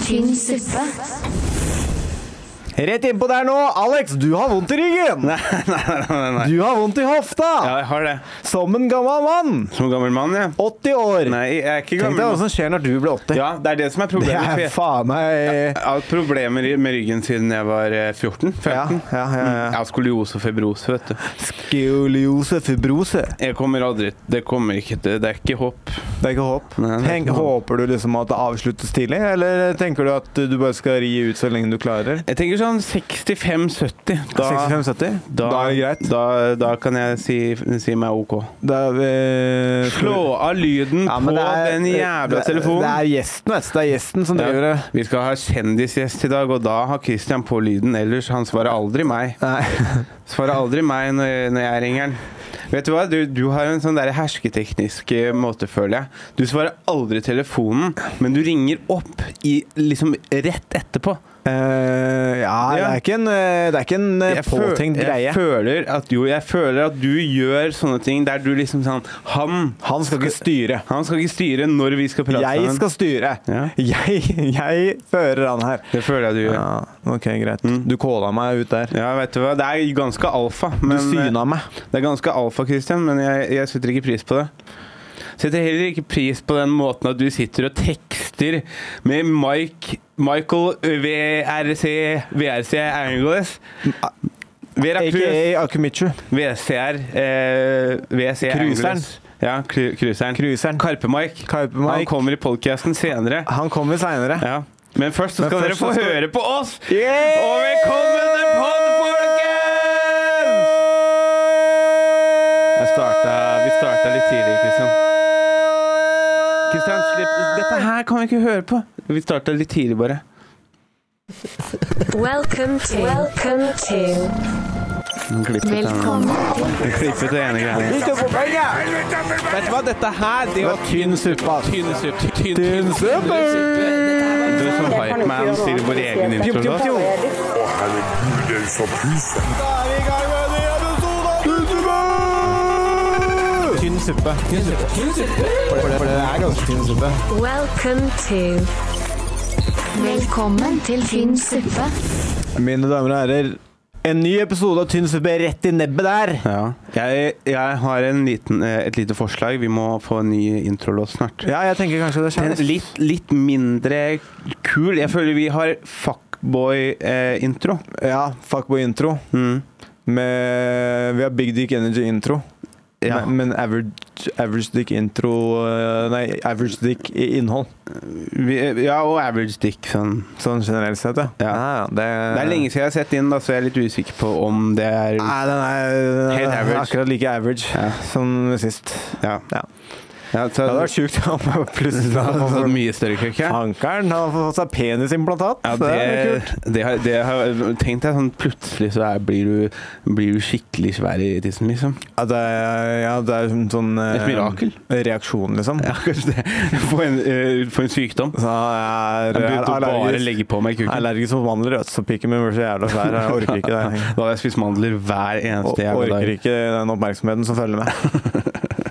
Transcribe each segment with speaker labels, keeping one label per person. Speaker 1: tynn suppe.
Speaker 2: Rett innpå der nå! Alex, du har vondt i ryggen!
Speaker 3: Nei, nei, nei, nei, nei.
Speaker 2: Du har vondt i hofta!
Speaker 3: Ja, jeg har det.
Speaker 2: Som en gammel mann!
Speaker 3: Som gammel mann, jeg.
Speaker 2: 80 år!
Speaker 3: Nei, jeg er ikke
Speaker 2: Tenk
Speaker 3: gammel.
Speaker 2: deg hva
Speaker 3: mann.
Speaker 2: som skjer når du blir 80.
Speaker 3: Ja, det er det som er
Speaker 2: det
Speaker 3: problemet. for
Speaker 2: er
Speaker 3: jeg-
Speaker 2: faen meg
Speaker 3: Jeg har hatt problemer i- med ryggen siden jeg var 14-15.
Speaker 2: Ja, ja, ja, ja.
Speaker 3: Jeg har skoliose og febrose, vet du.
Speaker 2: skoliose fibrose.
Speaker 3: Jeg kommer aldri Det kommer ikke til Det er ikke håp.
Speaker 2: Det er ikke håp.
Speaker 3: Nei, det er
Speaker 2: Tenk,
Speaker 3: ikke håp.
Speaker 2: håper du liksom at det avsluttes tidlig, eller tenker du at du bare skal ri ut så lenge du klarer?
Speaker 3: Jeg tenker sånn 65-70. Da,
Speaker 2: 65-70? Da, er det greit.
Speaker 3: Da, da kan jeg si, si meg OK.
Speaker 2: Da er vi
Speaker 3: Slå av lyden
Speaker 2: Ja,
Speaker 3: på
Speaker 2: men det er-
Speaker 3: den
Speaker 2: det
Speaker 3: jævla
Speaker 2: er-
Speaker 3: telefonen.
Speaker 2: Det er gjesten, vet du. Det er gjesten som driver det.
Speaker 3: Ja. Vi skal ha kjendisgjest i dag, og da har Christian på lyden. Ellers han svarer aldri meg.
Speaker 2: Nei.
Speaker 3: Svarer aldri meg når jeg, når jeg ringer han. Vet du hva? Du, du har en sånn der hersketeknisk eh, måte, føler jeg. Du svarer aldri telefonen, men du ringer opp i, liksom rett etterpå.
Speaker 2: Eh, ja, det
Speaker 3: Ja.
Speaker 2: er ikke en, eh, det er ikke en eh,
Speaker 3: føl-
Speaker 2: påtenkt
Speaker 3: jeg
Speaker 2: greie.
Speaker 3: føler at jo, jeg føler at du gjør sånne ting der du liksom sånn Han,
Speaker 2: Han skal ikke styre.
Speaker 3: han skal ikke styre når vi skal prate
Speaker 2: Jeg
Speaker 3: sammen.
Speaker 2: skal styre.
Speaker 3: Ja.
Speaker 2: Jeg, jeg fører han her.
Speaker 3: Det føler jeg du gjør.
Speaker 2: Ja, OK, greit.
Speaker 3: Mm.
Speaker 2: Du calla meg ut der.
Speaker 3: Ja, vet du hva. Det er ganske alfa. Men, eh,
Speaker 2: Du syna meg.
Speaker 3: Det er ganske alfa, Christian, men jeg, jeg setter ikke pris på det. Setter heller ikke pris på den måten at du sitter og tekster med Mike Michael VRC VRC Angles. Vera Cruz,
Speaker 2: AKA Akumichu.
Speaker 3: VCR eh, VC
Speaker 2: Cruiseren.
Speaker 3: Angles. Ja, cru- cruiseren.
Speaker 2: Cruiseren.
Speaker 3: Karpe-Mike.
Speaker 2: Karpe
Speaker 3: Han
Speaker 2: Mike.
Speaker 3: kommer i podkasten senere.
Speaker 2: Han kommer seinere.
Speaker 3: Ja. Men først så
Speaker 2: Men
Speaker 3: skal
Speaker 2: først
Speaker 3: dere få
Speaker 2: så skal-
Speaker 3: høre på oss!
Speaker 2: Yeah!
Speaker 3: Og velkommen til podd, folkens! Jeg starta, vi starta litt tidlig, Kristian. Kristian, slipp Dette her kan vi ikke høre på. Vi starta litt tidlig, bare.
Speaker 4: Welcome to Welcome to
Speaker 3: Velkommen Klippet det ene greiene.
Speaker 2: Ikke på poenget!
Speaker 3: Vet du hva, dette her Det var
Speaker 2: Tynn suppe, ass.
Speaker 3: tynn suppe. Tynn,
Speaker 2: Tynn suppe.
Speaker 3: Du som hype man sier vår egen
Speaker 2: Pjom,
Speaker 3: intro.
Speaker 2: pjom,
Speaker 3: da.
Speaker 2: pjom. Da er vi i gang med en ny episode av Tynn suppe! Tynn suppe. For det, for det er ganske tynn suppe.
Speaker 4: Welcome to
Speaker 1: Velkommen til tynn suppe.
Speaker 2: Mine damer og herrer, en ny episode av Tynn suppe rett i nebbet der.
Speaker 3: Ja. Jeg, jeg har en liten, eh, et lite forslag. Vi må få en ny introlåt snart.
Speaker 2: Ja, jeg tenker kanskje det
Speaker 3: Den
Speaker 2: skjer.
Speaker 3: litt, litt mindre kul. Jeg føler vi har fuckboy-intro.
Speaker 2: Ja, fuckboy-intro.
Speaker 3: Mm.
Speaker 2: Med Vi har Big Dick Energy-intro.
Speaker 3: Ja.
Speaker 2: Men, men average, average Dick-intro eh, Nei, Average Dick i innhold.
Speaker 3: Vi, ja, og average dick. Sånn.
Speaker 2: Sånn generelt sett, ja.
Speaker 3: Ja.
Speaker 2: det,
Speaker 3: Det er lenge siden jeg har sett inn, da, så jeg er litt usikker på om det er
Speaker 2: Nei, den er, den
Speaker 3: Helt
Speaker 2: er
Speaker 3: average.
Speaker 2: akkurat like average
Speaker 3: Ja.
Speaker 2: som sist.
Speaker 3: Ja.
Speaker 2: Ja.
Speaker 3: Ja, så,
Speaker 2: Det hadde vært sjukt om jeg plutselig
Speaker 3: det
Speaker 2: hadde
Speaker 3: hadde
Speaker 2: fått
Speaker 3: vært mye større køkk. Ja,
Speaker 2: Ankeren har fått seg penisimplantat.
Speaker 3: Ja,
Speaker 2: det,
Speaker 3: det,
Speaker 2: er kult.
Speaker 3: det, har, det har Tenk deg sånn plutselig så er, blir, du, blir du skikkelig svær i tissen, liksom.
Speaker 2: Ja, det er, ja, det er en sånn eh,
Speaker 3: Et mirakel.
Speaker 2: Reaksjon, liksom.
Speaker 3: Ja, kanskje det. Få en, eh, få en sykdom.
Speaker 2: Så jeg er,
Speaker 3: Jeg
Speaker 2: jeg er
Speaker 3: begynte å bare
Speaker 2: allergisk,
Speaker 3: legge på meg
Speaker 2: jeg er
Speaker 3: kukken.
Speaker 2: allergisk mot mandler, vet du, så pikken min blir så jævla svær. Jeg orker ikke det.
Speaker 3: Da hadde jeg spist mandler hver
Speaker 2: Og
Speaker 3: eneste jævla dag.
Speaker 2: orker ikke den oppmerksomheten som følger med.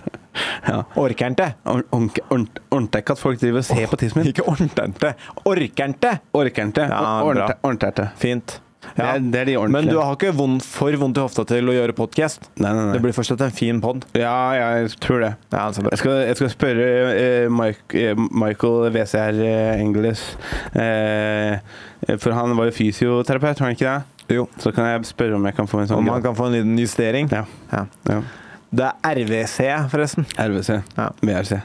Speaker 3: Ja.
Speaker 2: Orker'n det?
Speaker 3: Ordner ikke at folk driver og ser på tissen min.
Speaker 2: Ikke orker'n det. Orker'n det!
Speaker 3: Orker ikke.
Speaker 2: Ja, bra.
Speaker 3: Ordner ikke.
Speaker 2: Fint.
Speaker 3: Det
Speaker 2: Ja.
Speaker 3: er- det er de ordentlige.
Speaker 2: Men du har ikke vondt, for vondt i hofta til å gjøre podkast.
Speaker 3: Nei, nei, nei.
Speaker 2: Det blir fortsatt en fin pod.
Speaker 3: Ja, jeg tror det.
Speaker 2: Ja, så bra.
Speaker 3: Jeg skal, jeg skal spørre eh, Mike, eh, Michael WCR eh, Engles eh, For han var jo fysioterapeut, var han ikke det?
Speaker 2: Jo.
Speaker 3: Så kan jeg spørre om jeg kan få en sånn
Speaker 2: Om man kan få en liten justering.
Speaker 3: Ja.
Speaker 2: Ja.
Speaker 3: ja.
Speaker 2: Det er RVC, forresten.
Speaker 3: RVC.
Speaker 2: Ja.
Speaker 3: VRC.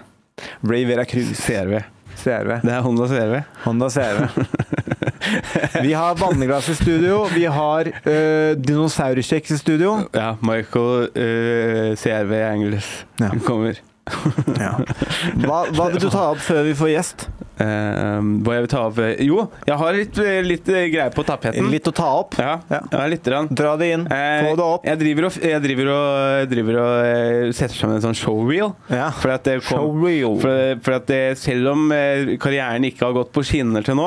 Speaker 2: Ray Vera Cruz.
Speaker 3: CRV.
Speaker 2: CRV.
Speaker 3: Det er Honda CRV.
Speaker 2: Honda CRV. Vi har vannglass i studio. Vi har uh, dinosaurkjeks i studio.
Speaker 3: Ja, Michael eh, CRV Engles
Speaker 2: Ja.
Speaker 3: kommer.
Speaker 2: Hva, hva vil du ta opp før vi får gjest?
Speaker 3: Eh, hva jeg vil ta opp eh, Jo, jeg har litt, eh, litt eh, greier på tapeten.
Speaker 2: Litt å ta opp.
Speaker 3: Ja,
Speaker 2: Ja.
Speaker 3: ja. lite grann.
Speaker 2: Dra det inn.
Speaker 3: Eh,
Speaker 2: Få det opp.
Speaker 3: Jeg driver og, jeg driver og, driver og eh, setter sammen en sånn showreel.
Speaker 2: Ja.
Speaker 3: For at det kom,
Speaker 2: Showreel.
Speaker 3: For, for at det, selv om eh, karrieren ikke har gått på skinner til nå,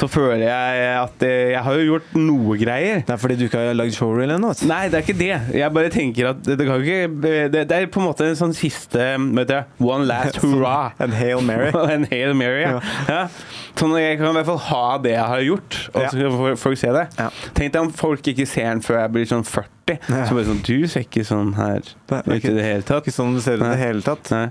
Speaker 3: så føler jeg at eh, jeg har jo gjort noe greier.
Speaker 2: Det er fordi du ikke har lagd showreel ennå. vet du.
Speaker 3: Nei, det er ikke det. Jeg bare tenker at det, det kan ikke det, det er på en måte en sånn siste vet du, One last hurrah.
Speaker 2: En Hail Mary.
Speaker 3: En Hail Mary. Ja.
Speaker 2: Ja.
Speaker 3: Ja. Sånn at jeg kan i hvert fall ha det jeg har gjort, og
Speaker 2: Ja.
Speaker 3: så kan fol- folk se det.
Speaker 2: Ja.
Speaker 3: Tenk deg om folk ikke ser den før jeg blir sånn 40.
Speaker 2: Ja.
Speaker 3: Så bare sånn Du ser ikke sånn her
Speaker 2: Nei, det er
Speaker 3: ut i
Speaker 2: ikke-
Speaker 3: det hele tatt.
Speaker 2: Ikke sånn det ser ut i det hele tatt.
Speaker 3: Nei.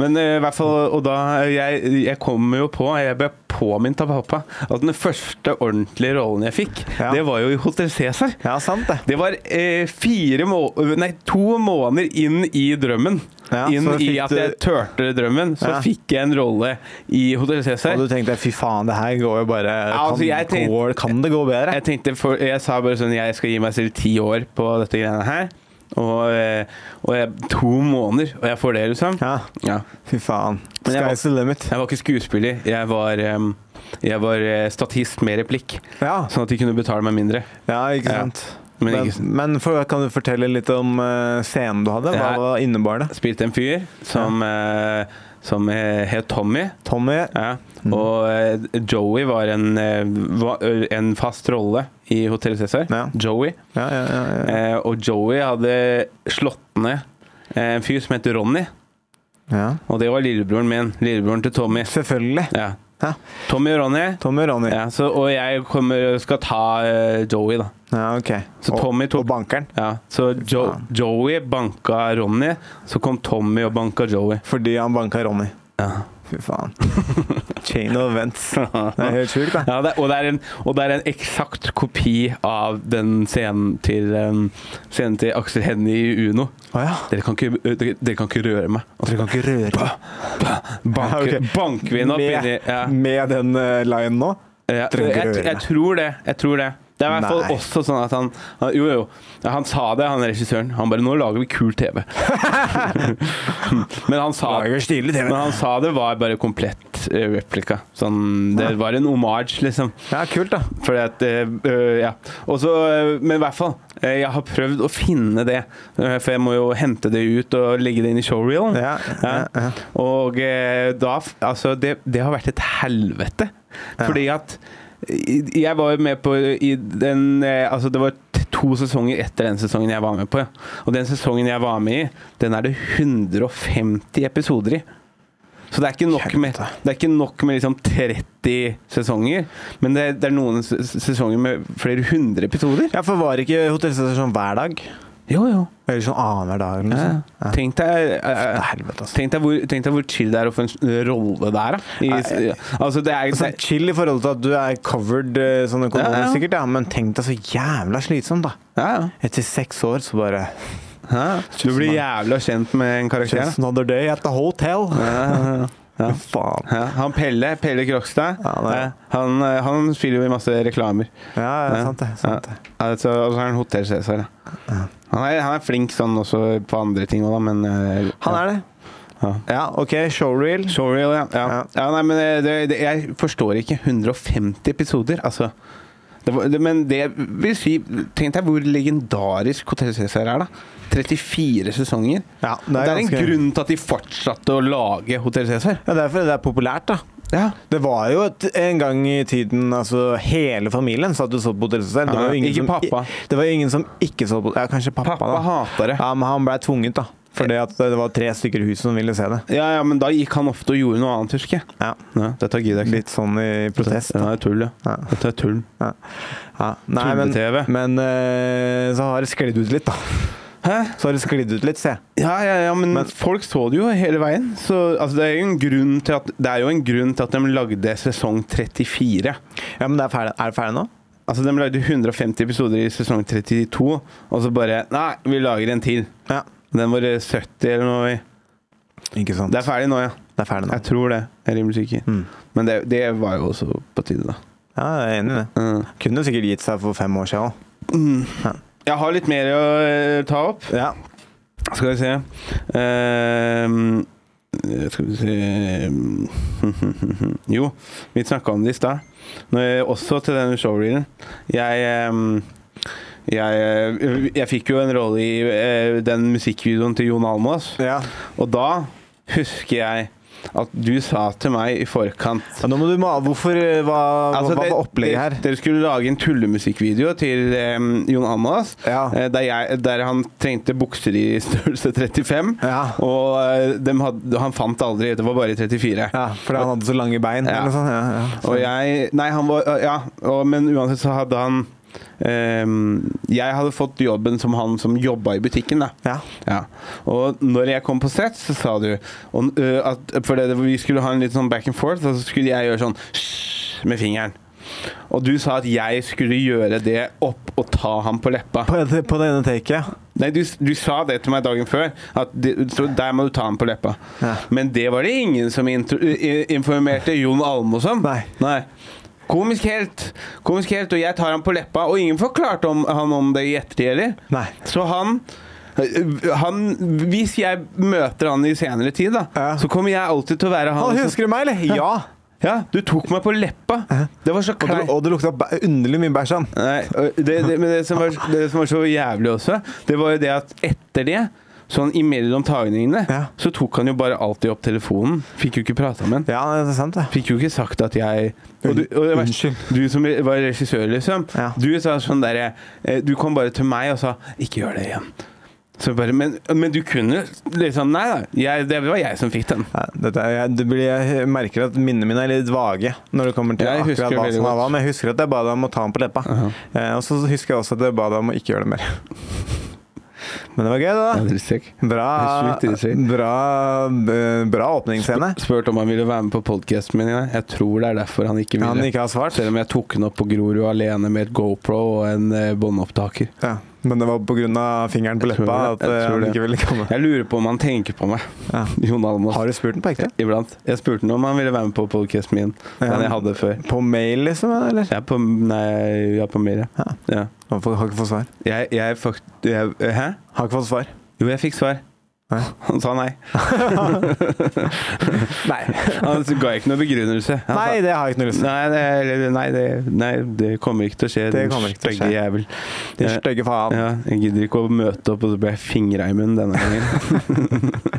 Speaker 3: Men eh, i hvert fall Og da eh, Jeg, jeg kommer jo på Jeg ble påminnet av pappa at den første ordentlige rollen jeg fikk,
Speaker 2: Ja.
Speaker 3: det var jo i Hotel Cæsar.
Speaker 2: Ja, sant det.
Speaker 3: Det var eh, fire må nei, to måneder inn i drømmen.
Speaker 2: Ja,
Speaker 3: inn
Speaker 2: så
Speaker 3: i
Speaker 2: fikk
Speaker 3: at
Speaker 2: du-
Speaker 3: jeg turte drømmen. Så
Speaker 2: Ja.
Speaker 3: fikk jeg en rolle i Hotell Cæsar.
Speaker 2: Og du tenkte fy faen, det her går jo bare
Speaker 3: Ja, altså,
Speaker 2: kan,
Speaker 3: jeg tenkte-
Speaker 2: går, kan det gå bedre?
Speaker 3: Jeg tenkte for, Jeg sa bare sånn Jeg skal gi meg selv ti år på dette greiene her. Og, eh, og jeg, to måneder, og jeg får det, liksom.
Speaker 2: Ja,
Speaker 3: Ja.
Speaker 2: fy faen.
Speaker 3: Men jeg var-
Speaker 2: Sky's the limit.
Speaker 3: Jeg var ikke skuespiller. Jeg var, em, jeg var eh, statist med replikk.
Speaker 2: Ja,
Speaker 3: Sånn at de kunne betale meg mindre.
Speaker 2: ja ikke
Speaker 3: Ja.
Speaker 2: sant.
Speaker 3: Men,
Speaker 2: Men,
Speaker 3: ikke,
Speaker 2: men for, kan du fortelle litt om eh, scenen du hadde? Hva
Speaker 3: Ja.
Speaker 2: var innebar det?
Speaker 3: spilte en fyr som, eh, som eh, het Tommy.
Speaker 2: Tommy
Speaker 3: Ja. Og eh, Joey var en, eh, va- ø, en fast rolle i Hotell Cæsar.
Speaker 2: Ja.
Speaker 3: Joey.
Speaker 2: Ja, ja, ja, ja.
Speaker 3: Eh, og Joey hadde slått ned eh, en fyr som het Ronny.
Speaker 2: ja.
Speaker 3: Og det var lillebroren min. Lillebroren til Tommy.
Speaker 2: Selvfølgelig.
Speaker 3: Ja.
Speaker 2: Hæ?
Speaker 3: Tommy og Ronny.
Speaker 2: Tommy og Ronny. Ja,
Speaker 3: Ja, så, og jeg kommer, skal ta eh, Joey, da.
Speaker 2: ok.
Speaker 3: Så
Speaker 2: Og-
Speaker 3: Tommy tok-
Speaker 2: Og bankeren.
Speaker 3: Ja, så jo,
Speaker 2: faen.
Speaker 3: Joey banka Ronny, så kom Tommy og banka Joey.
Speaker 2: Fordi han banka Ronny.
Speaker 3: Ja.
Speaker 2: Fy faen. Chain of events. Det er helt sjukt, da.
Speaker 3: Ja, det, og, det er en, og det er en eksakt kopi av den scenen til, em, scenen til Aksel Hennie i Uno.
Speaker 2: Å ja.
Speaker 3: Dere kan ikke, ø, dere, dere kan ikke røre meg. Og så
Speaker 2: Dere kan ikke røre
Speaker 3: banker,
Speaker 2: Ja, ok.
Speaker 3: banker vi den opp inni
Speaker 2: med,
Speaker 3: ja.
Speaker 2: med den eh, linen nå.
Speaker 3: Ja,
Speaker 2: Dere kan ikke
Speaker 3: jeg,
Speaker 2: røre
Speaker 3: jeg
Speaker 2: meg.
Speaker 3: tror det. Jeg tror det. Det er i hvert
Speaker 2: Nei.
Speaker 3: fall også sånn at han, han Jo, jo. Ja, Han sa det, han regissøren. Han bare 'Nå lager vi kul TV'. men, han sa,
Speaker 2: Lager stilig TV.
Speaker 3: men han sa det var bare komplett eh, replika. Sånn, det var en omage, liksom.
Speaker 2: Ja, kult, da.
Speaker 3: Fordi at eh, øh, Ja. Og så øh, Men i hvert fall. eh, jeg har prøvd å finne det. eh, for jeg må jo hente det ut og legge det inn i showreelen.
Speaker 2: Ja, ja, ja.
Speaker 3: Og eh, da f- Altså, det, det har vært et helvete. Fordi at i- jeg var jo med på i den eh, Altså, det var t- to sesonger etter den sesongen jeg var med på. ja. Og den sesongen jeg var med i, den er det 150 episoder i. Så det er ikke nok med,
Speaker 2: Kjempe.
Speaker 3: det er ikke nok med liksom 30 sesonger, men det, det er noen s- s- sesonger med flere hundre episoder.
Speaker 2: Ja, for var ikke Hotell Cæsar sånn hver dag?
Speaker 3: Jo, jo.
Speaker 2: Eller sånn annenhver dag? Eller noe
Speaker 3: Ja.
Speaker 2: sånt? Ja.
Speaker 3: Tenk deg eh,
Speaker 2: Det er helvete, altså.
Speaker 3: Tenk deg, hvor, tenk deg hvor chill det er å få en s- eh, rolle der, da. I, s-
Speaker 2: Nei.
Speaker 3: altså, det er,
Speaker 2: Sånn chill i forhold til at du er covered eh, sånn økonomisk,
Speaker 3: Ja, ja.
Speaker 2: sikkert, ja. men tenk deg så jævla slitsomt, da.
Speaker 3: ja, ja.
Speaker 2: Etter seks år så bare
Speaker 3: ja. Du blir jævla kjent med en karakter.
Speaker 2: Just another day at the hotel.
Speaker 3: da. Ja, ja, ja.
Speaker 2: Faen.
Speaker 3: Ja, han Pelle, Pelle Krokstad,
Speaker 2: Ja, det er-
Speaker 3: eh, han, eh, han spiller jo i masse reklamer.
Speaker 2: Ja, ja, sant det. Sant det.
Speaker 3: Altså, og så er han Hotell Cæsar. da. Han, er- han er flink sånn også på andre ting òg, da, men eh,
Speaker 2: Han er det.
Speaker 3: Ja.
Speaker 2: Ja, OK, showreel.
Speaker 3: Showreel, ja. ja.
Speaker 2: Ja.
Speaker 3: ja. nei, men eh, det, det, jeg forstår ikke 150 episoder, altså. Det var, det, men det vil si Tenk deg hvor legendarisk Hotell Cæsar er, da. 34 sesonger.
Speaker 2: Ja,
Speaker 3: Det er, en
Speaker 2: ganske-
Speaker 3: grunn til at de fortsatte å lage Hotell Cæsar.
Speaker 2: Ja, derfor det er populært, da.
Speaker 3: Ja.
Speaker 2: Det var jo et, en gang i tiden altså hele familien satt og så på Hotell Cæsar. Det var jo
Speaker 3: Ja,
Speaker 2: ingen
Speaker 3: ikke
Speaker 2: som i-
Speaker 3: pappa.
Speaker 2: Det var jo ingen som ikke så på Ja, kanskje pappa,
Speaker 3: Pappa
Speaker 2: da.
Speaker 3: hater det.
Speaker 2: Ja, men han blei tvunget, da. Fordi at det var tre stykker i huset som ville se det.
Speaker 3: ja, ja, men da gikk han ofte og gjorde noe annet, husker jeg.
Speaker 2: Ja,
Speaker 3: Ja, dette gidder jeg ikke.
Speaker 2: Litt sånn i protest.
Speaker 3: Ja, det er tull, ja.
Speaker 2: Ja.
Speaker 3: Dette er tull.
Speaker 2: Ja. Ja. Nei, men,
Speaker 3: Tulle-TV.
Speaker 2: men eh, så har det sklidd ut litt, da.
Speaker 3: Hæ?
Speaker 2: Så har det sklidd ut litt, se.
Speaker 3: Ja, ja, ja, men,
Speaker 2: Men-
Speaker 3: folk så det jo hele veien. Så altså, det, er jo en grunn til at, det er jo en grunn til at de lagde sesong 34.
Speaker 2: Ja, men det er, ferdig. er det ferdig nå?
Speaker 3: Altså, de lagde 150 episoder i sesong 32, og så bare Nei, vi lager en til.
Speaker 2: Ja.
Speaker 3: Den var 70 eller noe.
Speaker 2: Ikke sant.
Speaker 3: Det er ferdig nå, ja.
Speaker 2: Det er ferdig nå.
Speaker 3: Jeg tror det. Jeg er rimelig sikker.
Speaker 2: Mm.
Speaker 3: Men det, det var jo også på tide, da.
Speaker 2: Ja, jeg er enig i det.
Speaker 3: Mm.
Speaker 2: Kunne sikkert gitt seg for fem år siden òg.
Speaker 3: Jeg har litt mer å eh, ta opp.
Speaker 2: Ja.
Speaker 3: Skal vi se Ehm, eh, Skal vi se Jo, vi snakka om det i stad. Når jeg- Også til denne showreelen. Jeg ehm, jeg, eh, jeg fikk jo en rolle i eh, den musikkvideoen til Jon Almaas,
Speaker 2: ja.
Speaker 3: og da husker jeg at du sa til meg i forkant
Speaker 2: Ja, nå må du ma... Hvorfor eh, Hva, hva,
Speaker 3: Altså,
Speaker 2: hva
Speaker 3: det-
Speaker 2: var opplegget her?
Speaker 3: det- Dere skulle lage en tullemusikkvideo til eh, Jon Almaas.
Speaker 2: Ja.
Speaker 3: eh, der, jeg, der han trengte bukser i størrelse 35.
Speaker 2: Ja.
Speaker 3: Og eh, dem hadde, han fant aldri, det var bare i 34.
Speaker 2: Ja, fordi han hadde så lange bein.
Speaker 3: Ja.
Speaker 2: Eller noe sånt. Ja, ja.
Speaker 3: Og jeg Nei, han var Ja, og, men uansett så hadde han ehm, Jeg hadde fått jobben som han som jobba i butikken, da.
Speaker 2: Ja.
Speaker 3: Ja. Og når jeg kom på set, så sa du og, ø, at For det, vi skulle ha en litt sånn back and forth, og så skulle jeg gjøre sånn «Hysj» med fingeren. Og du sa at jeg skulle gjøre det opp og ta ham på leppa.
Speaker 2: På, på det ene taket, ja.
Speaker 3: Nei, du, du sa det til meg dagen før, at det, så der må du ta ham på leppa.
Speaker 2: Ja.
Speaker 3: Men det var det ingen som intro, i- informerte Jon Almaas om.
Speaker 2: Nei.
Speaker 3: Komisk helt. Komisk helt, og jeg tar ham på leppa, og ingen forklarte om, han om det i ettertid heller.
Speaker 2: Nei.
Speaker 3: Så han øh, han, hvis jeg møter han i senere tid, da,
Speaker 2: Ja.
Speaker 3: så kommer jeg alltid til å være han.
Speaker 2: Han
Speaker 3: som-
Speaker 2: husker du meg, eller? Ja.
Speaker 3: Ja, du tok meg på leppa! Det var så
Speaker 2: Og det,
Speaker 3: kleint.
Speaker 2: og det lukta bæ- underlig mye bæsj. han.
Speaker 3: Nei, og det, det, men det som, var, det som var så jævlig også, det var jo det at etter det, sånn imellom tagningene,
Speaker 2: Ja.
Speaker 3: så tok han jo bare alltid opp telefonen. Fikk jo ikke prata med han.
Speaker 2: Ja, det er sant, det.
Speaker 3: Fikk jo ikke sagt at jeg og du, og det verste-
Speaker 2: Unnskyld.
Speaker 3: du som var regissør, liksom.
Speaker 2: Ja.
Speaker 3: Du sa sånn derre eh, Du kom bare til meg og sa 'ikke gjør det igjen'. Så jeg bare, men, men du kunne liksom Nei da, jeg, det var jeg som fikk den.
Speaker 2: Nei, dette er, jeg, det blir, jeg merker at minnene mine er litt vage når det kommer til
Speaker 3: Jeg husker
Speaker 2: akkurat hva
Speaker 3: veldig
Speaker 2: som var
Speaker 3: godt.
Speaker 2: hva, men jeg husker at jeg ba deg om å ta den på leppa. eh, og så husker jeg også at jeg ba deg om å ikke gjøre det mer. Men det var gøy, det, da. Bra,
Speaker 3: Det er sjukt irritert.
Speaker 2: bra, b- bra åpningsscene.
Speaker 3: Spurte om han ville være med på podkasten min. i dag. Jeg tror det er derfor han ikke ville.
Speaker 2: Han ikke har svart.
Speaker 3: Selv om jeg tok den opp på Grorud alene med et GoPro og en eh, båndopptaker.
Speaker 2: Ja. Men det var pga. fingeren på
Speaker 3: Jeg tror
Speaker 2: leppa at
Speaker 3: det, jeg
Speaker 2: eh,
Speaker 3: tror
Speaker 2: han
Speaker 3: det.
Speaker 2: ikke ville komme.
Speaker 3: Jeg lurer på om han tenker på meg.
Speaker 2: Ja.
Speaker 3: Jon Almaas.
Speaker 2: Har du spurt den på ekte?
Speaker 3: Iblant. Jeg spurte han om han ville være med på podkasten min,
Speaker 2: Ja.
Speaker 3: den jeg hadde før.
Speaker 2: På mail, liksom? Eller?
Speaker 3: Jeg er på, nei, jeg er på mer, ja. ja.
Speaker 2: Hvorfor Har ikke fått svar.
Speaker 3: Jeg, jeg, fakt- jeg, Hæ?
Speaker 2: Har ikke fått svar.
Speaker 3: Jo, jeg fikk svar.
Speaker 2: Hæ?
Speaker 3: Han sa nei.
Speaker 2: Nei,
Speaker 3: Han ga ikke noe begrunnelse. Han
Speaker 2: Nei
Speaker 3: sa,
Speaker 2: det har jeg ikke noe lyst til.
Speaker 3: nei, det, nei, det, nei, det kommer ikke til å skje.
Speaker 2: Det
Speaker 3: din
Speaker 2: kommer ikke til å
Speaker 3: stygge
Speaker 2: skje.
Speaker 3: Jævel.
Speaker 2: Din
Speaker 3: Ja.
Speaker 2: stygge faen.
Speaker 3: Ja, jeg gidder ikke å møte opp, og så ble jeg fingra i munnen denne gangen.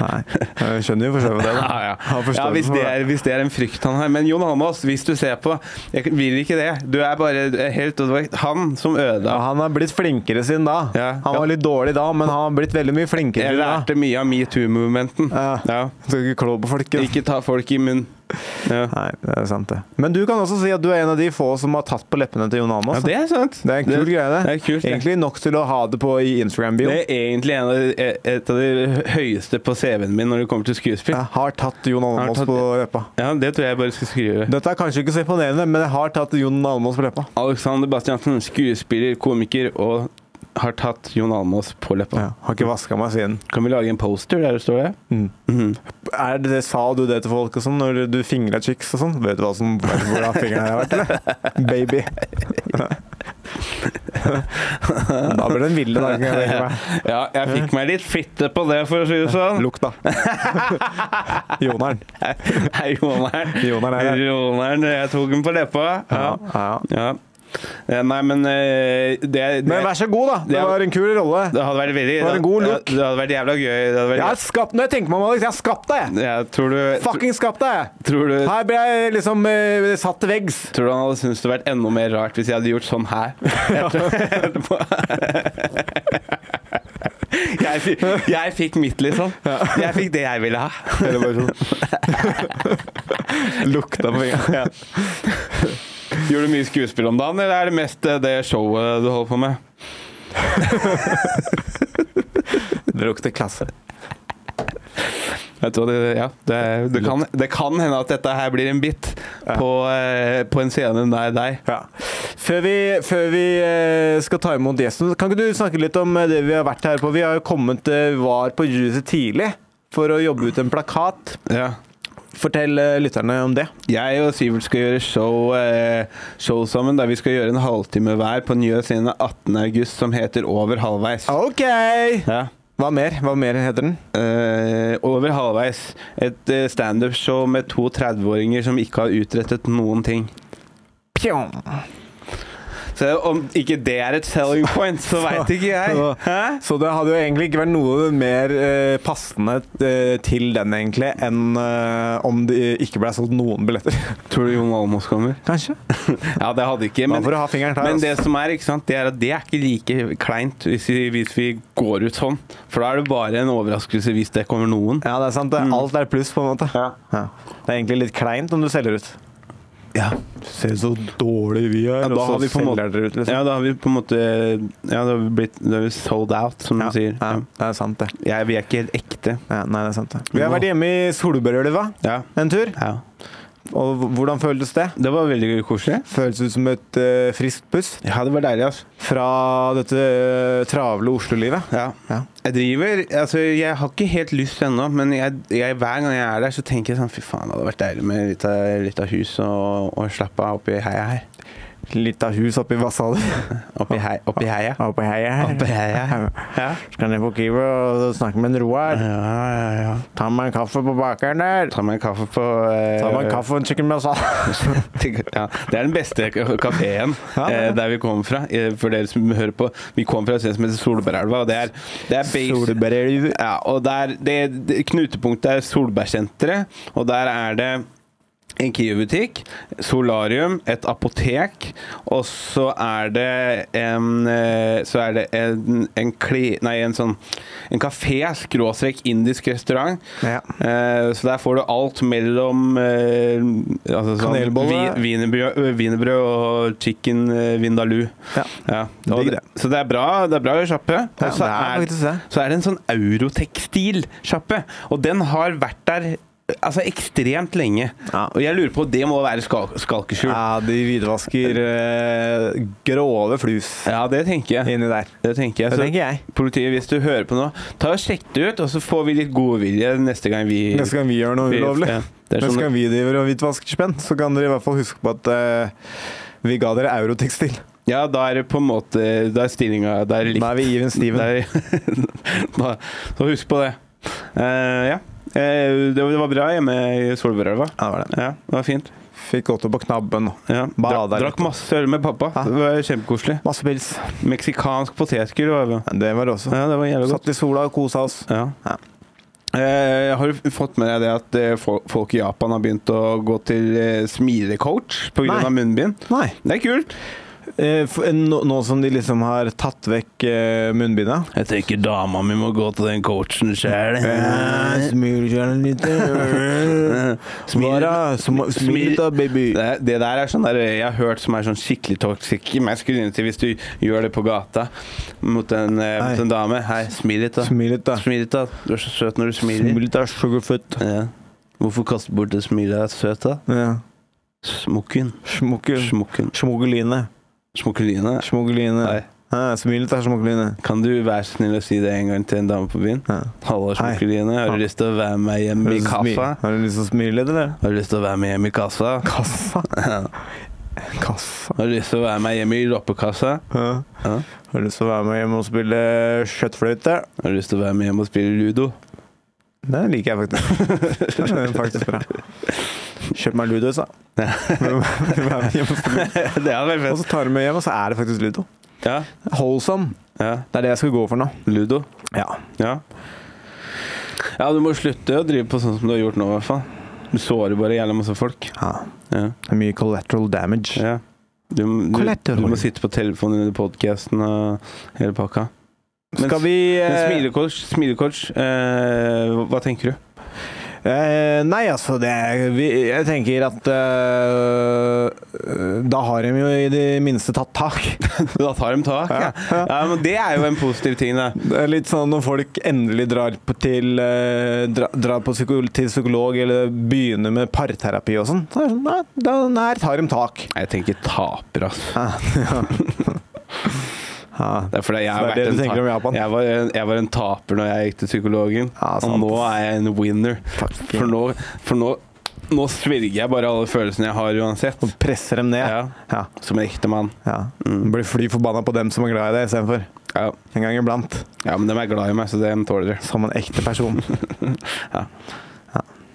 Speaker 2: Nei. Jeg skjønner jo for så vidt det. da.
Speaker 3: Ja, ja.
Speaker 2: Har forståelse
Speaker 3: ja hvis,
Speaker 2: for
Speaker 3: det er, hvis det er en frykt han har. Men Jon Almaas, hvis du ser på, jeg vil ikke det. Du er bare helt og det var han som
Speaker 2: Ja,
Speaker 3: ødela.
Speaker 2: han har blitt flinkere siden da.
Speaker 3: Ja.
Speaker 2: Han var
Speaker 3: Ja.
Speaker 2: litt dårlig da, men han har blitt veldig mye flinkere
Speaker 3: Jeg
Speaker 2: siden da.
Speaker 3: lærte mye av metoo-movementen.
Speaker 2: Ja.
Speaker 3: Ja.
Speaker 2: Skal ikke klå på folk. da.
Speaker 3: Ikke ta folk i munnen. Ja.
Speaker 2: Nei, det er sant, det. Men du kan også si at du er en av de få som har tatt på leppene til Jon
Speaker 3: ja,
Speaker 2: Almaas. da.
Speaker 3: det er sant.
Speaker 2: det er en kul greie, det.
Speaker 3: det er kult, det.
Speaker 2: Egentlig nok til å ha det på i
Speaker 3: Det
Speaker 2: Instagram-bioen.
Speaker 3: er egentlig en av de, e- et av de høyeste på CV-en min når det kommer til skuespill.
Speaker 2: Jeg har tatt Jon
Speaker 3: Har
Speaker 2: Almaas
Speaker 3: tatt-
Speaker 2: på leppa.
Speaker 3: Ja, det tror jeg bare skal skrive.
Speaker 2: Dette er kanskje ikke så imponerende, men jeg har tatt Jon Almaas på leppa.
Speaker 3: Alexander Bastiansen, skuespiller, komiker og har tatt Jon Almaas på leppa.
Speaker 2: Ja, har ikke vaska meg siden.
Speaker 3: Kan vi lage en poster der det står det?
Speaker 2: Mm.
Speaker 3: Mhm.
Speaker 2: Er det, sa du det til folk og sånn, når du fingra chicks og sånn? Vet du hva som, hvor da fingeren har vært, eller? Baby. da blir det en ville dag. kan jeg tenke meg.
Speaker 3: Ja, jeg fikk meg litt fitte på det, for å si det sånn.
Speaker 2: Lukt, da. Jonaren.
Speaker 3: Hei, Jonern.
Speaker 2: Jonern er her.
Speaker 3: Jonern, jeg tok den på leppa. Ja.
Speaker 2: Ja, ja.
Speaker 3: ja. Eh, Nei, men eh, det, det,
Speaker 2: Men vær så god, da. Det var en kul rolle.
Speaker 3: det hadde vært veldig
Speaker 2: det var en god look.
Speaker 3: Det, det hadde vært jævla gøy. Det hadde vært,
Speaker 2: Jeg har skapt, når jeg tenker meg om, Alex, jeg har skapt deg!
Speaker 3: Jeg tror du tr-
Speaker 2: Fucking skapt deg!
Speaker 3: tror du,
Speaker 2: Her ble jeg liksom eh, satt til veggs.
Speaker 3: tror du han hadde syntes det hadde vært enda mer rart hvis jeg hadde gjort sånn her? Jeg tror- Jeg fikk, jeg fikk mitt, liksom. Jeg fikk det jeg ville ha.
Speaker 2: Eller bare sånn Lukta på fingeren.
Speaker 3: Ja. Gjør du mye skuespill om dagen, eller er det mest eh, det showet du holder på med?
Speaker 2: Det lukter klasse.
Speaker 3: Vet du hva, det, ja, det, det, kan, det kan hende at dette her blir en bit på, eh, på en scene nær deg.
Speaker 2: Ja. Før vi, før vi eh, skal ta imot gjesten, kan ikke du snakke litt om eh, det vi har vært her på? Vi har jo kommet eh, var på Juset tidlig for å jobbe ut en plakat.
Speaker 3: Ja.
Speaker 2: Fortell eh, lytterne om det.
Speaker 3: Jeg og Sivert skal gjøre show, eh, show sammen, der vi skal gjøre en halvtime hver på Njø scene 18.8, som heter Over halvveis.
Speaker 2: OK!
Speaker 3: Ja.
Speaker 2: Hva mer? Hva mer heter den?
Speaker 3: Eh, over halvveis. Et eh, standup-show med to 30-åringer som ikke har utrettet noen ting.
Speaker 2: Pjong.
Speaker 3: Så om ikke det er et selling point, så veit ikke jeg.
Speaker 2: så-
Speaker 3: Hæ?
Speaker 2: Så det hadde jo egentlig ikke vært noe mer eh, passende eh, til den, egentlig, enn eh, om det ikke ble solgt noen billetter.
Speaker 3: Tror du Jon Almaas kommer?
Speaker 2: Kanskje.
Speaker 3: Ja, det hadde ikke.
Speaker 2: Da får du ha fingeren klar.
Speaker 3: Men det
Speaker 2: altså.
Speaker 3: som er, ikke sant, det er at det er ikke like kleint hvis vi, hvis vi går ut sånn. For da er det bare en overraskelse hvis det kommer noen.
Speaker 2: Ja, det er sant. Det. Alt er pluss, på en måte.
Speaker 3: Ja.
Speaker 2: Ja. Det er egentlig litt kleint om du selger ut.
Speaker 3: Ja,
Speaker 2: Se så dårlig vi er,
Speaker 3: Ja, da
Speaker 2: og så
Speaker 3: har vi på en måte-
Speaker 2: selger dere ut, liksom.
Speaker 3: ja da har vi på en måte Ja, da har vi blitt da har vi sold out, som
Speaker 2: Ja,
Speaker 3: du sier.
Speaker 2: ja,
Speaker 3: Ja.
Speaker 2: det er sant, det.
Speaker 3: Jeg, vi er ikke helt ekte.
Speaker 2: Ja, nei, det er sant, det. Vi har vært hjemme i Solbergelva
Speaker 3: Ja.
Speaker 2: en tur,
Speaker 3: ja.
Speaker 2: og hvordan føltes det?
Speaker 3: Det var veldig koselig.
Speaker 2: Føltes ut som et eh, friskt pust
Speaker 3: Ja, det var deilig, altså.
Speaker 2: fra dette eh, travle Oslo-livet.
Speaker 3: Ja.
Speaker 2: Ja.
Speaker 3: Jeg driver Altså, jeg har ikke helt lyst ennå, men jeg, jeg, hver gang jeg er der, så tenker jeg sånn Fy faen, det hadde vært deilig med litt av, litt av hus og, og slappe av oppi heia her.
Speaker 2: Litt av hus oppi Vasshavet.
Speaker 3: Oppi, hei, oppi heia.
Speaker 2: Oppi heia
Speaker 3: Oppi heia. Ja.
Speaker 2: Så kan jeg få Kiwi og snakke med en Roar.
Speaker 3: Ja, ja, ja.
Speaker 2: Ta meg en kaffe på bakeren der.
Speaker 3: Ta meg en kaffe på eh,
Speaker 2: Ta meg en kaffe og en chicken masala.
Speaker 3: ja, Det er den beste kafeen
Speaker 2: Ja, det er det.
Speaker 3: der vi kommer fra. Eh, For dere som hører på, vi kommer fra et sted som heter Solbergelva, og det er, det er base,
Speaker 2: Solbergelva.
Speaker 3: Ja, og der, det, det, knutepunktet er Solbergsenteret, og der er det en Kiwi-butikk, solarium, et apotek, og så er det en eh, Så er det en, en kli... Nei, en sånn En kafé, skråstrek indisk restaurant.
Speaker 2: Ja.
Speaker 3: Eh, så der får du alt mellom eh, altså sånn,
Speaker 2: Kanelbolle.
Speaker 3: vi- Wienerbrød øh, wienerbrød og chicken eh, vindaloo.
Speaker 2: Ja.
Speaker 3: Ja. Og
Speaker 2: Digg
Speaker 3: det, så det er bra det er bra sjappe.
Speaker 2: Ja,
Speaker 3: Og så
Speaker 2: det er
Speaker 3: er,
Speaker 2: faktisk det.
Speaker 3: så er det en sånn eurotekstilsjappe, og den har vært der altså ekstremt lenge.
Speaker 2: Ja.
Speaker 3: Og jeg lurer på, det må være skal, Skalkeskjul? Ja.
Speaker 2: Ja, de hvitvasker eh, grove flus
Speaker 3: det tenker jeg.
Speaker 2: inni der.
Speaker 3: Det tenker jeg.
Speaker 2: Det
Speaker 3: Så
Speaker 2: tenker jeg.
Speaker 3: Politiet, hvis du hører på nå, ta og sjekk det ut, og så får vi litt godvilje neste gang vi
Speaker 2: Neste gang vi gjør noe
Speaker 3: vi-
Speaker 2: ulovlig,
Speaker 3: Ja, det er
Speaker 2: neste
Speaker 3: sånn,
Speaker 2: gang vi driver og hvitvasker spenn, så kan dere i hvert fall huske på at eh, vi ga dere eurotekstil.
Speaker 3: Ja, da er det på en måte Da er stillinga Da er det likt.
Speaker 2: Da er vi Even Steven.
Speaker 3: Steven. da, så husk på det. Eh, ja. Eh, det, var- det var bra hjemme i Solbergelva.
Speaker 2: Ja, det var det.
Speaker 3: Ja, det var fint.
Speaker 2: Fikk gått opp på knabben og
Speaker 3: Ja. Dra,
Speaker 2: Bada
Speaker 3: drakk masse øl med pappa.
Speaker 2: Ja.
Speaker 3: Det var kjempekoselig.
Speaker 2: masse pils.
Speaker 3: Meksikansk potetgull var det.
Speaker 2: Ja, Det var det også.
Speaker 3: Ja, det var jævlig godt.
Speaker 2: Satt i sola og kosa oss.
Speaker 3: Ja.
Speaker 2: Ja.
Speaker 3: Eh, har du fått med deg det at eh, fol- folk i Japan har begynt å gå til eh, smilecoach
Speaker 2: Nei.
Speaker 3: pga. munnbind?
Speaker 2: Nei.
Speaker 3: Det er kult.
Speaker 2: Eh, for- Nå nå som de liksom har tatt vekk eh, munnbindet
Speaker 3: Jeg tenker dama mi må gå til den coachen sjæl. Eh,
Speaker 2: Eh, Smil litt. Vara, sm-
Speaker 3: Smil.
Speaker 2: Smil da, baby.
Speaker 3: Det, det der er sånn der jeg har hørt som er sånn skikkelig toxic masculinity hvis du gjør det på gata mot en, eh,
Speaker 2: Hei.
Speaker 3: mot en dame. Hei, smil litt, da.
Speaker 2: Smil litt, da.
Speaker 3: Smil litt, da. Du er så søt når du smiler.
Speaker 2: Smil litt, da, sugarfoot.
Speaker 3: Ja. Hvorfor kaste bort det smilet? Jeg Er søt, da.
Speaker 2: Ja.
Speaker 3: Smokken.
Speaker 2: Smukke-
Speaker 3: Smokken.
Speaker 2: Smuggeline.
Speaker 3: Smokkeline. Nei.
Speaker 2: Smuggeline. Ja, smil litt, da, smuggeline.
Speaker 3: Kan du være så snill å si det en gang til en dame på byen?
Speaker 2: Ja. Hei.
Speaker 3: Halla, smokkeline. Har du lyst til å være med hjem
Speaker 2: Har du
Speaker 3: i
Speaker 2: lyst til å smile?
Speaker 3: kassa?
Speaker 2: Har du lyst til å smile litt, eller?
Speaker 3: Har du lyst til å være med hjem i kassa?
Speaker 2: Kassa.
Speaker 3: Ja.
Speaker 2: Kassa.
Speaker 3: Har du lyst til å være med hjem i loppekassa?
Speaker 2: Ja.
Speaker 3: Ja.
Speaker 2: Har du lyst til å være med hjem og spille kjøttfløyte?
Speaker 3: Har du lyst til å være med hjem og spille ludo?
Speaker 2: Det liker jeg faktisk. Det er faktisk bra. Kjøp meg ludo, sa Og
Speaker 3: det hadde vært fett.
Speaker 2: så tar du med hjem, og så er det faktisk ludo.
Speaker 3: Ja.
Speaker 2: Holsom.
Speaker 3: ja.
Speaker 2: Det er det jeg skal gå for nå.
Speaker 3: Ludo.
Speaker 2: Ja.
Speaker 3: Ja. ja, du må slutte å drive på sånn som du har gjort nå, i hvert fall. Du sårer bare jævla masse folk. Ja.
Speaker 2: Det er mye collateral damage.
Speaker 3: ja. Du, du,
Speaker 2: Collateral.
Speaker 3: du må sitte på telefonen under podkasten og hele pakka. Men-
Speaker 2: Skal vi
Speaker 3: Men
Speaker 2: eh,
Speaker 3: smilecoach, smilecoach eh, hva- hva tenker du?
Speaker 2: Eh, nei, altså det er- vi, Jeg tenker at eh, Da har de jo i det minste tatt tak.
Speaker 3: Da tar de tak, ja. ja. Men det er jo en positiv ting, da.
Speaker 2: Det er litt sånn når folk endelig drar på, til, eh, dra, drar på psyko til psykolog eller begynner med parterapi og sånn, så er det sånn Nei, da, der tar de tak.
Speaker 3: Jeg tenker taper, ass.
Speaker 2: Ja, ja. Ja.
Speaker 3: Det er fordi jeg,
Speaker 2: Så
Speaker 3: har
Speaker 2: det er det du
Speaker 3: vært en
Speaker 2: tenker
Speaker 3: ta-
Speaker 2: om Japan?
Speaker 3: Jeg var, en, jeg var en taper når jeg gikk til psykologen,
Speaker 2: Ja,
Speaker 3: og
Speaker 2: sant.
Speaker 3: nå er jeg en winner. For nå, for nå, nå svelger jeg bare alle følelsene jeg har uansett.
Speaker 2: Og presser dem ned. Ja.
Speaker 3: Ja,
Speaker 2: Ja,
Speaker 3: som en ekte mann. Mm.
Speaker 2: Blir fly forbanna på dem som er glad i deg, istedenfor.
Speaker 3: Ja.
Speaker 2: En gang iblant.
Speaker 3: ja, men de er glad i meg, så de tåler det.
Speaker 2: Som en ekte person.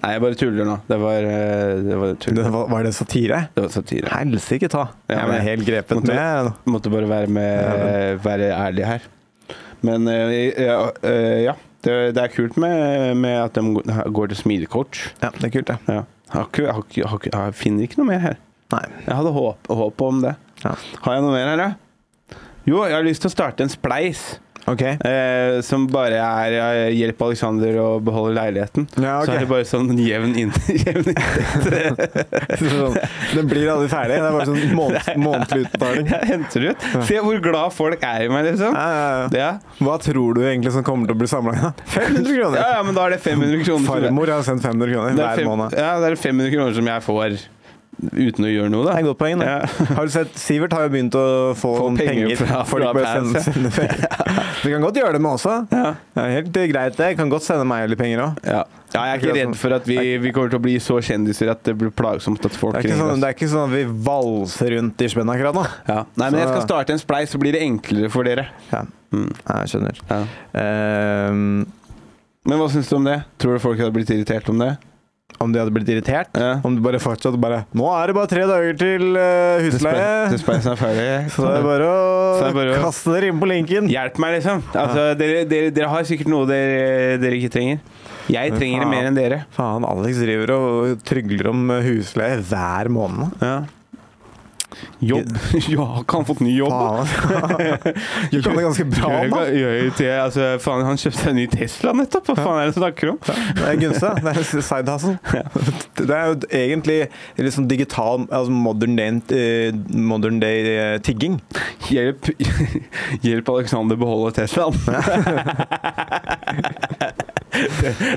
Speaker 3: Nei, jeg bare tuller nå. Det var, eh, det var tull.
Speaker 2: Det var, var det satire?
Speaker 3: Det var satire.
Speaker 2: Helsike ta.
Speaker 3: Ja,
Speaker 2: Jeg ble
Speaker 3: men-
Speaker 2: helt grepet
Speaker 3: Måtte-
Speaker 2: med.
Speaker 3: Måtte bare være, med, være ærlig her. Men eh, ja, eh, ja. Det, det er kult med, med at de går til smilecoach.
Speaker 2: Ja, det er kult, det.
Speaker 3: Ja. Jeg, har ikke, jeg, har ikke, har ikke, jeg finner ikke noe mer her.
Speaker 2: Nei.
Speaker 3: Jeg hadde håp, håp om det.
Speaker 2: Ja.
Speaker 3: Har jeg noe mer her, da? Jo, jeg har lyst til å starte en spleis.
Speaker 2: OK.
Speaker 3: Eh, som bare er eh, hjelp Alexander å beholde leiligheten.
Speaker 2: Ja, ok.
Speaker 3: Så er det bare sånn jevn inn. jevn inn.
Speaker 2: Sånn, den blir aldri ferdig. Det er bare sånn måned, månedlig utbetaling.
Speaker 3: Jeg henter ut. Se hvor glad folk er i meg, liksom.
Speaker 2: Ja, ja, ja.
Speaker 3: Ja,
Speaker 2: Hva tror du egentlig som kommer til å bli samla? 500
Speaker 3: ja,
Speaker 2: kroner!
Speaker 3: ja men da er det 500 kroner. som-
Speaker 2: Farmor har sendt 500 kroner
Speaker 3: det er
Speaker 2: hver
Speaker 3: fem,
Speaker 2: måned.
Speaker 3: ja, det er 500 kroner som jeg får uten å gjøre noe,
Speaker 2: Det
Speaker 3: da.
Speaker 2: er et godt poeng. det.
Speaker 3: Ja.
Speaker 2: Har du sett, Sivert har jo begynt å få,
Speaker 3: Få
Speaker 2: noen penger.
Speaker 3: penger fra-
Speaker 2: Folk
Speaker 3: fra
Speaker 2: bare
Speaker 3: fans,
Speaker 2: sender,
Speaker 3: ja.
Speaker 2: sender penger. Du kan godt gjøre det med også.
Speaker 3: Ja.
Speaker 2: Det er helt greit, det. Jeg kan godt sende meg litt penger òg.
Speaker 3: Ja. ja, jeg er ikke redd for at vi, vi kommer til å bli så kjendiser at det blir plagsomt at folk
Speaker 2: Det er, ikke
Speaker 3: ringer
Speaker 2: sånn,
Speaker 3: oss.
Speaker 2: det er ikke sånn at vi valser rundt i spenn akkurat nå.
Speaker 3: Ja. Nei, men jeg skal
Speaker 2: Så-
Speaker 3: starte en spleis, så blir det enklere for dere.
Speaker 2: Ja,
Speaker 3: Mm.
Speaker 2: ja jeg skjønner.
Speaker 3: Ja.
Speaker 2: Ehm,
Speaker 3: Men hva syns du om det? Tror du folk hadde blitt irritert om det?
Speaker 2: om de hadde blitt irritert?
Speaker 3: Ja.
Speaker 2: Om de bare fortsatt bare Nå er det bare tre dager til eh, husleie!
Speaker 3: Til speisen er ferdig.
Speaker 2: Så det er bare
Speaker 3: Så det
Speaker 2: å
Speaker 3: er bare å-
Speaker 2: kaste dere inn på linken.
Speaker 3: Hjelp meg, liksom. Altså, dere, dere, dere har sikkert noe dere, dere ikke trenger. Jeg
Speaker 2: Men
Speaker 3: trenger det
Speaker 2: faen.
Speaker 3: mer enn dere.
Speaker 2: Faen, Alex driver og trygler om eh, husleie hver måned.
Speaker 3: Ja. Jobb. ja, ikke han fått ny jobb?
Speaker 2: Faen. Du kan det ganske bra
Speaker 3: Gjør-
Speaker 2: nå.
Speaker 3: gjør jo til- altså, faen, han kjøpte seg en ny Tesla nettopp. Hva faen er det du snakker om?
Speaker 2: Det er Gunsa. Det er side hustle. Det er jo egentlig litt sånn digital altså modern day, eh, modern day eh, tigging.
Speaker 3: Hjelp, hjelp Alexander beholde Teslaen.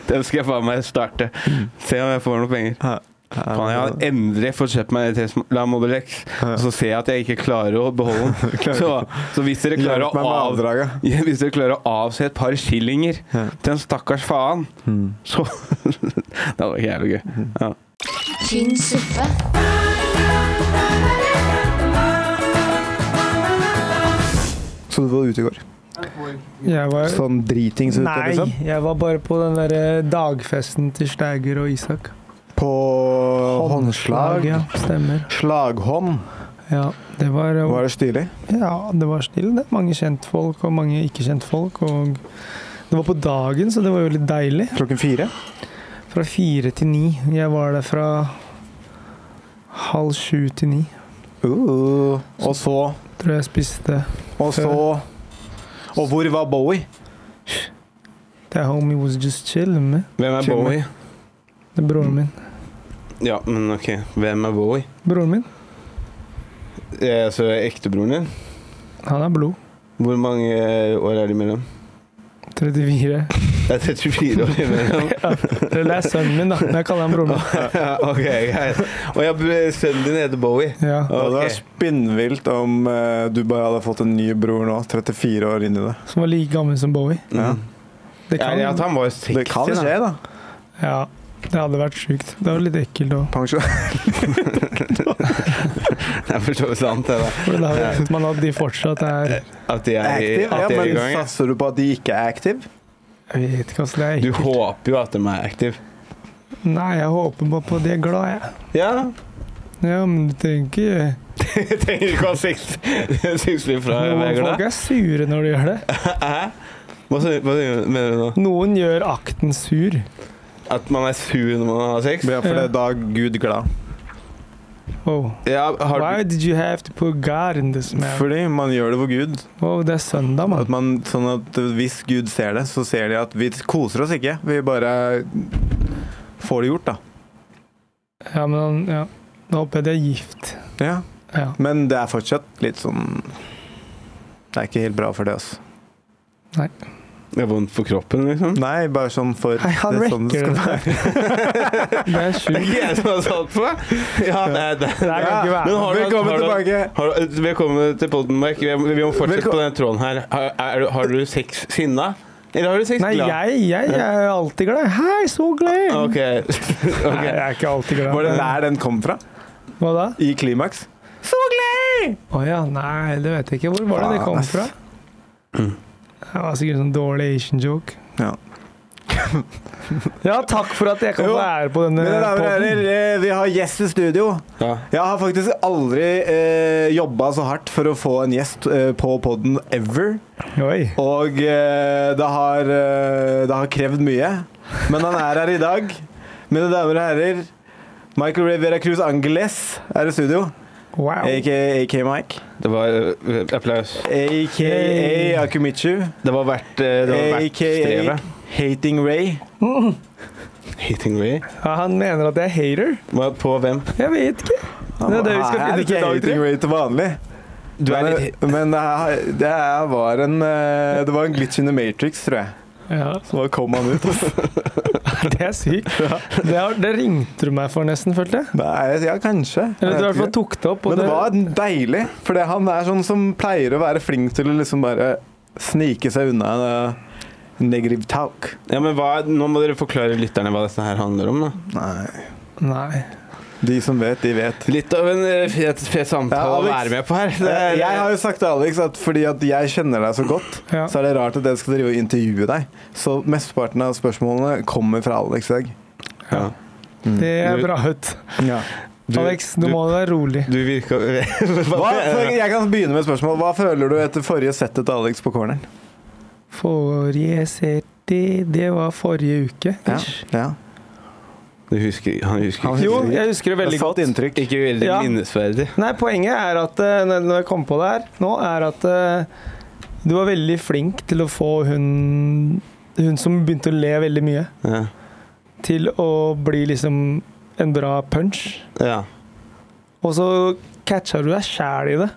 Speaker 3: Den skal jeg faen meg starte. Se om jeg får noen penger.
Speaker 2: Ja.
Speaker 3: Faen, jeg har
Speaker 2: Ja,
Speaker 3: endelig fått kjøpt meg Tesla Model X, og så ser jeg at jeg ikke klarer å beholde den. Så, så hvis dere klarer
Speaker 2: Hjelp meg
Speaker 3: å
Speaker 2: med
Speaker 3: av...
Speaker 2: avdraget.
Speaker 3: Ja, Hvis dere klarer å avse et par skillinger
Speaker 2: Ja. Hmm.
Speaker 3: til en stakkars faen, så Det hadde vært jævlig gøy. Ja.
Speaker 1: Tynn suppe.
Speaker 2: Så du var ute i går?
Speaker 5: Jeg var
Speaker 2: Sånn dritings ute,
Speaker 5: Nei,
Speaker 2: liksom?
Speaker 5: jeg var bare på den der eh, dagfesten til Steiger og Isak.
Speaker 2: På håndslag?
Speaker 5: Ja, stemmer.
Speaker 2: Slaghånd.
Speaker 5: Ja, det var, eh,
Speaker 2: Var det stilig?
Speaker 5: ja, det var still. Det mange kjentfolk og mange ikke-kjentfolk. Og det var på dagen, så det var jo litt deilig.
Speaker 2: Klokken fire?
Speaker 5: Fra fire til ni. Jeg var der fra halv sju til ni.
Speaker 2: Uh, og så
Speaker 5: Tror jeg spiste
Speaker 2: Og så Og hvor var Bowie?
Speaker 5: The homie was just chill med
Speaker 3: Hvem er
Speaker 2: Chill med.
Speaker 3: Bowie?
Speaker 5: Det er broren min.
Speaker 3: Ja, men OK. Hvem er Bowie?
Speaker 5: Broren min,
Speaker 3: Eh, så ektebroren din?
Speaker 5: han er blod.
Speaker 3: Hvor mange eh, år er det imellom?
Speaker 5: 34.
Speaker 3: Det er 34 år imellom.
Speaker 5: Eller det er sønnen min, da. Men jeg kaller han broren min.
Speaker 3: ok, greit. Og ja, b- sønnen din heter Bowie.
Speaker 5: Ja.
Speaker 2: Ja, Det
Speaker 3: Ok.
Speaker 2: var spinnvilt om eh, du bare hadde fått en ny bror nå, 34 år inn i det.
Speaker 5: Som var like gammel som Bowie.
Speaker 2: Ja.
Speaker 3: Mm.
Speaker 5: Det
Speaker 3: Ja,
Speaker 5: kan,
Speaker 3: ja, at han var jo 60,
Speaker 2: Det kan
Speaker 3: da.
Speaker 2: skje, da.
Speaker 5: Ja, det hadde vært sjukt. Det var litt ekkelt òg.
Speaker 2: Pensjon.
Speaker 3: Det er for så vidt sant, det. da.
Speaker 5: Man at de fortsatt er
Speaker 3: At de er, i-
Speaker 2: Active?
Speaker 3: at
Speaker 2: Ja,
Speaker 3: de er i
Speaker 2: men
Speaker 3: gang. ja.
Speaker 2: satser du på at de ikke er active?
Speaker 5: Jeg vet ikke, altså. Det er
Speaker 3: Du
Speaker 5: ekkelt.
Speaker 3: håper jo at de er aktive.
Speaker 5: Nei, jeg håper bare på at de er glad, jeg.
Speaker 3: Ja,
Speaker 5: Ja, men du trenger ikke
Speaker 3: Jeg trenger ikke å ha sex sexliv fra
Speaker 5: Noen folk
Speaker 3: Vegard.
Speaker 5: er sure når de gjør det.
Speaker 3: Hæ? Hva sier- hva sier- mener du nå?
Speaker 5: Noen gjør akten sur.
Speaker 3: At man er sur når man har sex?
Speaker 2: Ja, for det er da Gud glad.
Speaker 5: Oh.
Speaker 3: Ja, har
Speaker 5: Why
Speaker 3: du
Speaker 5: did you have to put God in this man?
Speaker 2: Fordi man gjør det for Gud.
Speaker 5: Oh, det er søndag,
Speaker 2: At
Speaker 5: mann.
Speaker 2: man, sånn at hvis Gud ser det, så ser de at vi koser oss ikke. Vi bare får det gjort, da.
Speaker 5: Ja, men han ja. Da håper jeg de er gift.
Speaker 2: Ja.
Speaker 5: Ja.
Speaker 2: Men det er fortsatt litt sånn Det er ikke helt bra for det, altså.
Speaker 3: Det er vondt for kroppen, liksom?
Speaker 2: Nei, bare sånn for
Speaker 5: Nei, han
Speaker 2: det er sånn det
Speaker 5: wrecker
Speaker 2: skal være.
Speaker 5: det. Det er
Speaker 3: Det er
Speaker 5: sjukt.
Speaker 3: ikke jeg som har sagt for deg! Ja, det er det.
Speaker 5: Det kan ikke være.
Speaker 3: Men har du-
Speaker 2: Velkommen
Speaker 3: har du-
Speaker 2: tilbake!
Speaker 3: Har du, velkommen til podden, Mark. Vi, vi må fortsette
Speaker 2: Velko-
Speaker 3: på den tråden her. Har, er, du- har du sex sinna? Eller har du sex
Speaker 5: Nei,
Speaker 3: glad?
Speaker 5: jeg, jeg er alltid glad. Hei, så glad! jeg er.
Speaker 3: Ok.
Speaker 5: Nei, jeg
Speaker 3: ok.
Speaker 5: er ikke alltid glad.
Speaker 2: Var det der den kom fra?
Speaker 5: Hva da?
Speaker 2: I klimaks? Så glad!
Speaker 5: Å ja, nei, det vet jeg ikke. Hvor var det det
Speaker 2: Faen,
Speaker 5: kom
Speaker 2: ass.
Speaker 5: fra? Det var sikkert en sånn dårlig Asian joke.
Speaker 2: Ja.
Speaker 5: Ja, takk for at jeg kan
Speaker 2: Jo,
Speaker 5: være på denne
Speaker 2: Mine damer og
Speaker 5: podden.
Speaker 2: herrer, eh, vi har gjest i studio.
Speaker 3: Ja.
Speaker 2: Jeg har faktisk aldri eh, jobba så hardt for å få en gjest eh, på poden ever.
Speaker 5: Oi.
Speaker 2: Og eh, det, har, eh, det har krevd mye. Men han er her i dag. Mine damer og herrer, Michael Ray Veracruz Angeles er i studio.
Speaker 5: Wow.
Speaker 2: AKA AK Mike.
Speaker 3: Det var eh, applaus.
Speaker 2: AKA
Speaker 5: Yay.
Speaker 2: Akumichu.
Speaker 3: Det var verdt, eh, det var verdt
Speaker 2: AKA
Speaker 3: strevet.
Speaker 2: Hating Ray.
Speaker 3: Hating Ray.
Speaker 5: Ja, han mener at jeg er hater.
Speaker 3: Hva- På hvem?
Speaker 5: Jeg vet ikke. Det er det vi skal
Speaker 2: Jeg er
Speaker 5: finne ut i
Speaker 2: ikke
Speaker 5: dag, tror
Speaker 2: hating
Speaker 5: jeg.
Speaker 2: Ray til vanlig.
Speaker 3: Du er
Speaker 2: men, eh,
Speaker 3: litt
Speaker 2: men det, er- det er- var en eh, Det var en glitch in the matrix, tror jeg.
Speaker 5: Ja,
Speaker 2: Så da kom han ut. altså.
Speaker 5: det er sykt. Det, har, det ringte du meg for nesten, følte jeg.
Speaker 2: Nei, ja, kanskje. Jeg
Speaker 5: Eller du
Speaker 2: vet
Speaker 5: i hvert fall
Speaker 2: ikke.
Speaker 5: tok det opp. og
Speaker 2: Men det var deilig, for det- han er sånn som pleier å være flink til å liksom bare snike seg unna eh, negative talk.
Speaker 3: Ja, men hva, Nå må dere forklare lytterne hva dette her handler om. da.
Speaker 2: Nei.
Speaker 5: Nei.
Speaker 2: De som vet, de vet.
Speaker 3: Litt av en eh, fet, fet
Speaker 2: Ja,
Speaker 3: samtale å
Speaker 2: Alex.
Speaker 3: være med på her. Det er,
Speaker 2: Jeg har jo sagt til Alex at fordi at jeg kjenner deg så godt,
Speaker 5: Ja.
Speaker 2: så er det rart at jeg skal drive og intervjue deg. Så mesteparten av spørsmålene kommer fra Alex i dag.
Speaker 3: ja.
Speaker 5: Mm. Det er
Speaker 3: Du-
Speaker 5: bra ut.
Speaker 2: Ja.
Speaker 3: Du-
Speaker 5: Alex, nå
Speaker 3: du-
Speaker 5: må du være rolig.
Speaker 3: Du virka
Speaker 2: Hva,
Speaker 3: eh,
Speaker 2: jeg kan begynne med et spørsmål. Hva føler du etter forrige settet til Alex på corneren?
Speaker 5: Forrige sete, det var forrige uke.
Speaker 2: Ja.
Speaker 5: ish.
Speaker 2: Ja.
Speaker 3: Du husker, Han husker
Speaker 2: Han
Speaker 3: ikke.
Speaker 5: Jo, jeg husker det veldig
Speaker 2: Det satt
Speaker 5: godt.
Speaker 2: inntrykk.
Speaker 3: Ikke veldig
Speaker 5: Ja.
Speaker 3: minnesverdig.
Speaker 5: Nei, poenget er at eh, når når jeg kom på det her nå, er at eh, du var veldig flink til å få hun Hun som begynte å le veldig mye,
Speaker 3: Ja.
Speaker 5: til å bli liksom en bra punch.
Speaker 3: ja.
Speaker 5: Og så catcha du deg sjæl i det.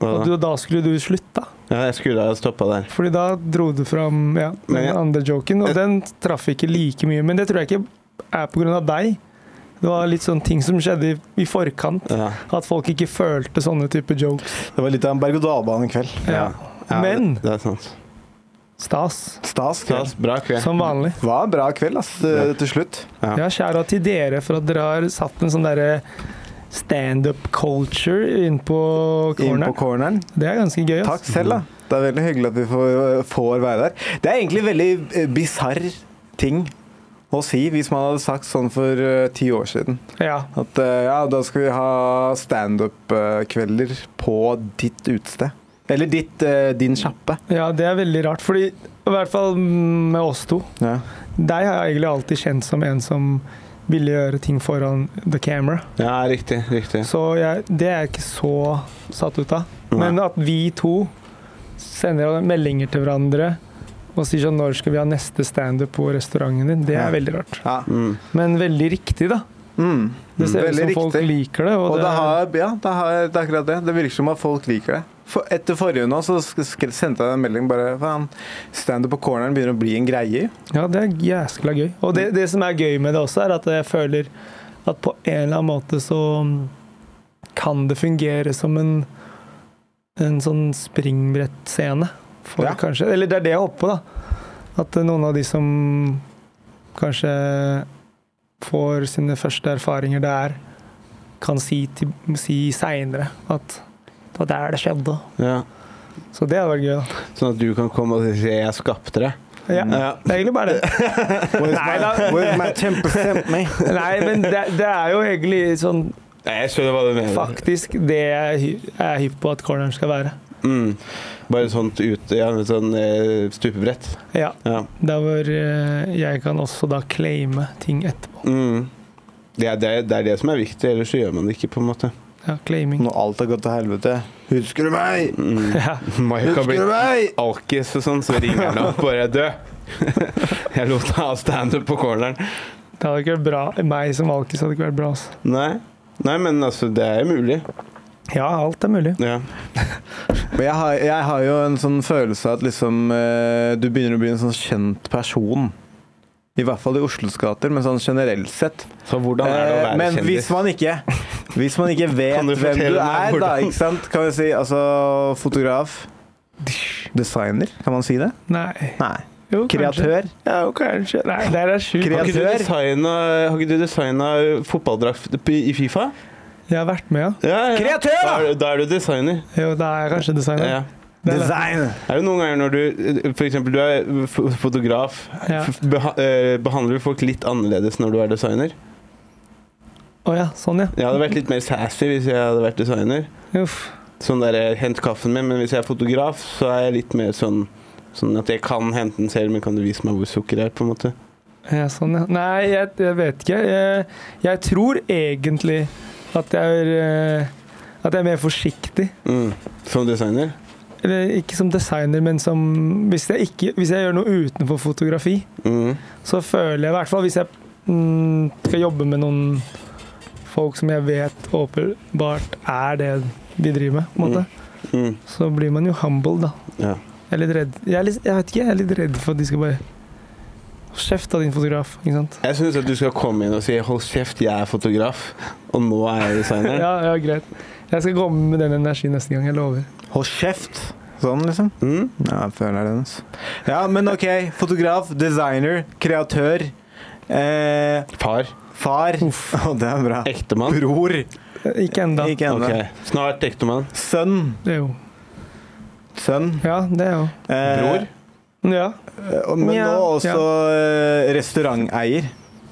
Speaker 3: Hva
Speaker 5: Og
Speaker 3: da?
Speaker 5: du, da skulle du slutta.
Speaker 3: ja, jeg skulle ha stoppa der.
Speaker 5: Fordi da dro du fram ja, den
Speaker 3: Men jeg-
Speaker 5: andre joken, og
Speaker 3: Jeg-
Speaker 5: den traff ikke like mye. Men det tror jeg ikke er pga. deg. Det var litt sånn ting som skjedde i, i forkant.
Speaker 3: Ja.
Speaker 5: At folk ikke følte sånne type jokes.
Speaker 2: Det var litt av en berg-og-dal-bane-kveld.
Speaker 5: Ja.
Speaker 3: Ja,
Speaker 5: Men-
Speaker 3: det, det er sant.
Speaker 5: Stas,
Speaker 2: Stas
Speaker 3: Stas,
Speaker 2: kveld.
Speaker 3: bra kveld.
Speaker 5: som vanlig.
Speaker 2: Var en bra kveld, ass,
Speaker 3: Ja.
Speaker 2: til slutt.
Speaker 3: Ja.
Speaker 5: Ja, kjære til dere for at dere har satt en sånn derre standup culture inn på
Speaker 2: Inn på
Speaker 5: corneren.
Speaker 2: corneren.
Speaker 5: Det er ganske gøy. ass.
Speaker 2: Takk selv, da. Det er veldig hyggelig at vi får, får være der. Det er egentlig veldig eh, bisarr ting å si, hvis man hadde sagt sånn for eh, ti år siden.
Speaker 5: Ja.
Speaker 2: At eh, ja, da skal vi ha standup-kvelder på ditt utested. Eller ditt, eh, din sjappe.
Speaker 5: ja, det er veldig rart. Fordi, i hvert fall med oss to
Speaker 2: Ja.
Speaker 5: Deg har jeg egentlig alltid kjent som en som ville gjøre ting foran the camera.
Speaker 3: ja, riktig. riktig.
Speaker 5: Så jeg, det er jeg ikke så satt ut av. Men at vi to sender meldinger til hverandre og sier sånn 'Når skal vi ha neste standup på restauranten din?' Det
Speaker 2: Ja.
Speaker 5: er veldig rart.
Speaker 2: Ja.
Speaker 3: Mm.
Speaker 5: Men veldig riktig, da.
Speaker 2: Mm.
Speaker 5: Det ser ut
Speaker 2: Veldig
Speaker 5: som folk
Speaker 2: riktig.
Speaker 5: liker det. Og,
Speaker 2: Og
Speaker 5: det
Speaker 2: det,
Speaker 5: er-
Speaker 2: har, ja, det, har, det er akkurat det. Det virker som at folk liker det. For etter forrige nå så sk- sk- sendte jeg en melding bare faen, Standup på corneren begynner å bli en greie.
Speaker 5: Ja, det er jæskla gøy. Og det, det som er gøy med det også, er at jeg føler at på en eller annen måte så kan det fungere som en, en sånn springbrettscene. For
Speaker 2: Ja.
Speaker 5: kanskje Eller det er det jeg håper på, da. At noen av de som kanskje får sine første erfaringer der, kan si, til- si seinere at det var der det skjedde.
Speaker 3: Ja.
Speaker 5: Så det hadde vært gøy, da.
Speaker 3: Sånn at du kan komme og si 'jeg skapte det'.
Speaker 5: Ja.
Speaker 3: Ja.
Speaker 5: Det er egentlig bare det.
Speaker 2: Where's
Speaker 5: Nei, da.
Speaker 2: my, where's my temper sent me?
Speaker 5: Nei, men det, det er jo egentlig sånn
Speaker 3: Nei, jeg skjønner hva du mener.
Speaker 5: faktisk det jeg hy- er hypp på at corneren skal være.
Speaker 3: Mm. Bare sånt ute, ja, med sånn eh, stupebrett.
Speaker 5: Ja,
Speaker 3: Ja.
Speaker 5: Der hvor eh, jeg kan også da claime ting etterpå.
Speaker 3: Mm. Det, er, det, er, det er det som er viktig, ellers så gjør man det ikke, på en måte.
Speaker 5: Ja, claiming.
Speaker 2: Når alt har gått til helvete. Husker du meg?
Speaker 3: Mm.
Speaker 5: Ja,
Speaker 3: Mike har
Speaker 2: Husker du
Speaker 3: blitt
Speaker 2: meg?
Speaker 3: alkis og sånn, så ringer han og bare 'død'. Jeg lot deg ha standup på corneren.
Speaker 5: det hadde ikke vært bra. Meg som alkis hadde ikke vært bra. Altså.
Speaker 3: Nei. Nei, men altså, det er jo mulig.
Speaker 5: Ja, alt er mulig.
Speaker 3: Ja.
Speaker 2: Men jeg har, jeg har jo en sånn følelse av at liksom eh, du begynner å bli en sånn kjent person. I hvert fall i Oslos gater, men sånn generelt sett.
Speaker 3: Så hvordan er det å
Speaker 2: Eh,
Speaker 3: være
Speaker 2: Men hvis
Speaker 3: kjendis?
Speaker 2: man ikke Hvis man ikke vet
Speaker 3: Kan du
Speaker 2: hvem du
Speaker 3: fortelle meg
Speaker 2: er, da,
Speaker 3: hvordan?
Speaker 2: ikke sant? Kan vi si altså fotograf Designer, kan man si det?
Speaker 5: Nei.
Speaker 2: Nei.
Speaker 5: Jo, kanskje.
Speaker 2: Kreatør.
Speaker 5: Ja, jo, kanskje. Nei, der er sjukt.
Speaker 2: Kreat-
Speaker 3: Har ikke du
Speaker 2: kreatør?
Speaker 3: designa- har ikke du designa fotballdrakt i i Fifa?
Speaker 5: Jeg har vært med, ja.
Speaker 3: Ja, ja.
Speaker 2: Kreatør, da!
Speaker 3: Da er, du- da er du designer.
Speaker 5: Jo, da er jeg kanskje designer.
Speaker 3: Ja.
Speaker 5: Det er det.
Speaker 2: Design!
Speaker 3: Er det noen ganger når du F.eks. du er f- fotograf.
Speaker 5: Ja.
Speaker 3: F- Beha eh, behandler du folk litt annerledes når du er designer?
Speaker 5: Å ja, sånn ja.
Speaker 3: Jeg hadde vært litt mer sassy hvis jeg hadde vært designer.
Speaker 5: Uff.
Speaker 3: Sånn der, eh, Hent kaffen min. Men hvis jeg er fotograf, så er jeg litt mer sånn Sånn at jeg kan hente den selv, men kan du vise meg hvor sukkeret er? på en måte?
Speaker 5: Ja, sånn, ja. Nei, jeg, jeg vet ikke. Jeg, jeg tror egentlig at jeg er eh, at jeg er mer forsiktig.
Speaker 3: Mm. Som designer?
Speaker 5: Eller ikke som designer, men som Hvis jeg, ikke, hvis jeg gjør noe utenfor fotografi,
Speaker 3: Mm.
Speaker 5: så føler jeg i hvert fall Hvis jeg mm, skal jobbe med noen folk som jeg vet åpenbart er det de driver med, på en måte,
Speaker 3: Mm.
Speaker 5: så blir man jo humble, da.
Speaker 3: Ja.
Speaker 5: Jeg er litt redd jeg, er litt, jeg vet ikke, jeg er litt redd for at de skal bare Kjeft av din fotograf, ikke sant?
Speaker 3: Jeg syns at du skal komme inn og si 'hold kjeft, jeg er fotograf', og nå er jeg designer.
Speaker 5: Ja, ja, greit. Jeg skal komme med den energien neste gang, jeg lover.
Speaker 2: Hold kjeft! Sånn, liksom.
Speaker 3: mm.
Speaker 2: Ja, jeg føler det. Altså. Ja, men OK. Fotograf, designer, kreatør. Eh,
Speaker 3: Far.
Speaker 2: far. Å, det er bra.
Speaker 3: Ektemann.
Speaker 2: Bror.
Speaker 5: Ikke ennå.
Speaker 2: Ikke ennå.
Speaker 3: Ok, Snart ektemann.
Speaker 2: Sønn.
Speaker 5: Det er jo
Speaker 2: Sønn.
Speaker 5: Ja, det er jo
Speaker 2: Eh,
Speaker 3: Bror.
Speaker 5: Ja,
Speaker 2: og- Men
Speaker 5: Ja.
Speaker 2: nå også eh, restauranteier.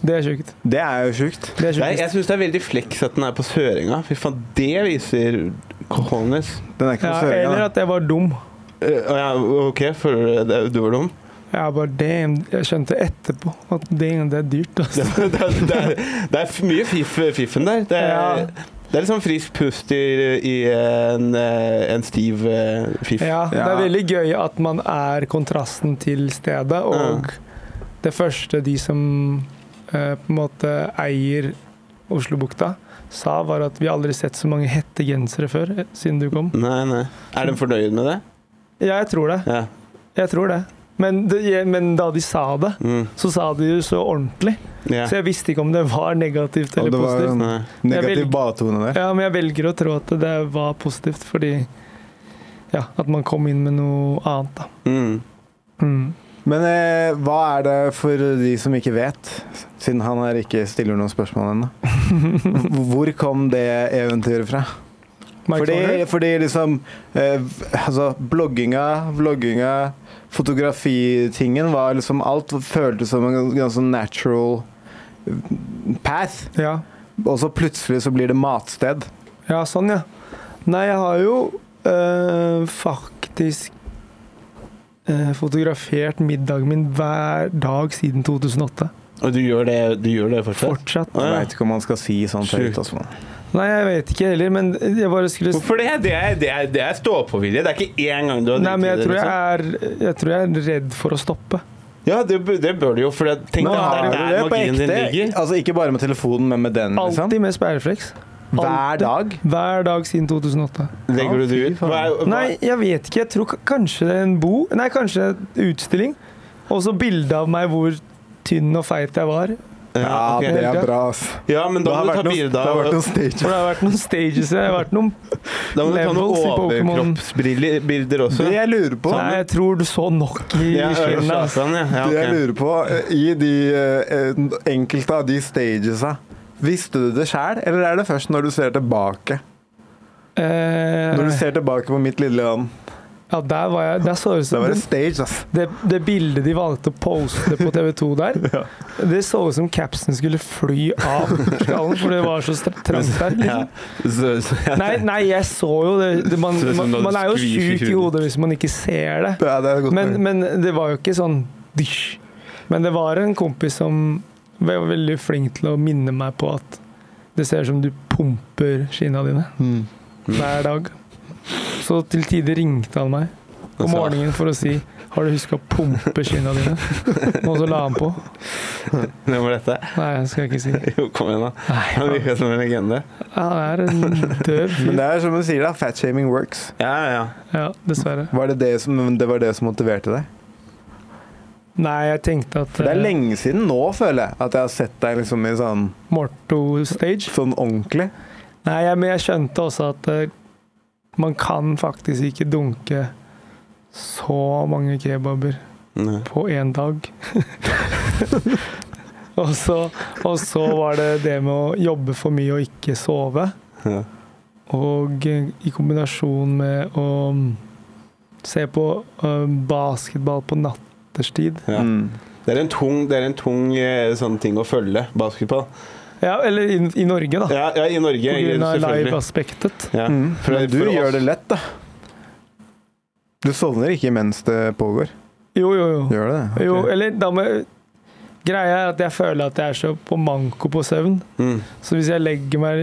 Speaker 5: det er sjukt.
Speaker 2: Det er jo sjukt.
Speaker 5: Det er
Speaker 3: Nei,
Speaker 5: sjukt.
Speaker 3: jeg syns det er veldig fleks at den er på Søringa. Fy faen, det viser cojones.
Speaker 2: Den er ikke
Speaker 5: Ja,
Speaker 2: på Søringa.
Speaker 5: eller
Speaker 2: da.
Speaker 5: at jeg var dum.
Speaker 3: Eh, ja, OK, føler du det? Du var dum?
Speaker 5: Jeg bare damn, jeg skjønte etterpå at damn, det er dyrt.
Speaker 3: Det,
Speaker 5: Altså.
Speaker 3: er- det, er- det, er- det er f- mye fiff, fiffen der. Det er,
Speaker 5: Ja.
Speaker 3: det er litt sånn frisk pust i, i en, eh, en stiv eh, fiff.
Speaker 5: Ja, det
Speaker 2: Ja.
Speaker 5: er veldig gøy at man er kontrasten til stedet, og det første de som eh, på en måte eier Oslobukta, sa var at vi har aldri sett så mange hettegensere før eh, siden du kom.
Speaker 3: Nei, nei. Er de fornøyd med det?
Speaker 5: Ja, jeg tror det.
Speaker 3: Ja.
Speaker 5: Jeg tror det. Men, det, jeg- men da de sa det,
Speaker 3: Mm.
Speaker 5: så sa de jo så ordentlig,
Speaker 3: ja.
Speaker 5: så jeg visste ikke om det var negativt
Speaker 2: Og
Speaker 5: eller
Speaker 2: det var
Speaker 5: positivt.
Speaker 2: en
Speaker 3: Nei.
Speaker 5: Jeg
Speaker 2: negativ
Speaker 5: vil-
Speaker 2: badetone der.
Speaker 5: Ja, men jeg velger å tro at det var positivt, fordi ja, at man kom inn med noe annet, da.
Speaker 3: Mm.
Speaker 5: Mm.
Speaker 2: Men eh, hva er det for de som ikke vet, siden han her ikke stiller noen spørsmål ennå? Hvor kom det eventyret fra?
Speaker 5: Mike
Speaker 2: Fordi,
Speaker 5: Warner?
Speaker 2: fordi liksom eh, Altså, blogginga, vlogginga, fotografitingen var liksom Alt føltes som en ganske sånn natural eh, path.
Speaker 5: Ja.
Speaker 2: Og så plutselig så blir det matsted.
Speaker 5: ja, sånn, ja. Nei, jeg har jo øh, faktisk øh, fotografert middagen min hver dag siden 2008.
Speaker 3: Og du gjør det, du gjør det fortsatt?
Speaker 5: Fortsatt.
Speaker 2: Jeg
Speaker 3: Å, ja.
Speaker 2: veit ikke om man skal si sånt
Speaker 3: Sjukt.
Speaker 2: høyt. Altså.
Speaker 5: Nei, jeg vet ikke heller, men jeg bare skulle
Speaker 3: Hvorfor det? Det er, det er, det er stå-på-vilje. Det er ikke én gang du har
Speaker 5: Nei, men jeg
Speaker 3: driti
Speaker 5: tror
Speaker 3: det, liksom.
Speaker 5: jeg, er, jeg tror jeg er redd for å stoppe.
Speaker 3: Ja, det, bør- det bør du jo, for jeg
Speaker 2: Men
Speaker 3: tenkte
Speaker 2: har
Speaker 3: at
Speaker 2: du
Speaker 3: det er der
Speaker 2: det på
Speaker 3: magien din
Speaker 2: ekte?
Speaker 3: ligger.
Speaker 2: Altså ikke bare med telefonen, men med den, liksom?
Speaker 5: Alltid med sperrefleks.
Speaker 2: Hver
Speaker 5: Alltid.
Speaker 2: dag?
Speaker 5: Hver dag siden 2008.
Speaker 3: Legger du det ut? Hva er, hva,
Speaker 5: Nei, jeg vet ikke. Jeg tror k- kanskje det er en bo Nei, kanskje en utstilling. Og så bilde av meg hvor tynn og feit jeg var.
Speaker 3: Ja, ok.
Speaker 5: det er
Speaker 2: bra, ass.
Speaker 3: ja, men da
Speaker 2: Det har
Speaker 3: må du
Speaker 2: vært
Speaker 3: ta
Speaker 2: noen,
Speaker 3: bilde
Speaker 2: det har
Speaker 3: av
Speaker 2: vært noen
Speaker 5: For
Speaker 2: stages.
Speaker 5: det har vært noen stages. Jeg har vært noen
Speaker 3: Da må du ta noen
Speaker 5: levels i Pokémon.
Speaker 3: overkroppsbilder også.
Speaker 2: Det jeg lurer på
Speaker 5: Nei, jeg tror du så nok i
Speaker 3: Ja,
Speaker 5: skinnet. ass.
Speaker 3: Øystein, ja. ja
Speaker 2: Det jeg
Speaker 3: ok.
Speaker 2: lurer på, eh, i de eh, enkelte av de stagesa Visste du det sjæl, eller er det først når du ser tilbake? Når du
Speaker 5: Eh,
Speaker 2: ser tilbake på mitt lille land.
Speaker 5: ja, der var jeg Der så ut
Speaker 2: Da
Speaker 5: som
Speaker 3: Mm.
Speaker 2: var det
Speaker 5: det,
Speaker 2: stage, ass.
Speaker 5: det, det bildet de valgte å poste på TV2 der, det så ut som capsen skulle fly av skallen, for det var så stra- trangt der.
Speaker 3: Ja.
Speaker 5: Liksom.
Speaker 3: Så, så, ja.
Speaker 5: Nei, nei, jeg så jo det. det man,
Speaker 3: Så det er som
Speaker 5: man,
Speaker 3: da du
Speaker 5: man er jo
Speaker 3: skviser
Speaker 5: sjuk i
Speaker 3: hudet.
Speaker 5: hodet hvis man ikke ser det.
Speaker 2: Ja, det er et godt
Speaker 5: Men,
Speaker 2: poeng.
Speaker 5: men det var jo ikke sånn dysj. Men det var en kompis som var veldig flink til å minne meg på at det ser ut som du pumper skinna dine
Speaker 2: Mm.
Speaker 5: hver dag. Så til tider ringte han meg om
Speaker 3: Altså,
Speaker 5: morgenen for å si har du huska å pumpe skinna dine? Og så la han på.
Speaker 3: Hvem var dette?
Speaker 5: Nei, det skal jeg ikke si.
Speaker 3: Jo, kom igjen, da. Han
Speaker 5: Nei,
Speaker 3: virker som en legende.
Speaker 5: han er en død
Speaker 2: Men
Speaker 5: fyr.
Speaker 2: det er som du sier, da. Fatshaming works.
Speaker 3: Ja, ja.
Speaker 5: Ja, dessverre.
Speaker 2: Var det det som, det var det som motiverte deg?
Speaker 5: Nei, jeg tenkte at
Speaker 2: For det er
Speaker 5: eh,
Speaker 2: lenge siden nå, føler jeg, at jeg har sett deg liksom i sånn,
Speaker 5: Morto stage
Speaker 2: sånn ordentlig.
Speaker 5: Nei, jeg, men jeg skjønte også at eh, man kan faktisk ikke dunke så mange kebaber
Speaker 3: Nei.
Speaker 5: på én dag. og, så, og så var det det med å jobbe for mye og ikke sove.
Speaker 3: Ja.
Speaker 5: Og eh, i kombinasjon med å se på øh, basketball på natterstid.
Speaker 3: Ja.
Speaker 2: Mm.
Speaker 3: Det er en tung, det er en tung eh, sånn ting å følge, basketball.
Speaker 5: Ja, eller i, i Norge, da.
Speaker 3: Ja, ja i Norge,
Speaker 5: På grunn av
Speaker 3: selvfølgelig.
Speaker 5: live-aspektet.
Speaker 3: Ja.
Speaker 2: Mm.
Speaker 3: For-
Speaker 2: Men du
Speaker 3: for oss-
Speaker 2: gjør det lett, da. Du sovner ikke mens det pågår.
Speaker 5: Jo, jo, jo.
Speaker 2: Gjør det det? Ok.
Speaker 5: Jo, eller da må jeg- Greia er at jeg føler at jeg er så på manko på søvn.
Speaker 3: Mm.
Speaker 5: Så hvis jeg legger meg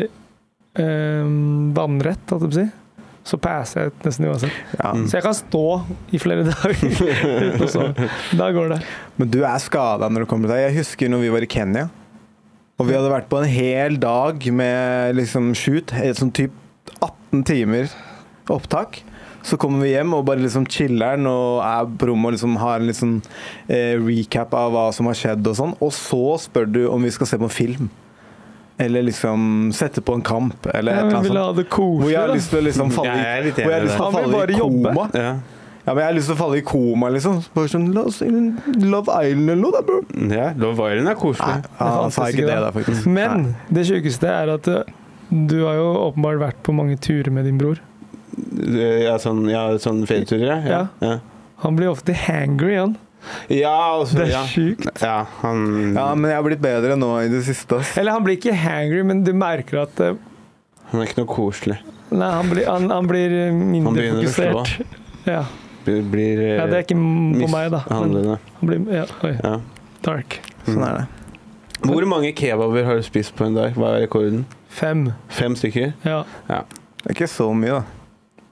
Speaker 5: øh, vannrett, holdt jeg på å si, så passer jeg ut nesten uansett.
Speaker 2: ja.
Speaker 3: Mm.
Speaker 5: Så jeg kan stå i flere dager uten å sove. Da går det.
Speaker 2: Men du er skada når det kommer til deg. Jeg husker når vi var i Kenya. Og vi hadde vært på en hel dag med liksom shoot, eh, sånn typ 18 timer opptak. Så kommer vi hjem og bare liksom chiller'n og er på rommet og liksom har en litt sånn, eh, recap av hva som har skjedd og sånn. Og så spør du om vi skal se på en film. Eller liksom sette på en kamp, eller et
Speaker 5: Ja,
Speaker 2: eller
Speaker 5: men
Speaker 2: annet
Speaker 5: vil
Speaker 2: sånt.
Speaker 5: ha det
Speaker 2: Hvor
Speaker 5: koselig,
Speaker 2: jeg har
Speaker 5: da.
Speaker 2: lyst til å liksom falle i,
Speaker 3: Jeg er litt
Speaker 2: hvor jeg har
Speaker 3: enig i
Speaker 2: lyst til å
Speaker 5: det. Han vil
Speaker 2: falle i
Speaker 5: bare jobbe.
Speaker 2: koma.
Speaker 3: Ja.
Speaker 2: Ja, men jeg har lyst til å falle i koma, liksom. Bare sånn, La oss se Love Island eller noe, da, bro.
Speaker 3: ja. Love Island er
Speaker 2: Nei,
Speaker 3: koselig.
Speaker 2: han sa ikke det, da, faktisk. Nei.
Speaker 5: Men det sjukeste er at uh, du har jo åpenbart vært på mange turer med din bror.
Speaker 3: Ja, sånn, ja, sånn ferieturer, ja. Ja, ja.
Speaker 5: Han blir ofte hangry, han.
Speaker 3: ja altså,
Speaker 5: Det er
Speaker 3: ja.
Speaker 5: sjukt.
Speaker 3: ja han
Speaker 2: Ja, men jeg har blitt bedre nå i det siste. ass.
Speaker 5: Eller han blir ikke hangry, men du merker at uh,
Speaker 3: Han er ikke noe koselig.
Speaker 5: Nei, han blir, han, han blir uh,
Speaker 3: Han
Speaker 5: mindre
Speaker 3: begynner å slå.
Speaker 5: fokusert. Ja.
Speaker 3: Blir, blir eh,
Speaker 5: ja, det er ikke m- på meg, da. Men
Speaker 3: mishandlende.
Speaker 5: han blir ja, oi,
Speaker 3: Ja.
Speaker 5: dark.
Speaker 2: Sånn er det.
Speaker 3: Hvor mange kebaber har du spist på en dag? Hva er rekorden?
Speaker 5: Fem.
Speaker 3: Fem stykker?
Speaker 5: Ja.
Speaker 2: Det er ikke så mye, da.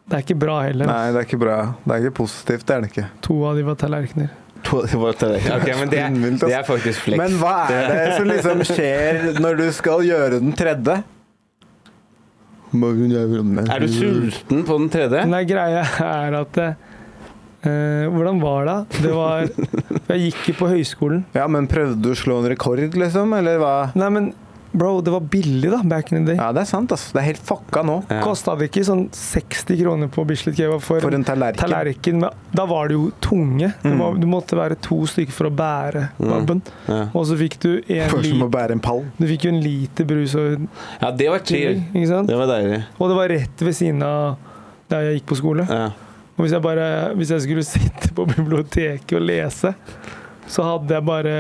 Speaker 5: Det er ikke bra heller.
Speaker 2: Nei, det er ikke bra. Det er ikke positivt, det er det ikke.
Speaker 5: To av de var tallerkener.
Speaker 3: To, det var tre. Ok, men det, er-
Speaker 2: Spinnvilt, ass.
Speaker 3: det er faktisk flex.
Speaker 2: Men hva er det som liksom skjer når du skal gjøre den tredje?
Speaker 3: er du sulten på den tredje?
Speaker 5: Nei, greia er at uh, Hvordan var det? Det var Jeg gikk jo på høyskolen.
Speaker 2: Ja, men prøvde du å slå en rekord, liksom? Eller hva?
Speaker 5: Nei, men bro, det var billig da, back in the day.
Speaker 2: Ja, det er sant, ass. Det er helt fucka nå.
Speaker 3: Ja.
Speaker 5: Kosta det ikke sånn 60 kroner på Bislett Kebab for,
Speaker 2: For en
Speaker 5: en
Speaker 2: tallerken.
Speaker 5: tallerken? Med, da var det jo tunge. Det
Speaker 2: Mm.
Speaker 5: var, du måtte være to stykker for å bære
Speaker 3: Mm.
Speaker 5: babben.
Speaker 3: Ja.
Speaker 5: Og så fikk du en
Speaker 2: Først må
Speaker 5: liter,
Speaker 2: bære en pall.
Speaker 5: du fikk jo en liter brus og
Speaker 3: ja, det var chill.
Speaker 5: ikke sant?
Speaker 3: Det var deilig.
Speaker 5: Og det var rett ved siden av der jeg gikk på skole.
Speaker 3: Ja.
Speaker 5: Og hvis jeg, bare, hvis jeg skulle sitte på biblioteket og lese, så hadde jeg bare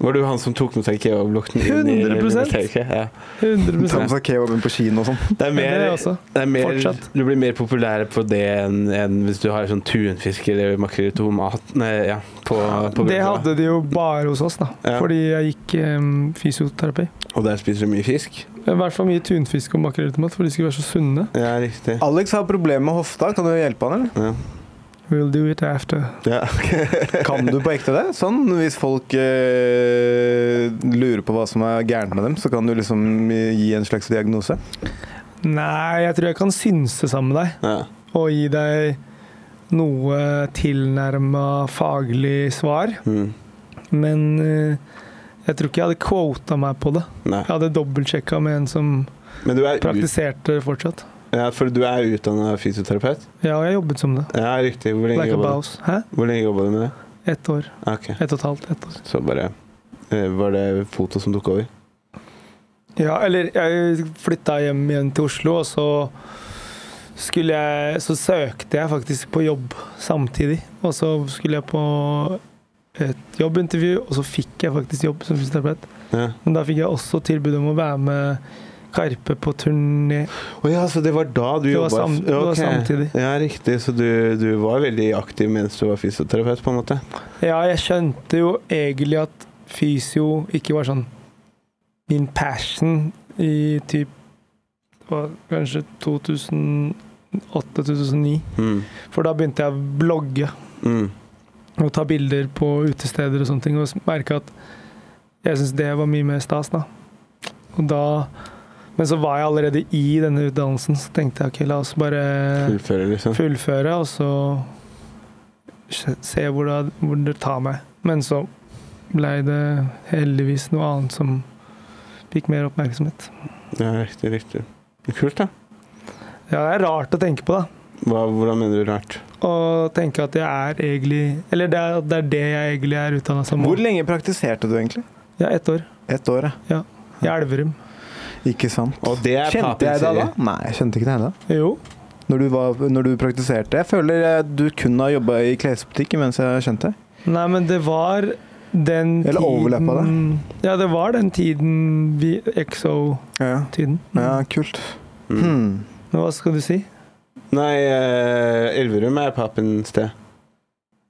Speaker 3: Var du han som tok med seg kebablukten inn i
Speaker 5: 100%.
Speaker 3: biblioteket? Ja.
Speaker 5: 100
Speaker 2: Ta med seg kebaben på kino og sånn.
Speaker 3: Det er
Speaker 5: Ja, det
Speaker 3: mer,
Speaker 5: er jeg også.
Speaker 3: det er mer,
Speaker 5: Fortsatt.
Speaker 3: du blir mer populær på det enn enn hvis du har sånn tunfisk eller makrell i tomat Nei, ja, på, på
Speaker 5: Det
Speaker 3: brødskiva.
Speaker 5: hadde de jo bare hos oss, da.
Speaker 3: Ja.
Speaker 5: Fordi jeg gikk em, fysioterapi.
Speaker 3: Og der spiser du mye fisk?
Speaker 5: I hvert fall mye tunfisk og makrell i tomat, for de skulle være så sunne.
Speaker 3: Ja, riktig.
Speaker 2: Alex har problemer med hofta. Kan du hjelpe han, eller?
Speaker 3: Ja.
Speaker 5: We'll do it after.
Speaker 3: Ja, ok.
Speaker 2: Kan du på ekte det? Sånn, hvis folk eh, lurer på hva som er gærent med dem, så kan du liksom gi en slags diagnose?
Speaker 5: Nei, jeg tror jeg kan synse sammen med deg
Speaker 3: Ja.
Speaker 5: og gi deg noe tilnærma faglig svar,
Speaker 3: Mm.
Speaker 5: men eh, jeg tror ikke jeg hadde quota meg på det.
Speaker 3: Nei.
Speaker 5: Jeg hadde dobbeltsjekka med en som
Speaker 3: Men du er, ut,
Speaker 5: praktiserte det fortsatt.
Speaker 3: ja, for du er utdanna fysioterapeut?
Speaker 5: Ja, og jeg jobbet som det.
Speaker 3: Ja, riktig. Hvor lenge
Speaker 5: Like a
Speaker 3: jobba du?
Speaker 5: bouse. Hæ?
Speaker 3: Hvor lenge jobba du med det?
Speaker 5: Ett år.
Speaker 3: Ok,
Speaker 5: Ett og et halvt. Ett år.
Speaker 3: Så bare eh, Var det foto som tok over?
Speaker 5: Ja, eller jeg flytta hjem igjen til Oslo, og så skulle jeg Så søkte jeg faktisk på jobb samtidig. Og så skulle jeg på et jobbintervju, og så fikk jeg faktisk jobb som fysioterapeut.
Speaker 3: Ja.
Speaker 5: Men da fikk jeg også tilbud om å være med Karpe på turné.
Speaker 3: Å ja, så det var da du
Speaker 5: Det var
Speaker 3: jobba
Speaker 5: sam- det var samtidig.
Speaker 3: Ja, riktig. Så du, du var veldig aktiv mens du var fysioterapeut, på en måte?
Speaker 5: Ja, jeg skjønte jo egentlig at fysio ikke var sånn min passion i typ det var kanskje 2008-2009.
Speaker 3: Mm.
Speaker 5: For da begynte jeg å blogge
Speaker 3: Mm.
Speaker 5: og ta bilder på utesteder og sånne ting, og merka at jeg syntes det var mye mer stas, da. Og da Men så var jeg allerede i denne utdannelsen, så tenkte jeg ok, la oss bare
Speaker 3: Fullføre, liksom.
Speaker 5: fullføre, og så se- se hvor det, hvor det tar meg. Men så blei det heldigvis noe annet som fikk mer oppmerksomhet.
Speaker 3: Ja, riktig, riktig. Kult, da.
Speaker 5: Ja, det er rart å tenke på, da.
Speaker 3: Hva, hvordan mener du rart?
Speaker 5: Og tenke at jeg er egentlig Eller det er det, er det jeg egentlig er utdanna som.
Speaker 2: Hvor lenge praktiserte du egentlig?
Speaker 5: Ja, ett år.
Speaker 2: Ett år, ja.
Speaker 5: I Elverum.
Speaker 2: Ikke sant?
Speaker 3: Og det er
Speaker 2: Kjente jeg deg da?
Speaker 3: papirserie.
Speaker 2: Nei, jeg kjente ikke deg da.
Speaker 5: Jo.
Speaker 2: når du, var, når du praktiserte. Jeg føler eh, du kun har jobba i klesbutikk mens jeg kjente deg.
Speaker 5: Nei, men det var den
Speaker 2: Eller overlappa
Speaker 5: tiden Ja, det var den tiden vi Exo-tiden.
Speaker 2: Ja, ja kult.
Speaker 3: Mm.
Speaker 2: Hmm.
Speaker 5: Men hva skal du si?
Speaker 3: Nei, eh, Elverum er papen sted.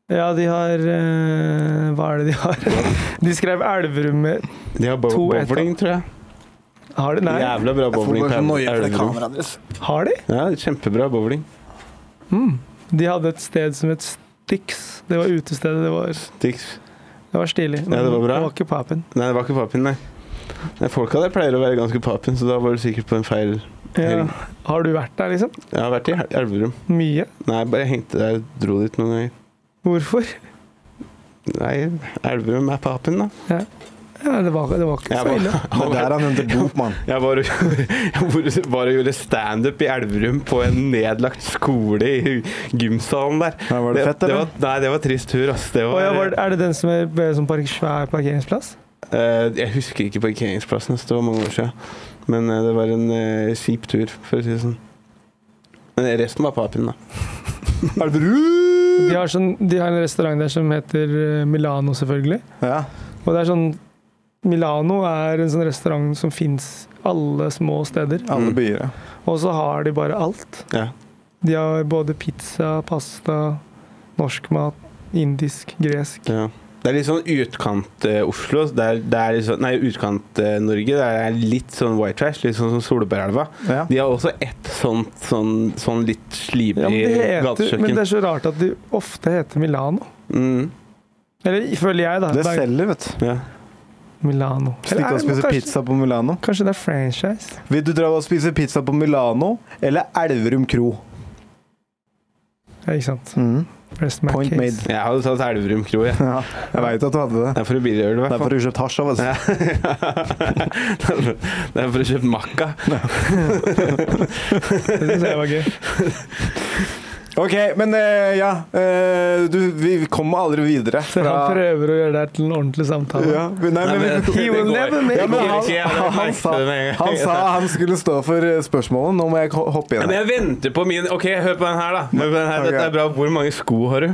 Speaker 5: Ja, de har eh, Hva er det de har? De skrev Elverum med
Speaker 3: De har bo-
Speaker 5: To
Speaker 3: bowling, tror jeg.
Speaker 5: Har de? Nei.
Speaker 3: Jævla bra bowling på Elverum.
Speaker 5: Har de?
Speaker 3: Ja, kjempebra bowling.
Speaker 5: Mm. De hadde et sted som het Stix. Det var utestedet. Det var,
Speaker 3: Dicks.
Speaker 5: det var stilig.
Speaker 3: Ja, det var bra.
Speaker 5: Det var ikke papen.
Speaker 3: Nei, det var ikke papen, nei. nei folka der pleier å være ganske papen, så da var du sikkert på en feil
Speaker 5: Ja.
Speaker 3: helg.
Speaker 5: Har du vært der, liksom?
Speaker 3: Jeg har vært i Hel- Elverum.
Speaker 5: Mye?
Speaker 3: Nei, bare hengte der og dro dit noen ganger.
Speaker 5: Hvorfor?
Speaker 3: Nei, Elverum er papen, da.
Speaker 5: Ja, det, var, det var ikke
Speaker 3: Jeg
Speaker 5: så
Speaker 3: var-
Speaker 5: ille.
Speaker 2: Det er der han henter dop, mann.
Speaker 3: Jeg var, og- jeg var- var og gjorde standup i Elverum på en nedlagt skole i gymsalen der.
Speaker 2: Ja, Var det fett,
Speaker 3: det
Speaker 2: eller?
Speaker 3: var, nei, det var trist tur, ass. Det var,
Speaker 5: Og ja, var, er det den som er ble som park, svær parkeringsplass?
Speaker 3: eh, jeg husker ikke parkeringsplassen, ass. det var mange år siden. Men eh, det var en eh, kjip tur, for å si det sånn. Men resten var papen, da.
Speaker 5: De har, sånn, de har en restaurant der som heter eh, Milano, selvfølgelig.
Speaker 2: Ja.
Speaker 5: Og det er sånn Milano er en sånn restaurant som fins alle små steder.
Speaker 2: Alle
Speaker 3: Mm.
Speaker 2: byer, ja.
Speaker 5: Og så har de bare alt.
Speaker 3: Ja.
Speaker 5: De har både pizza, pasta, norsk mat, indisk, gresk.
Speaker 3: Ja. Det er litt sånn utkant-Oslo. det er, det er litt sånn- nei, utkant-Norge. Det er litt sånn white trash, litt sånn som Solbergelva.
Speaker 2: ja.
Speaker 3: De har også ett sånt sånn, sånn litt slibig
Speaker 5: Ja, men, det heter, men
Speaker 3: gatekjøkken.
Speaker 5: det er så rart at de ofte heter Milano.
Speaker 3: Mm,
Speaker 5: Eller føler jeg, da.
Speaker 2: Det
Speaker 5: Berg-
Speaker 2: selger, vet du.
Speaker 3: ja.
Speaker 5: Milano. Eller
Speaker 2: Stikke
Speaker 5: er
Speaker 2: og
Speaker 5: det-
Speaker 2: spise
Speaker 5: kanskje,
Speaker 2: pizza på Milano.
Speaker 5: Kanskje det er franchise?
Speaker 2: Vil du dra og spise pizza på Milano eller Elverum kro?
Speaker 5: Ja, ikke sant.
Speaker 2: Mm.
Speaker 5: Rest my
Speaker 2: Point
Speaker 5: case.
Speaker 2: made.
Speaker 3: Jeg hadde tatt Elverum kro, jeg.
Speaker 2: Ja, jeg veit at du hadde det.
Speaker 3: Det er for å billiggjøre det,
Speaker 2: Det er
Speaker 3: i
Speaker 2: for
Speaker 3: hvert fall.
Speaker 2: du har kjøpt hasj av, altså.
Speaker 3: Ja. Det er for å kjøpe makka.
Speaker 5: Det synes jeg var gøy.
Speaker 2: Ok, men eh, ja. eh, du, vi kommer aldri videre
Speaker 5: Så han
Speaker 2: fra
Speaker 5: prøver å gjøre det her til en ordentlig samtale.
Speaker 2: ja, men, nei,
Speaker 3: Nei,
Speaker 2: men,
Speaker 3: men-
Speaker 2: vi-
Speaker 5: He will never make
Speaker 2: Ja, men
Speaker 5: it.
Speaker 2: han,
Speaker 3: Jeg
Speaker 2: han,
Speaker 3: merket
Speaker 2: sa,
Speaker 3: det med en gang.
Speaker 2: han sa han skulle stå for eh, spørsmålet. Nå må jeg ko- hoppe
Speaker 3: Ja,
Speaker 2: igjen.
Speaker 3: men jeg venter på min OK, hør på den her, da. Hør på den her. Dette er bra. Hvor mange sko har du?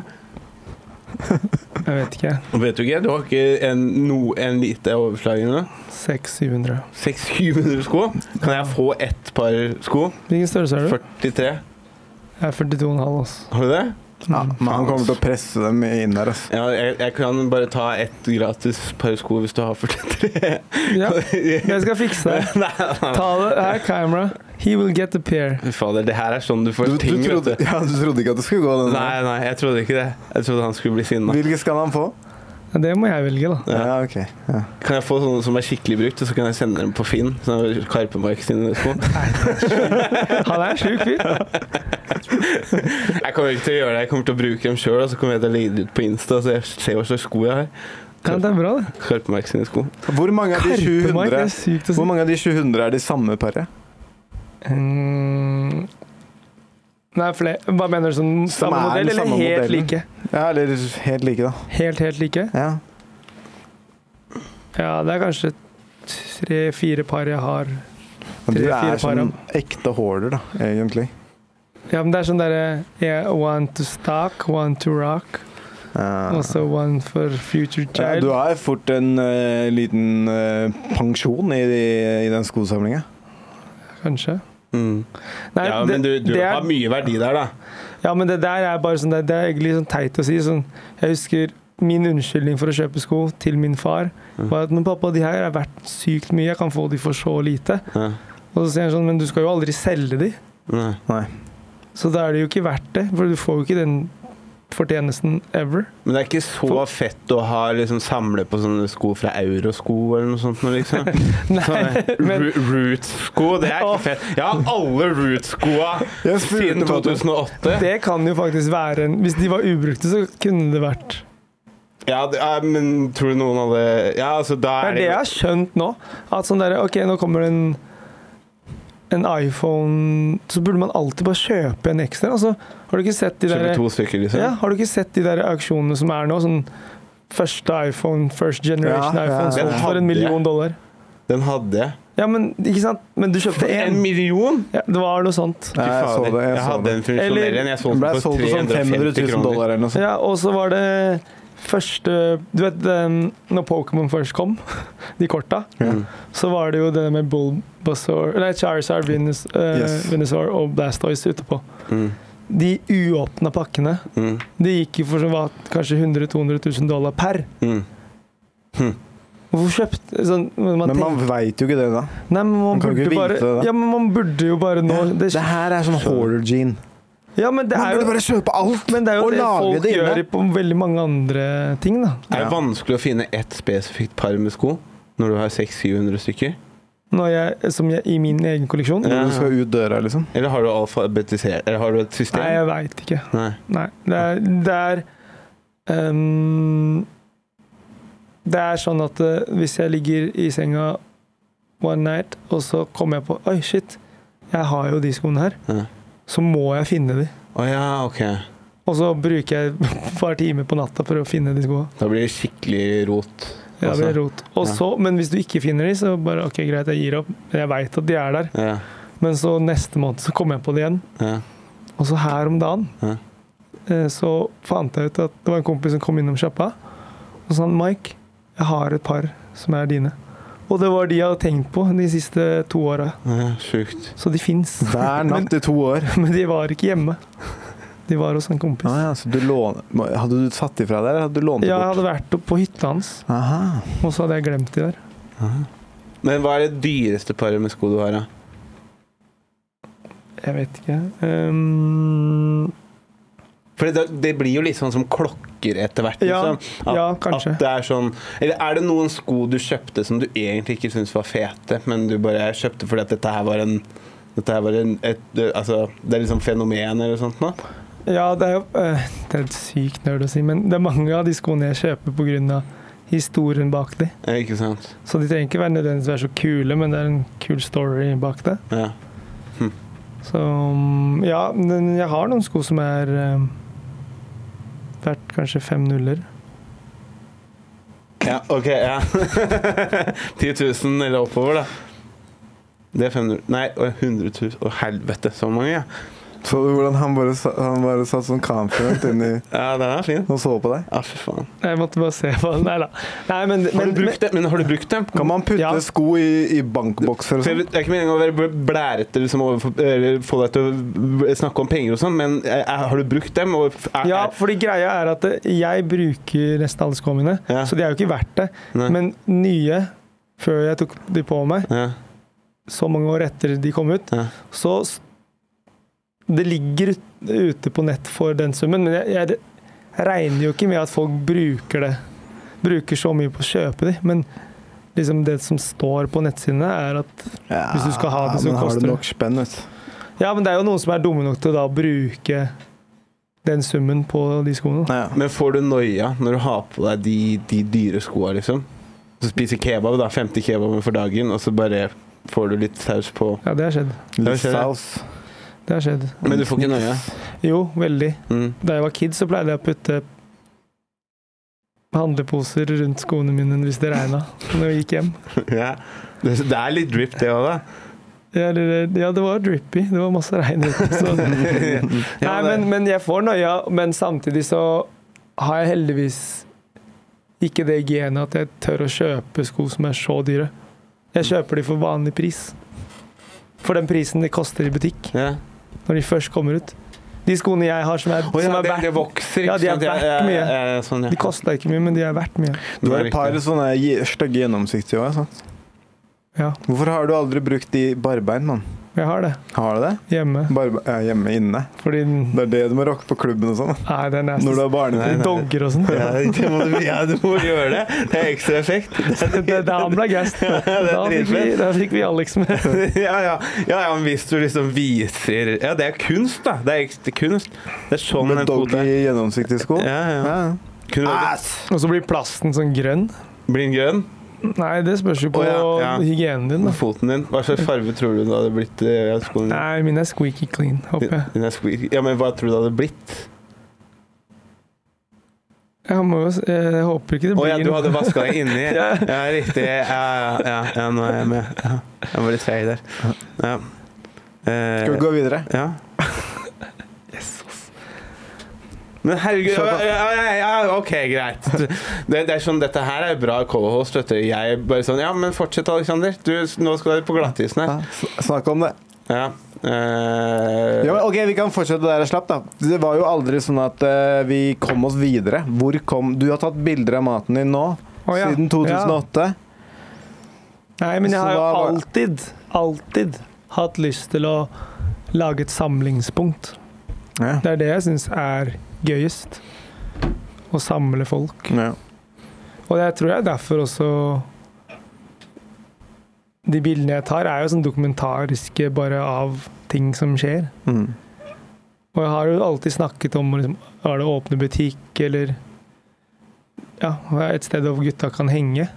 Speaker 5: Jeg vet ikke.
Speaker 3: Vet du ikke? Du har ikke en, no, en lite overslag i noe?
Speaker 5: 600-700.
Speaker 3: 600-700 sko. Kan jeg få ett par sko?
Speaker 5: Hvilken størrelse er du?
Speaker 3: 43.
Speaker 5: Jeg er 42,5, altså.
Speaker 3: Har du det?
Speaker 2: Ja, men han kommer til å presse dem inn der. Altså.
Speaker 3: Ja, jeg, jeg kan bare ta ett gratis par sko hvis du har 43.
Speaker 5: Ja, jeg skal fikse det.
Speaker 3: Nei, nei, nei.
Speaker 5: Ta det her, camera. He will get the pair.
Speaker 3: Fy Fader, det her er sånn du får
Speaker 2: Du, du,
Speaker 3: ting,
Speaker 2: trodde,
Speaker 3: vet du.
Speaker 2: ja, du trodde ikke at det skulle gå den
Speaker 3: Nei, nei, jeg trodde ikke det. Jeg trodde han skulle bli sinna.
Speaker 2: Hvilke skal han få?
Speaker 5: Ja, Det må jeg velge, da.
Speaker 3: Ja.
Speaker 2: Ja, ok. Ja.
Speaker 3: Kan jeg få sånne som er skikkelig brukt, og så kan jeg sende dem på Finn? Sånn Karpemark sine sko.
Speaker 5: Han er en sjuk fyr.
Speaker 3: Jeg kommer ikke til å gjøre det, jeg kommer til å bruke dem sjøl, og så kommer jeg til å legge det ut på Insta, så jeg ser hva slags sko jeg har.
Speaker 5: Ja, det er bra, det.
Speaker 3: Karpemark sine sko.
Speaker 2: Hvor mange av de
Speaker 5: Karpemark er
Speaker 2: 700
Speaker 5: sykt å si.
Speaker 2: Hvor mange av de 700 er de samme paret?
Speaker 5: Mm. Nei, flere. Hva mener du? Sånn,
Speaker 2: Som er
Speaker 5: samme
Speaker 2: den
Speaker 5: modell, eller
Speaker 2: samme
Speaker 5: helt
Speaker 2: modellen.
Speaker 5: like?
Speaker 2: Ja, eller helt like, da.
Speaker 5: Helt, helt like?
Speaker 2: Ja.
Speaker 5: Ja, det er kanskje tre-fire par jeg har.
Speaker 2: Men du
Speaker 5: Tre, fire
Speaker 2: er
Speaker 5: par,
Speaker 2: sånn ekte hoarder, da, egentlig.
Speaker 5: Ja, men det er sånn derre yeah, One to stock, one to rock,
Speaker 2: Ja.
Speaker 5: også one for future
Speaker 2: Ah. Ja,
Speaker 5: child.
Speaker 2: du har fort en eh, liten eh, pensjon i, i den skosamlinga.
Speaker 5: Kanskje.
Speaker 3: Mm.
Speaker 5: Nei,
Speaker 3: Ja,
Speaker 5: det,
Speaker 3: men du, du
Speaker 5: det er,
Speaker 3: har mye verdi der, da.
Speaker 5: ja, men det der er bare sånn Det, det er egentlig sånn teit å si. Sånn, jeg husker min unnskyldning for å kjøpe sko til min far
Speaker 3: Mm.
Speaker 5: var at Men pappa, de her er verdt sykt mye. Jeg kan få de for så lite.
Speaker 3: Ja.
Speaker 5: Og så sier han sånn Men du skal jo aldri selge de.
Speaker 3: Nei.
Speaker 5: Så da er det jo ikke verdt det. For du får jo ikke den fortjenesten ever.
Speaker 3: Men det er ikke så fett å ha liksom samle på sånne sko fra Eurosko eller noe sånt. nå, Liksom. eh,
Speaker 5: Nei, men
Speaker 3: Ru- Roots-sko, det er ikke fett. Jeg har alle Roots-skoa
Speaker 2: Jeg spurte
Speaker 3: siden
Speaker 2: hva du-
Speaker 3: 2008.
Speaker 5: det kan jo faktisk være en Hvis de var ubrukte, så kunne det vært
Speaker 3: Ja, det, ja, men tror du noen hadde Ja, altså, da er
Speaker 5: Det er det jeg har skjønt nå. At sånn derre Ok, nå kommer det en en iPhone Så burde man alltid bare kjøpe en ekstra. Altså, har du ikke sett de
Speaker 3: Kjøpe
Speaker 5: der,
Speaker 3: to stykker, liksom.
Speaker 5: ja, har du ikke sett de der auksjonene som er nå? Sånn første iPhone, first generation
Speaker 2: Ja, ja,
Speaker 5: iPhone,
Speaker 2: ja.
Speaker 5: solgt for en million dollar.
Speaker 3: Den hadde jeg.
Speaker 5: Ja, men ikke sant? Men du kjøpte
Speaker 3: En
Speaker 5: én.
Speaker 3: million?
Speaker 5: Ja, det var noe sånt.
Speaker 2: Nei, jeg så det. Jeg,
Speaker 3: jeg
Speaker 2: så
Speaker 3: hadde
Speaker 2: det.
Speaker 3: en funksjonell
Speaker 5: Eller-
Speaker 3: en.
Speaker 2: Den
Speaker 3: Jeg solgte
Speaker 2: ble
Speaker 3: den for
Speaker 2: solgt for sånn 500
Speaker 3: 350
Speaker 2: 000
Speaker 3: kroner.
Speaker 2: dollar eller noe sånt.
Speaker 5: Ja, og så var det første Du vet den, når Pokémon først kom, de korta,
Speaker 2: Ja.
Speaker 5: så var det jo det med Bulbasaur Nei, Charizard, Venus, eh,
Speaker 2: Yes.
Speaker 5: Venusaur og Blastoise utepå.
Speaker 3: Mm.
Speaker 5: De uåpna pakkene,
Speaker 3: Mm.
Speaker 5: de gikk jo for så hva, kanskje 100 000-200 000 dollar per.
Speaker 3: Mm.
Speaker 5: Hvorfor kjøpte sånn, men man
Speaker 2: Men
Speaker 5: tenker-
Speaker 2: man veit jo ikke det, da.
Speaker 5: Nei, men man
Speaker 2: man kan
Speaker 5: burde
Speaker 2: ikke
Speaker 5: bare
Speaker 2: vite det, da.
Speaker 5: Ja, men man burde jo bare nå det,
Speaker 2: Det her er sånn hoarder gene.
Speaker 5: Ja, men det
Speaker 2: Man
Speaker 5: er
Speaker 2: burde
Speaker 5: jo
Speaker 2: bare kjøpe alt!
Speaker 5: men det er jo
Speaker 2: og
Speaker 5: det
Speaker 2: lage
Speaker 5: folk
Speaker 2: det inne.
Speaker 5: gjør på veldig mange andre ting, da.
Speaker 3: Det er
Speaker 2: Ja.
Speaker 3: vanskelig å finne ett spesifikt par med sko når du har 600-700 stykker.
Speaker 5: Når jeg, som jeg, I min egen kolleksjon.
Speaker 3: Ja.
Speaker 2: Når du skal ut døra, liksom.
Speaker 3: Eller har du alfabetisert Eller har du et system?
Speaker 5: Nei, jeg veit ikke.
Speaker 3: Nei.
Speaker 5: Nei. Det er, det er ehm, Det er sånn at eh, hvis jeg ligger i senga one night, og så kommer jeg på Oi, shit, jeg har jo de skoene her.
Speaker 3: Ja.
Speaker 5: Så må jeg finne de.
Speaker 3: Å ja, ok.
Speaker 5: Og så bruker jeg et par timer på natta for å finne de skoene.
Speaker 3: Da blir det skikkelig rot.
Speaker 5: Ja, det blir
Speaker 3: altså.
Speaker 5: rot. Og
Speaker 3: Ja.
Speaker 5: så, men hvis du ikke finner de, så bare OK, greit, jeg gir opp. Jeg veit at de er der.
Speaker 3: Ja,
Speaker 5: Men så neste måned så kommer jeg på det igjen.
Speaker 3: ja.
Speaker 5: Og så her om dagen
Speaker 3: Ja.
Speaker 5: eh, så fant jeg ut at det var en kompis som kom innom sjappa. Og så sa han Mike, jeg har et par som er dine. Og det var de jeg hadde tenkt på de siste to åra.
Speaker 3: ja Sjukt.
Speaker 5: Så de fins.
Speaker 2: Hver natt i to år.
Speaker 5: Men de var ikke hjemme. De var hos en kompis.
Speaker 2: Ah, ja, så du låner, må- hadde du satt ifra deg, eller hadde du lånt det
Speaker 5: Ja, jeg
Speaker 2: bort?
Speaker 5: hadde vært opp på hytta hans,
Speaker 2: Aha.
Speaker 5: og så hadde jeg glemt de der.
Speaker 3: Men hva er det dyreste paret med sko du har, da?
Speaker 5: Jeg vet ikke. Ehm,
Speaker 3: For det, det blir jo litt sånn som klokker etter hvert.
Speaker 5: Ja,
Speaker 3: liksom.
Speaker 5: ja, kanskje.
Speaker 3: At det er sånn Eller er det noen sko du kjøpte som du egentlig ikke syntes var fete, men du bare kjøpte fordi at dette her var en dette her var en, et, altså, Det er liksom fenomen eller sånt nå?
Speaker 5: Ja, det er jo eh, Det er et sykt nerd å si, men det er mange av de skoene jeg kjøper pga. historien bak de.
Speaker 3: Eh, Ikke sant?
Speaker 5: Så de trenger ikke være nødvendigvis være så kule, men det er en kul story bak det.
Speaker 3: Ja.
Speaker 5: Så mm, ja, men jeg har noen sko som er eh, verdt kanskje fem nuller.
Speaker 3: Ja, ok, ja. 10 000 eller oppover, da. Det er 500 Nei, å, 100 000. Å, helvete, så mange, ja.
Speaker 2: Så du hvordan han bare, sa- han bare satt sånn confident inni
Speaker 3: Ja, den er fin.
Speaker 2: og så på deg?
Speaker 3: Ja, fy faen.
Speaker 5: Jeg måtte bare se på Nei da. Nei, men,
Speaker 3: Har
Speaker 5: men,
Speaker 3: du brukt dem? Men har du brukt dem?
Speaker 2: Kan man putte
Speaker 5: Ja.
Speaker 2: sko i, i bankbokser og
Speaker 3: For jeg
Speaker 2: sånn?
Speaker 3: vet- Det er ikke meningen å være bl- blærete liksom, overfor, eller få deg til å b- snakke om penger og sånn, men eh, er, har du brukt dem? Og f- er,
Speaker 5: men, ja,
Speaker 3: er-
Speaker 5: fordi greia er at eh, jeg bruker nesten alle skoene mine,
Speaker 3: Ja.
Speaker 5: så de er jo ikke verdt det.
Speaker 3: Nei.
Speaker 5: Men nye, før jeg tok de på meg,
Speaker 3: ja,
Speaker 5: så mange år etter de kom ut,
Speaker 3: ja.
Speaker 5: så s- Det ligger ut- ute på nett for den summen, men jeg, jeg regner jo ikke med at folk bruker det. Bruker så mye på å kjøpe de, men liksom det som står på nettsidene, er at
Speaker 2: Ja,
Speaker 5: Hvis du skal ha det, så
Speaker 2: men
Speaker 5: koster
Speaker 2: Har du
Speaker 5: det.
Speaker 2: nok spenn, vet du.
Speaker 5: Ja, men det er jo noen som er dumme nok til å da bruke den summen på de skoene.
Speaker 2: Ja.
Speaker 3: Men får du noia når du har på deg de, de dyre skoa, liksom? Så spiser kebab, da. 50 kebaber for dagen, og så bare får du litt saus på
Speaker 5: Ja, det har skjedd.
Speaker 2: Litt
Speaker 3: skjer det.
Speaker 2: saus.
Speaker 5: Det har skjedd.
Speaker 3: Men du får ikke noia.
Speaker 5: Jo, veldig.
Speaker 3: Mm.
Speaker 5: Da jeg var kid, så pleide jeg å putte handleposer rundt skoene mine hvis det regna når jeg gikk hjem.
Speaker 3: Ja. Det, det er litt drip, det òg, da.
Speaker 5: Ja, eller- ja, det var drippy. Det var masse regn ute. Så. Nei, men, men jeg får nøya, men samtidig så har jeg heldigvis ikke det genet at jeg tør å kjøpe sko som er så dyre. Jeg kjøper de for vanlig pris. For den prisen de koster i butikk
Speaker 3: ja.
Speaker 5: når de først kommer ut. De skoene jeg har som er,
Speaker 3: Å,
Speaker 5: som
Speaker 3: ja,
Speaker 5: er
Speaker 3: det, det
Speaker 5: verdt
Speaker 3: vokser, ikke
Speaker 5: Ja, de er
Speaker 3: sant? Ja,
Speaker 5: verdt
Speaker 3: ja,
Speaker 5: mye.
Speaker 3: ja, ja, sånn, ja.
Speaker 5: De kosta ikke mye, men de er verdt mye.
Speaker 2: Du har
Speaker 3: Det
Speaker 2: et
Speaker 3: er
Speaker 2: par
Speaker 3: riktig.
Speaker 2: sånne gi- stygge gjennomsiktige òg.
Speaker 5: Ja,
Speaker 2: Hvorfor har du aldri brukt de barbein, mann?
Speaker 5: jeg har det
Speaker 2: Har du det?
Speaker 5: hjemme.
Speaker 2: Barbe ja, hjemme inne.
Speaker 5: Fordi den
Speaker 2: Det er det du må rocke på klubben og sånn.
Speaker 5: Nei, det er nasty.
Speaker 2: Når du har
Speaker 3: Nei,
Speaker 5: De
Speaker 2: barnevogn.
Speaker 3: nei.
Speaker 5: Dogger og sånn.
Speaker 3: Ja, det må du, ja, du må gjøre det. Det er ekstra effekt. Det er-
Speaker 5: Det, det, han ble gassed. Da fikk, vi, da fikk vi Alex med.
Speaker 3: ja, ja. ja, ja, men hvis du liksom viser Ja, det er kunst, da. Det er ekte kunst. Det er sånn
Speaker 2: Med
Speaker 3: en
Speaker 2: dogg
Speaker 3: kvote
Speaker 2: i gjennomsiktige sko.
Speaker 3: Ja, ja.
Speaker 2: Ja.
Speaker 3: Kunne du
Speaker 2: Ass!
Speaker 5: Og så blir plasten sånn grønn.
Speaker 3: bli en grønn
Speaker 5: Nei, det spørs jo på
Speaker 3: Å, ja, Mm. ja.
Speaker 5: hygienen din,
Speaker 3: på
Speaker 5: da.
Speaker 3: foten din? Hva slags farge tror du det hadde blitt? eh, av skoen din?
Speaker 5: Nei, min er squeaky clean, håper jeg.
Speaker 3: Din er squeaky. Ja, men hva tror du det hadde blitt?
Speaker 5: Jeg, må jo, s- jeg håper ikke det
Speaker 3: Å
Speaker 5: blir
Speaker 3: ja, du
Speaker 5: noe-
Speaker 3: hadde vaska deg inni? ja.
Speaker 5: Ja.
Speaker 3: riktig. Ja, ja, ja, ja, nå er jeg med. Ja. Jeg var litt feig der. Ja. Eh,
Speaker 2: Skal vi gå videre?
Speaker 3: ja. Men herregud ja, ja, ja, ja, OK, greit. Det, det er sånn, Dette her er bra co-host, vet du. Jeg bare sånn Ja, men fortsett, Aleksander. Du, nå skal du på glattisen
Speaker 2: Ja,
Speaker 3: her.
Speaker 2: sn- snakk om det.
Speaker 3: Ja. eh,
Speaker 2: Ja, men ok, Vi kan fortsette der jeg slapp. da Det var jo aldri sånn at eh, vi kom oss videre. Hvor kom Du har tatt bilder av maten din nå,
Speaker 5: Å, ja.
Speaker 2: siden 2008.
Speaker 5: Nei, men jeg
Speaker 2: Så
Speaker 5: har jo
Speaker 2: da var-
Speaker 5: alltid, alltid hatt lyst til å lage et samlingspunkt.
Speaker 2: Ja.
Speaker 5: Det er det jeg syns er gøyest. Å samle folk.
Speaker 2: Ja.
Speaker 5: Og jeg tror jeg derfor også De bildene jeg tar, er jo sånn dokumentariske bare av ting som skjer.
Speaker 2: Mm.
Speaker 5: Og jeg har jo alltid snakket om å liksom, er det å åpne butikk eller ja, et sted hvor gutta kan henge.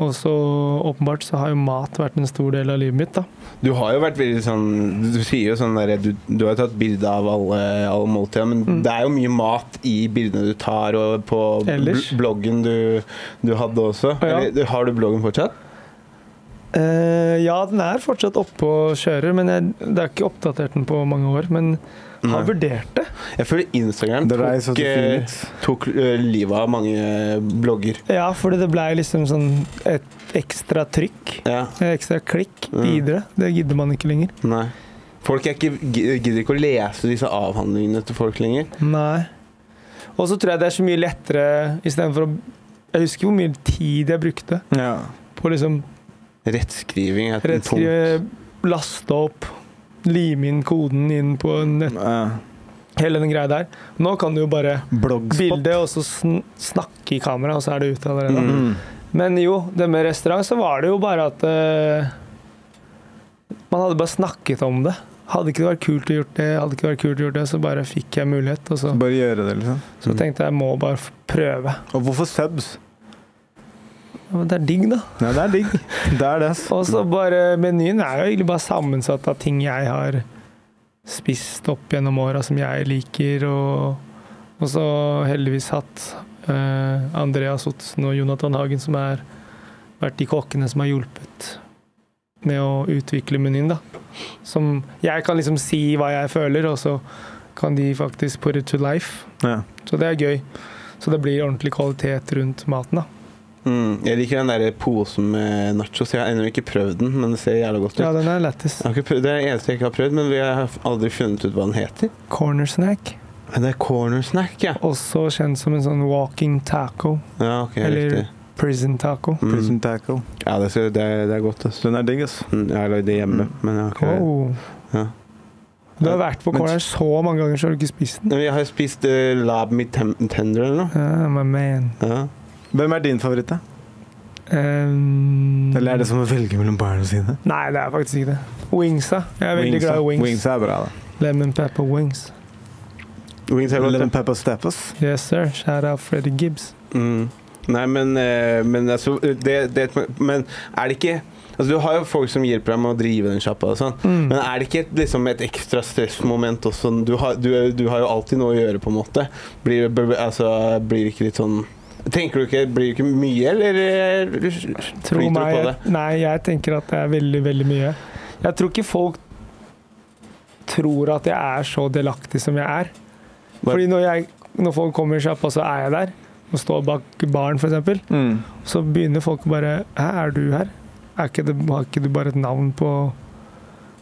Speaker 5: Og så åpenbart så har jo mat vært en stor del av livet mitt, da.
Speaker 3: Du har jo vært veldig sånn Du sier jo sånn der, du, du har jo tatt bilde av alle, alle måltidene, men det er jo mye mat i bildene du tar, og på bl
Speaker 5: Ellers?
Speaker 3: bloggen du, du hadde også.
Speaker 5: Ja.
Speaker 3: Eller, har du bloggen fortsatt?
Speaker 5: Eh, ja, den er fortsatt oppe og kjører, men jeg, det er ikke oppdatert den på mange år. Men
Speaker 3: Nei.
Speaker 5: har vurdert det.
Speaker 3: Jeg føler Instagram
Speaker 2: The Rise of
Speaker 3: tok,
Speaker 2: the
Speaker 3: eh,
Speaker 2: Phoenix.
Speaker 3: tok eh, livet av mange eh, blogger.
Speaker 5: Ja, fordi det blei liksom sånn et ekstra trykk.
Speaker 3: Ja,
Speaker 5: et Ekstra klikk
Speaker 3: Mm.
Speaker 5: videre. Det gidder man ikke lenger.
Speaker 3: nei. Folk er ikke, gidder ikke å lese disse avhandlingene til folk lenger.
Speaker 5: Nei. Og så tror jeg det er så mye lettere istedenfor å Jeg husker hvor mye tid jeg brukte
Speaker 2: Ja.
Speaker 5: på å liksom
Speaker 3: Rettskriving er et punkt.
Speaker 5: rettskrive, laste opp, lime inn koden inn på nett,
Speaker 2: Ja.
Speaker 5: hele den greia der. Nå kan du jo bare
Speaker 2: Bloggspot.
Speaker 5: bilde og så sn snakke i kamera, og så er det ute allerede.
Speaker 2: Mm.
Speaker 5: Men jo, det med restaurant, så var det jo bare at eh, Man hadde bare snakket om det. Hadde ikke det vært kult å gjort det, hadde ikke det vært kult å gjort det, så bare fikk jeg mulighet, og så,
Speaker 2: Bare gjøre det, liksom.
Speaker 5: så tenkte jeg jeg må bare f- prøve.
Speaker 2: Og hvorfor subs?
Speaker 5: Ja, Men det er digg, da.
Speaker 2: Nei, det er digg. Det er det. ass.
Speaker 5: Og så bare Menyen er jo egentlig bare sammensatt av ting jeg har spist opp gjennom åra som jeg liker, og, og så heldigvis hatt eh, Andreas Ottsen og Jonathan Hagen, som har vært de kokkene som har hjulpet med å utvikle menyen, da. Som Jeg kan liksom si hva jeg føler, og så kan de faktisk put it to life.
Speaker 2: Ja.
Speaker 5: Så det er gøy. Så det blir ordentlig kvalitet rundt maten, da.
Speaker 3: Mm. Jeg liker den der posen med nachos. Jeg har ennå ikke prøvd den, men det ser jævla godt ut.
Speaker 5: Ja, den er lættis.
Speaker 3: Jeg har ikke prøvd, det er det eneste jeg ikke har prøvd, men vi har aldri funnet ut hva den heter.
Speaker 5: Corner snack.
Speaker 3: Men det er corner snack, ja.
Speaker 5: Også kjent som en sånn walking taco.
Speaker 3: Ja, ok,
Speaker 5: Eller-
Speaker 3: riktig.
Speaker 5: Prison taco.
Speaker 3: Mm.
Speaker 2: Prison tackle.
Speaker 3: Ja, det, ser- det, er- det er godt. Altså.
Speaker 2: Den er digg, ass.
Speaker 3: Mm, Jeg har lagd det hjemme, men jeg har ikke
Speaker 5: Wow.
Speaker 3: Ja.
Speaker 5: Du har vært på
Speaker 2: Men-
Speaker 5: corner så mange ganger, så har du ikke spist den.
Speaker 3: Men Jeg har spist eh, lab me tem tender eller noe.
Speaker 5: Ja, my man.
Speaker 3: Ja.
Speaker 2: Hvem er din favoritt, da?
Speaker 5: Um,
Speaker 2: Eller er det som å velge mellom barna sine?
Speaker 5: Nei, det er faktisk ikke det. Wingsa. Jeg er veldig glad i wings.
Speaker 2: Wings er bra, da.
Speaker 5: Lemon pepper wings.
Speaker 3: Wings er godt.
Speaker 2: Lemon
Speaker 3: ja.
Speaker 2: pepper steppers.
Speaker 5: Yes, sir. Shout out Freddy Gibbs.
Speaker 3: Mm. Nei, men, eh, men altså det, det, Men er det ikke Altså, du har jo folk som hjelper deg med å drive den sjappa og sånn,
Speaker 5: Mm.
Speaker 3: men er det ikke et, liksom et ekstra stressmoment også? Du har, du, du har jo alltid noe å gjøre, på en måte. Blir, b- b- altså, blir det ikke litt sånn Tenker du ikke Blir det ikke mye, eller eh,
Speaker 5: Tro
Speaker 3: flyter du
Speaker 5: meg.
Speaker 3: på det?
Speaker 5: jeg- Nei, jeg tenker at det er veldig, veldig mye. Jeg tror ikke folk tror at jeg er så delaktig som jeg er. Fordi når, jeg, når folk kommer i sjappa, så er jeg der. Og står bak baren, f.eks.
Speaker 2: Mm.
Speaker 5: Så begynner folk å bare Hæ, er du her? Er ikke det, har ikke du bare et navn på,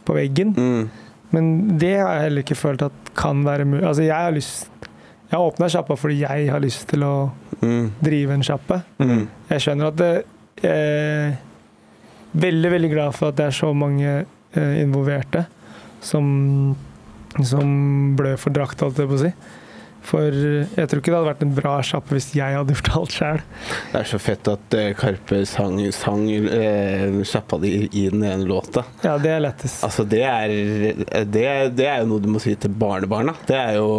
Speaker 5: på veggen?
Speaker 3: Mm.
Speaker 5: Men det har jeg heller ikke følt at kan være mulig. Altså, jeg har lyst Jeg åpna sjappa fordi jeg har lyst til å
Speaker 3: Mm.
Speaker 5: drive en sjappe.
Speaker 3: Mm.
Speaker 5: Jeg skjønner at det eh, Veldig, veldig glad for at det er så mange eh, involverte som, som blør for drakt, holdt jeg på å si. For jeg tror ikke det hadde vært en bra sjappe hvis jeg hadde gjort alt sjøl.
Speaker 3: Det er så fett at eh, Karpe sang, sang eh, sjappa di i- i den ene låta.
Speaker 5: Ja, det er lettest.
Speaker 3: Altså, det er, det, det er jo noe du må si til barnebarna. Det er jo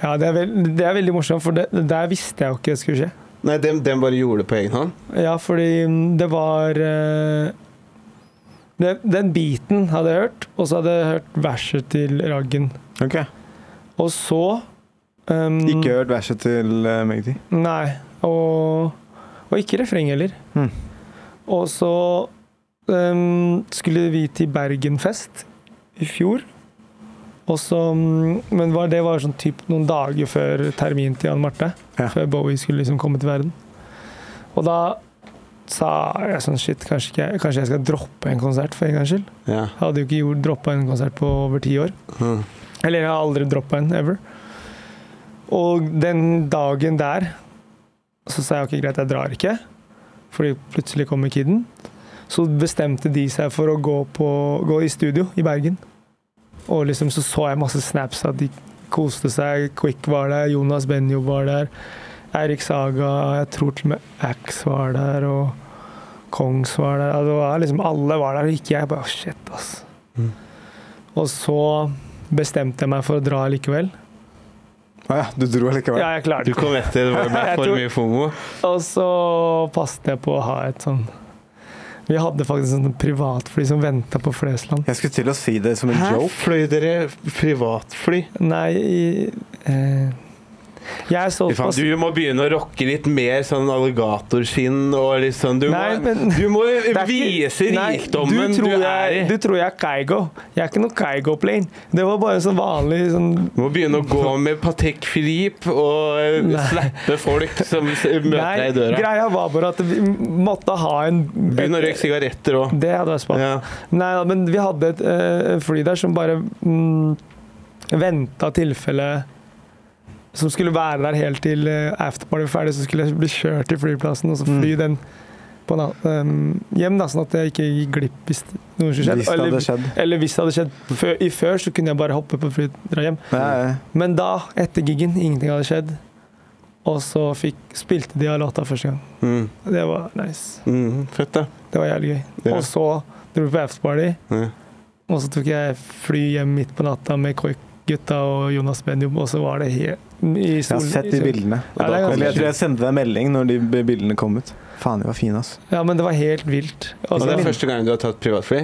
Speaker 5: Ja, det er, veld, det er veldig morsomt, for det, det der visste jeg jo ikke det skulle skje.
Speaker 3: Nei, den, den bare gjorde det på egen hånd.
Speaker 5: Ja, fordi mm, det var eh, det, Den biten hadde jeg hørt, og så hadde jeg hørt verset til Raggen.
Speaker 2: Ok.
Speaker 5: Og så Um,
Speaker 2: Ikke hørt verset til uh, Magdi.
Speaker 5: Nei, og, og ikke refreng heller.
Speaker 2: Mm.
Speaker 5: Og så ehm, skulle vi til Bergenfest i fjor. Og så, mm, men var, det var sånn typ noen dager før terminen til Anne Marte.
Speaker 2: Ja.
Speaker 5: Før Bowie skulle liksom komme til verden. Og da sa jeg sånn shit, kanskje, ikke, jeg- kanskje jeg skal droppe en konsert for en gangs skyld.
Speaker 3: Ja.
Speaker 5: Jeg hadde jo ikke droppa en konsert på over ti år.
Speaker 3: Mm.
Speaker 5: Eller jeg har aldri droppa en, ever. Og den dagen der så sa jeg ok, greit, jeg drar ikke. Fordi plutselig kommer kiden. Så bestemte de seg for å gå, på, gå i studio i Bergen. Og liksom så så jeg masse snaps at de koste seg. Quick var der, Jonas Benjo var der. Eirik Saga, jeg tror til og med Ax var der, og Kongs var der. Ja, Det var liksom Alle var der, og ikke jeg. Bare shit, ass.
Speaker 3: Mm.
Speaker 5: Og så bestemte jeg meg for å dra likevel.
Speaker 2: Å ja, du dro allikevel?
Speaker 5: Ja, jeg klarte
Speaker 3: Du
Speaker 5: det.
Speaker 3: kom etter, det ble
Speaker 5: Jeg
Speaker 3: for
Speaker 5: tror-
Speaker 3: mye fomo.
Speaker 5: Og så passet jeg på å ha et sånn Vi hadde faktisk sånn privatfly som venta på Flesland.
Speaker 2: Jeg skulle til å si det som en joke.
Speaker 3: fløy dere privatfly?
Speaker 5: Nei i, eh, Jeg er
Speaker 3: Fy faen,
Speaker 5: såpass
Speaker 3: du må begynne å rocke litt mer sånn alligatorskinn og litt sånn Du må,
Speaker 5: Nei, men-
Speaker 3: du må
Speaker 5: Det er ikke-
Speaker 3: vise
Speaker 5: Nei,
Speaker 3: rikdommen du,
Speaker 5: tror
Speaker 3: er i.
Speaker 5: jeg, Du tror jeg er Keigo. Jeg er ikke noe Keigo-plane. Det var bare sånn vanlig sånn
Speaker 3: Du må begynne å gå med Patek Philippe og eh,
Speaker 5: Nei.
Speaker 3: slappe folk som s- møter
Speaker 5: Nei,
Speaker 3: deg i døra.
Speaker 5: Greia var bare at vi måtte ha en
Speaker 3: Begynn å røyke sigaretter òg.
Speaker 5: Det hadde vært spennende.
Speaker 3: Ja.
Speaker 5: Nei da, men vi hadde et eh, fly der som bare mm, venta tilfelle Som skulle være der helt til eh, afterparty var ferdig, så skulle jeg bli kjørt til flyplassen og så
Speaker 2: Mm.
Speaker 5: fly den på en annen, eh, hjem, da, sånn at jeg ikke gikk glipp hvis noe skulle skjedd.
Speaker 2: Hvis det hadde
Speaker 5: Eller,
Speaker 2: skjedd. Mm.
Speaker 5: eller hvis det hadde skjedd før, i før, så kunne jeg bare hoppe på flyet og dra hjem.
Speaker 2: Ja, ja.
Speaker 5: Men da, etter giggen, ingenting hadde skjedd. Og så fikk, spilte de av låta første gang.
Speaker 3: Mm.
Speaker 5: Det var nice.
Speaker 3: Mm. Fett, da.
Speaker 5: Det var jævlig gøy.
Speaker 3: Ja.
Speaker 5: Og så dro vi på afterparty.
Speaker 3: Ja.
Speaker 5: Og så tok jeg fly hjem midt på natta med KOIK-gutta og Jonas Benjum, og så var det helt i
Speaker 2: Jeg har
Speaker 5: solen.
Speaker 2: sett de bildene.
Speaker 5: Ja, det er ganske
Speaker 2: Eller jeg tror jeg sendte deg en melding når de b- bildene kom ut. Faen, de var fine, ass.
Speaker 5: Ja, men det var helt vilt.
Speaker 3: Og
Speaker 5: Altså,
Speaker 3: det er første gang du har tatt privatfly?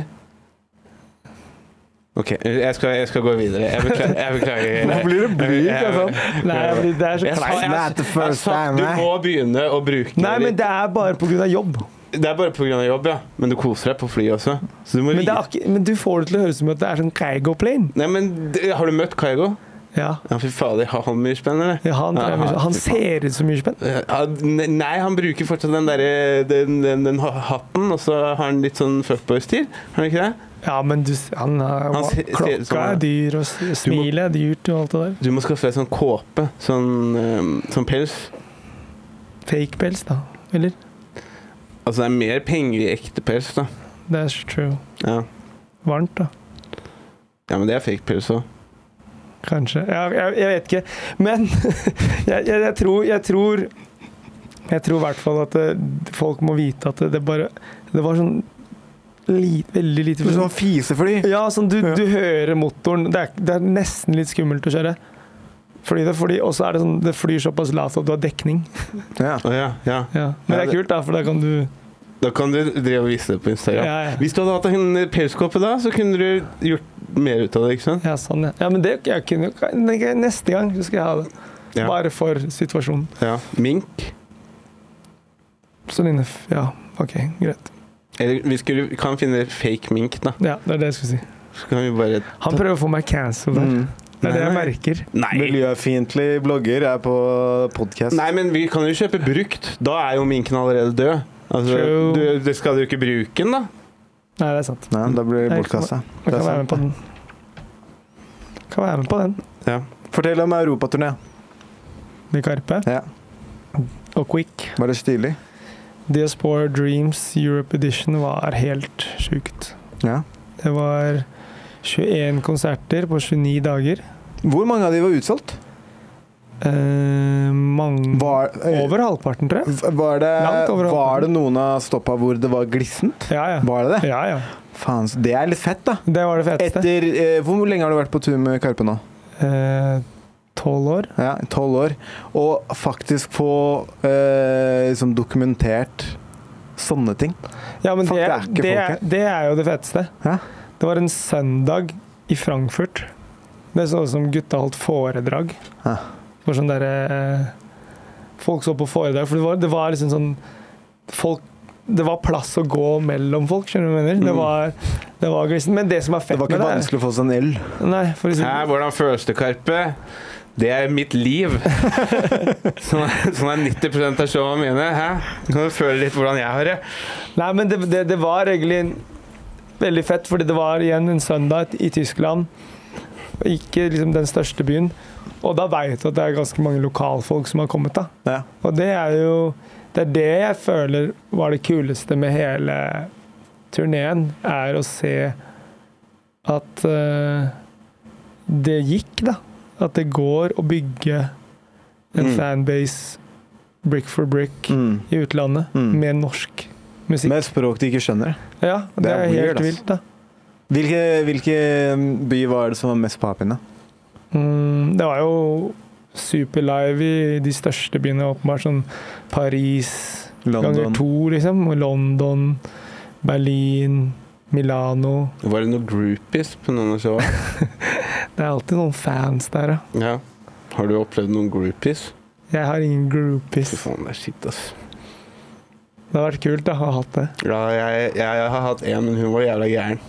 Speaker 3: OK, jeg skal, jeg skal gå videre. Jeg beklager. Jeg beklager.
Speaker 2: Nå blir det blyg, altså.
Speaker 5: sånn- nei, fordi det er så
Speaker 3: Jeg sa-
Speaker 5: kleint.
Speaker 3: jeg-
Speaker 2: Not the
Speaker 3: Jeg
Speaker 2: first
Speaker 3: sa,
Speaker 2: time,
Speaker 3: du
Speaker 2: nei.
Speaker 3: må begynne å bruke
Speaker 5: Nei, men
Speaker 3: litt.
Speaker 5: det er bare på grunn av jobb.
Speaker 3: Det er bare pga. jobb, ja. Men du koser deg på flyet også. Så du må
Speaker 5: Men, det
Speaker 3: vite
Speaker 5: er ikke, men du får det til å høres ut som at det er sånn Keigo-plane.
Speaker 3: Nei, men d- Har du møtt Kaigo?
Speaker 5: Ja.
Speaker 3: Ja, fy fader, har han mye spenn, eller?
Speaker 5: Ja, han,
Speaker 3: Ja,
Speaker 5: er mye- han ser ut som mye spenn.
Speaker 3: Ja, ne- nei, han bruker fortsatt den derre den, den, den ha- hatten, og så har han litt sånn fuckboy-stil. Har han ikke det?
Speaker 5: Ja, men du, han er,
Speaker 3: Han ser- ser ut som
Speaker 5: klokka
Speaker 3: han er-
Speaker 5: er dyr, og s- smilet er dyrt og alt det der.
Speaker 3: Du må skaffe deg sånn kåpe. Sånn, eh, sånn pels.
Speaker 5: Fake pels, da. Eller?
Speaker 3: Altså, det er mer penger i ekte pels, da.
Speaker 5: That's true.
Speaker 3: Ja,
Speaker 5: Varmt, da.
Speaker 3: ja men det er fake pels òg.
Speaker 5: Kanskje. Jeg, jeg, jeg vet ikke. Men jeg, jeg, jeg tror Jeg tror jeg tror i hvert fall at eh, folk må vite at det, det bare Det var sånn li, veldig lite
Speaker 2: Sånn fisefly.
Speaker 5: Ja, sånn du,
Speaker 2: Ja.
Speaker 5: du hører motoren. Det er, det er nesten litt skummelt å kjøre. Fordi det, fordi, og så er det sånn det flyr såpass lavt at du har dekning.
Speaker 2: Ja.
Speaker 3: Å ja, ja.
Speaker 5: Men det
Speaker 3: Ja,
Speaker 5: er kult, da, for da kan du
Speaker 3: Da kan du drive og vise det på
Speaker 5: Ja,
Speaker 3: Instagram.
Speaker 5: ja.
Speaker 3: Hvis du hadde hatt en pelskåpe da, så kunne du gjort mer ut av det, ikke sant?
Speaker 5: ja sånn, ja. ja men det jeg kunne jo Neste gang så skal jeg ha det.
Speaker 3: Ja.
Speaker 5: Bare for situasjonen.
Speaker 3: Ja. Mink.
Speaker 5: Så lenge Ja, OK, greit.
Speaker 3: Eller vi skulle, kan finne fake mink, da.
Speaker 5: Ja, det er det jeg skulle si.
Speaker 3: Så kan vi bare
Speaker 5: Han prøver å få meg cancelled der.
Speaker 2: Mm.
Speaker 5: Det er det jeg
Speaker 3: Nei.
Speaker 5: merker.
Speaker 3: Nei.
Speaker 2: Miljøfiendtlig blogger er på podkast.
Speaker 3: Nei, men vi kan jo kjøpe brukt. Da er jo minken allerede død. Altså,
Speaker 5: True.
Speaker 3: du, det skal du ikke bruke den, da.
Speaker 5: Nei, det er sant.
Speaker 2: Nei, da blir det
Speaker 5: Nei,
Speaker 2: bortkasta.
Speaker 5: Man
Speaker 2: Det er
Speaker 5: kan være
Speaker 2: sant.
Speaker 5: med på den. Kan være med på den.
Speaker 3: Ja.
Speaker 2: Fortell om europaturné.
Speaker 5: Med Karpe
Speaker 2: Ja.
Speaker 5: og Quick.
Speaker 2: Var det stilig?
Speaker 5: Diaspora Dreams Europe Edition var helt sjukt.
Speaker 2: Ja.
Speaker 5: Det var 21 konserter på 29 dager.
Speaker 2: Hvor mange av de var utsolgt?
Speaker 5: Eh, mange
Speaker 2: Var, eh,
Speaker 5: Over halvparten, tror jeg.
Speaker 2: var, det,
Speaker 5: Langt over
Speaker 2: var det noen av stoppa hvor det var glissent?
Speaker 5: Ja, ja.
Speaker 2: Var det det?
Speaker 5: ja, ja.
Speaker 2: Faen, så det er litt fett, da.
Speaker 5: Det var det feteste.
Speaker 2: Etter, eh, hvor lenge har du vært på tur med Karpe nå?
Speaker 5: Eh, Tolv år.
Speaker 2: Ja, Tolv år. Og faktisk få eh, liksom dokumentert sånne ting.
Speaker 5: Ja, men
Speaker 2: Fuck,
Speaker 5: det,
Speaker 2: det er ikke
Speaker 5: det, er,
Speaker 2: folk
Speaker 5: det er jo det feteste.
Speaker 2: Ja.
Speaker 5: Det var en søndag i Frankfurt. Det så ut som gutta holdt foredrag.
Speaker 2: Ja.
Speaker 5: var sånn derre eh, Folk så på foredrag, for det var, det var liksom sånn folk, Det var plass å gå mellom folk, skjønner du hva jeg mener? Det var, det var glisten. Men det som er
Speaker 2: Mm. Det
Speaker 5: fett
Speaker 2: var ikke
Speaker 5: med det
Speaker 2: vanskelig å få seg en øl.
Speaker 5: er- Nei, for å si-
Speaker 3: Hæ, hvordan føles det, Karpe? Det er mitt liv. Sånn er, sånn er 90 av showene mine. Hæ? Kan du føle litt hvordan jeg har det?
Speaker 5: Nei, men det, det, det var egentlig en- veldig fett, fordi det var igjen en søndag i Tyskland. Ikke liksom den største byen. Og da veit du at det er ganske mange lokalfolk som har kommet. da.
Speaker 2: Ja.
Speaker 5: Og det er jo Det er det jeg føler var det kuleste med hele turneen, er å se at eh, det gikk, da. At det går å bygge en
Speaker 2: Mm.
Speaker 5: fanbase brick for brick
Speaker 2: Mm.
Speaker 5: i utlandet
Speaker 2: Mm.
Speaker 5: med norsk musikk.
Speaker 2: Med et språk de ikke skjønner.
Speaker 5: Ja, det,
Speaker 2: Det er
Speaker 5: er,
Speaker 2: weird,
Speaker 5: helt
Speaker 2: ass.
Speaker 5: vilt, da.
Speaker 2: Hvilke, hvilke mm, by var det som var mest på happyene?
Speaker 5: Mm, det var jo superlive i de største byene, åpenbart. Sånn Paris ganger
Speaker 2: London.
Speaker 5: to, liksom. Og London, Berlin, Milano.
Speaker 3: Var det noen groupies på noen av showene?
Speaker 5: Det er alltid noen fans der, ja.
Speaker 3: Ja. Har du opplevd noen groupies?
Speaker 5: Jeg har ingen groupies.
Speaker 3: Fy faen, det er shit, ass.
Speaker 5: Det har vært kult da, å ha hatt det.
Speaker 3: Ja, jeg, jeg, jeg har hatt én, men hun var jævla gæren.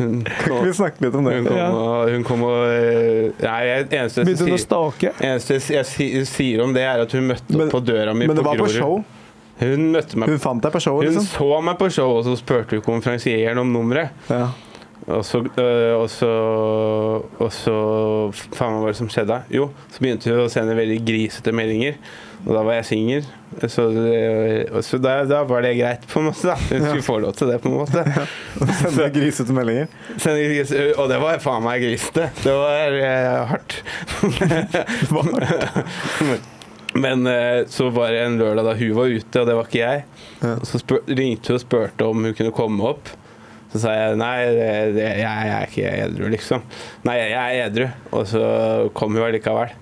Speaker 3: Hun
Speaker 2: Kan
Speaker 3: kom,
Speaker 2: vi snakke litt om det?
Speaker 3: hun kom,
Speaker 5: Ja.
Speaker 3: og, hun kom og eh, Nei, jeg, eneste jeg
Speaker 5: Begynte hun å
Speaker 3: sier
Speaker 5: stalke?
Speaker 3: eneste jeg, si- sier om det, er at hun møtte
Speaker 2: Men-
Speaker 3: opp på døra mi
Speaker 2: Men det
Speaker 3: på
Speaker 2: var på
Speaker 3: Grorud.
Speaker 2: show.
Speaker 3: Hun møtte meg
Speaker 2: Hun fant deg på show,
Speaker 3: Hun
Speaker 2: liksom.
Speaker 3: så meg på show, og så spurte hun konferansieren om nummeret.
Speaker 2: Ja.
Speaker 3: Og så, øh, og så, og så Faen, hva var det som skjedde? da? Jo, så begynte hun å sende veldig grisete meldinger. Og da var jeg singel, så, det- og så da, da var det greit, på en måte. da Hun skulle få lov til det, på en måte.
Speaker 2: Sende grisete meldinger.
Speaker 3: Sende gris, og det var faen meg grisete. Det var eh, hardt. Men eh, så var det en lørdag da hun var ute, og det var ikke jeg.
Speaker 2: Ja.
Speaker 3: Og så spør, ringte hun og spurte om hun kunne komme opp. Så sa jeg nei, det, det, jeg, jeg er ikke edru, liksom. Nei, jeg er edru. Og så kom hun allikevel.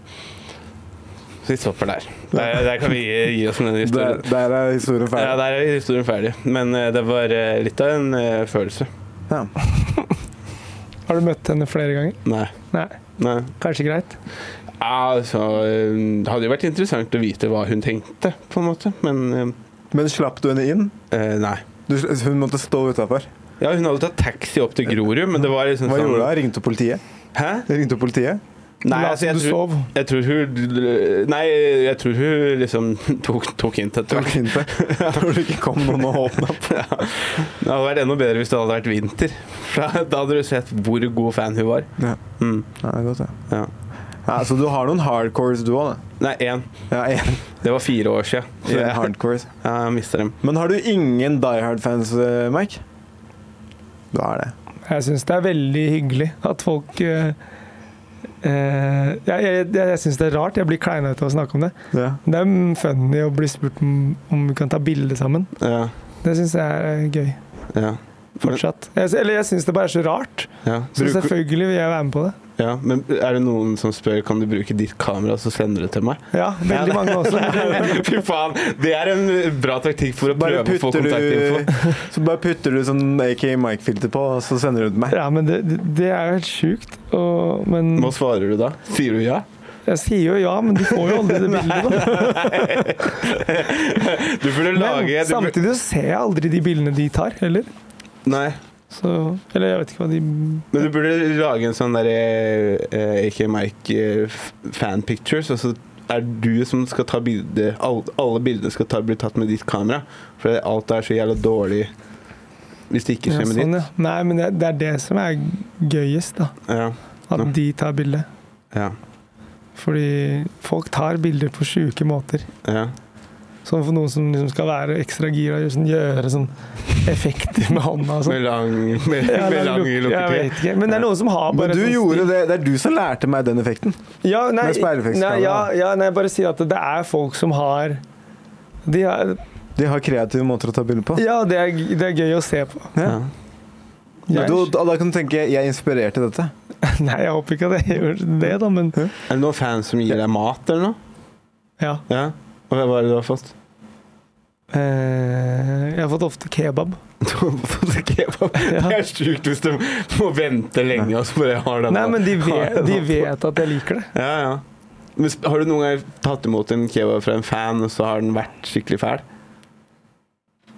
Speaker 3: Så vi stopper der. Der, der kan vi gi, gi oss med den
Speaker 2: Der,
Speaker 3: historien.
Speaker 2: der er historien
Speaker 3: Ja,
Speaker 2: ferdig.
Speaker 3: der er historien ferdig. Men eh, det var eh, litt av en eh, følelse.
Speaker 2: Ja.
Speaker 5: Har du møtt henne flere ganger?
Speaker 3: Nei.
Speaker 5: Nei,
Speaker 3: Nei.
Speaker 5: kanskje greit.
Speaker 3: Altså, eh, det hadde jo vært interessant å vite hva hun tenkte, på en måte, men
Speaker 2: Men slapp du henne inn?
Speaker 3: eh, eh, nei.
Speaker 2: Du, hun måtte stå utafor.
Speaker 3: Ja, hun hadde tatt taxi opp til Grorud, men det var liksom
Speaker 2: Hva
Speaker 3: sånn
Speaker 2: gjorde hun? Ringte politiet?
Speaker 3: Hæ?
Speaker 2: Ringte politiet?
Speaker 3: Nei,
Speaker 5: La
Speaker 3: altså, jeg
Speaker 5: som du
Speaker 3: tror,
Speaker 5: sov.
Speaker 3: jeg tror hun Nei, jeg tror hun liksom tok, tok inn til
Speaker 2: Tror
Speaker 3: etter hvert.
Speaker 2: ikke det. Tror du ikke kom noen og åpna opp?
Speaker 3: Ja. Det hadde vært enda bedre hvis det hadde vært vinter. For Da, da hadde du sett hvor god fan hun var.
Speaker 2: Ja.
Speaker 3: Mm.
Speaker 2: Ja, det er godt, ja.
Speaker 3: Ja.
Speaker 2: Ja, så du har noen hardcores, du òg?
Speaker 3: Nei, én.
Speaker 2: Ja, en,
Speaker 3: Det var fire år siden. Så
Speaker 2: en
Speaker 3: jeg,
Speaker 2: hardcores.
Speaker 3: jeg mista dem.
Speaker 2: Men har du ingen Die Hard-fans, eh, Mike? Du har det.
Speaker 5: Jeg syns det er veldig hyggelig at folk eh, eh, Jeg, jeg, jeg, jeg syns det er rart. Jeg blir kleina ut av å snakke om det.
Speaker 2: Ja.
Speaker 5: Det er mm, funny å bli spurt om, om vi kan ta bilde sammen.
Speaker 3: Ja.
Speaker 5: Det syns jeg er eh, gøy.
Speaker 3: Ja.
Speaker 5: Fortsatt. Jeg, eller jeg syns det bare er så rart.
Speaker 3: Ja.
Speaker 5: Så
Speaker 3: Bruker,
Speaker 5: selvfølgelig vil jeg være med på det.
Speaker 3: ja. Men er det noen som spør Kan du bruke ditt kamera, så sender du det til meg?
Speaker 5: Ja, veldig mange også.
Speaker 3: Fy faen! Det er en bra taktikk for å
Speaker 2: Bare
Speaker 3: prøve å få
Speaker 2: putter,
Speaker 3: kontaktinfo.
Speaker 2: du, så bare putter du sånn AK Mike-filter på, og så sender du det til meg.
Speaker 5: Ja, men det, det- det er jo helt sjukt. Og, men
Speaker 3: Hva svarer du da? Sier du ja?
Speaker 5: jeg sier jo ja, men du får jo aldri det bildet. da.
Speaker 3: Du burde lage
Speaker 5: Men
Speaker 3: du burde,
Speaker 5: samtidig så ser jeg aldri de bildene de tar, heller.
Speaker 3: Nei,
Speaker 5: Så, eller jeg vet ikke hva de
Speaker 3: men du burde lage en sånn derre eh, Ikke Mike eh, f- fan pictures, og så er du som skal ta bilde all, Alle bildene skal ta, bli tatt med ditt kamera, for alt er så jævla dårlig hvis det ikke
Speaker 5: ja,
Speaker 3: skjer med
Speaker 5: sånn, ja. Nei, men det, det er det som er gøyest, da.
Speaker 3: ditt. Ja,
Speaker 5: At
Speaker 3: Ja.
Speaker 5: de tar bilde.
Speaker 3: ja,
Speaker 5: Fordi folk tar bilder på sjuke måter.
Speaker 3: ja.
Speaker 5: Sånn for noen som liksom skal være ekstra gira og gjøre sånn, gjøre sånn effekter med hånda og sånn.
Speaker 3: Med lang, med,
Speaker 5: Ja, det
Speaker 3: med
Speaker 5: er
Speaker 3: lang
Speaker 5: luk- Jeg
Speaker 3: lukketid.
Speaker 5: vet ikke. Men det er noen som har
Speaker 2: Men
Speaker 5: bare
Speaker 2: du
Speaker 5: sånn
Speaker 2: gjorde det. Det er du som lærte meg den effekten.
Speaker 5: Ja, nei,
Speaker 2: Med speilreflekskamera.
Speaker 5: nei, ja, ja, nei, jeg bare sier at det er folk som har de er,
Speaker 2: De har kreative måter å ta bilde på.
Speaker 5: Ja, det er, det er gøy å se på.
Speaker 3: Ja.
Speaker 5: Jeg,
Speaker 2: Du, da, da kan du tenke jeg inspirerte dette.
Speaker 5: nei, jeg håper ikke at jeg gjør det, da, men
Speaker 3: Er det noen fans som gir deg mat eller noe?
Speaker 5: ja.
Speaker 3: Ja. Og hva er det du har fått?
Speaker 5: Eh, jeg har fått ofte kebab.
Speaker 3: Du har fått kebab. Det er sjukt hvis du må vente lenge og så bare har den.
Speaker 5: Nei, men de
Speaker 3: har
Speaker 5: vet,
Speaker 3: den
Speaker 5: de
Speaker 3: opp.
Speaker 5: vet at jeg liker det.
Speaker 3: Ja, ja. Men sp- har du noen gang tatt imot en kebab fra en fan, og så har den vært skikkelig fæl?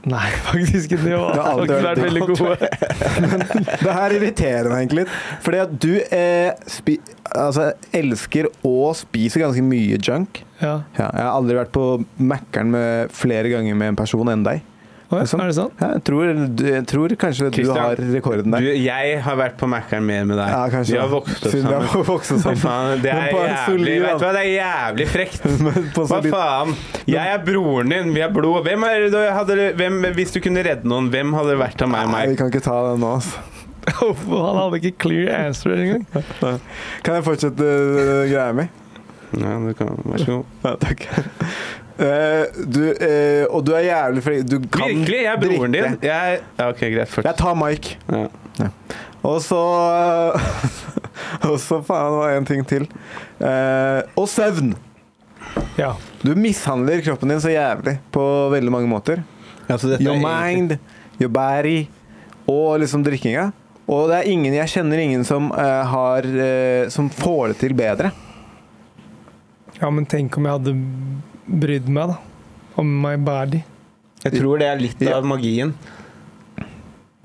Speaker 5: Nei, faktisk ikke. Det
Speaker 2: Det
Speaker 5: var
Speaker 2: har aldri
Speaker 5: faktisk
Speaker 2: vært
Speaker 5: vært veldig gode.
Speaker 2: Det her irriterer meg egentlig litt. Fordi at du eh, spi altså, elsker og spiser ganske mye junk.
Speaker 5: Ja.
Speaker 2: Ja, jeg har aldri vært på Mækkern med- flere ganger med en person enn deg.
Speaker 5: Å, ja.
Speaker 2: Det er sant.
Speaker 5: Er det sant?
Speaker 2: Ja, Jeg tror, du, jeg tror kanskje
Speaker 3: Christian,
Speaker 2: du har rekorden
Speaker 3: Du,
Speaker 2: der.
Speaker 3: jeg har vært på Mækkern mer med deg.
Speaker 2: ja, kanskje.
Speaker 3: Vi har vokst opp
Speaker 2: Siden vi har
Speaker 3: sammen.
Speaker 2: vokst opp
Speaker 3: Fy
Speaker 2: sammen.
Speaker 3: faen, det
Speaker 2: Men
Speaker 3: er
Speaker 2: på en
Speaker 3: jævlig
Speaker 2: solid-
Speaker 3: Vet du hva, det er jævlig frekt.
Speaker 2: Men på
Speaker 3: Hva
Speaker 2: solid-
Speaker 3: faen? Jeg er broren din, vi er blod. Hvem er det, du- hadde, du- hvem, hvis du kunne redde noen, hvem hadde det vært av meg og
Speaker 2: Nei, vi
Speaker 3: meg?
Speaker 2: kan ikke ta den nå, altså.
Speaker 5: Han hadde ikke clear answer engang.
Speaker 2: Kan jeg fortsette øh, greia mi?
Speaker 3: Ja, du kan, vær så god.
Speaker 2: Ja, takk. Eh, du, eh, og du er jævlig flink. Du kan
Speaker 3: Virkelig, jeg er broren din.
Speaker 2: drikke.
Speaker 3: Jeg, ja, ok, greit.
Speaker 2: Jeg
Speaker 3: Fortsett.
Speaker 2: tar Mike.
Speaker 3: Ja.
Speaker 2: Og så eh, Og så faen, det var en ting til. Eh, og søvn.
Speaker 5: Ja.
Speaker 2: Du mishandler kroppen din så jævlig på veldig mange måter. Your mind, your body og liksom drikkinga. Og det er ingen, jeg kjenner ingen som, eh, har, eh, som får det til bedre.
Speaker 5: ja, men tenk om jeg hadde brydd meg, da. Om my body.
Speaker 3: Jeg tror det er litt
Speaker 2: Ja.
Speaker 3: av magien.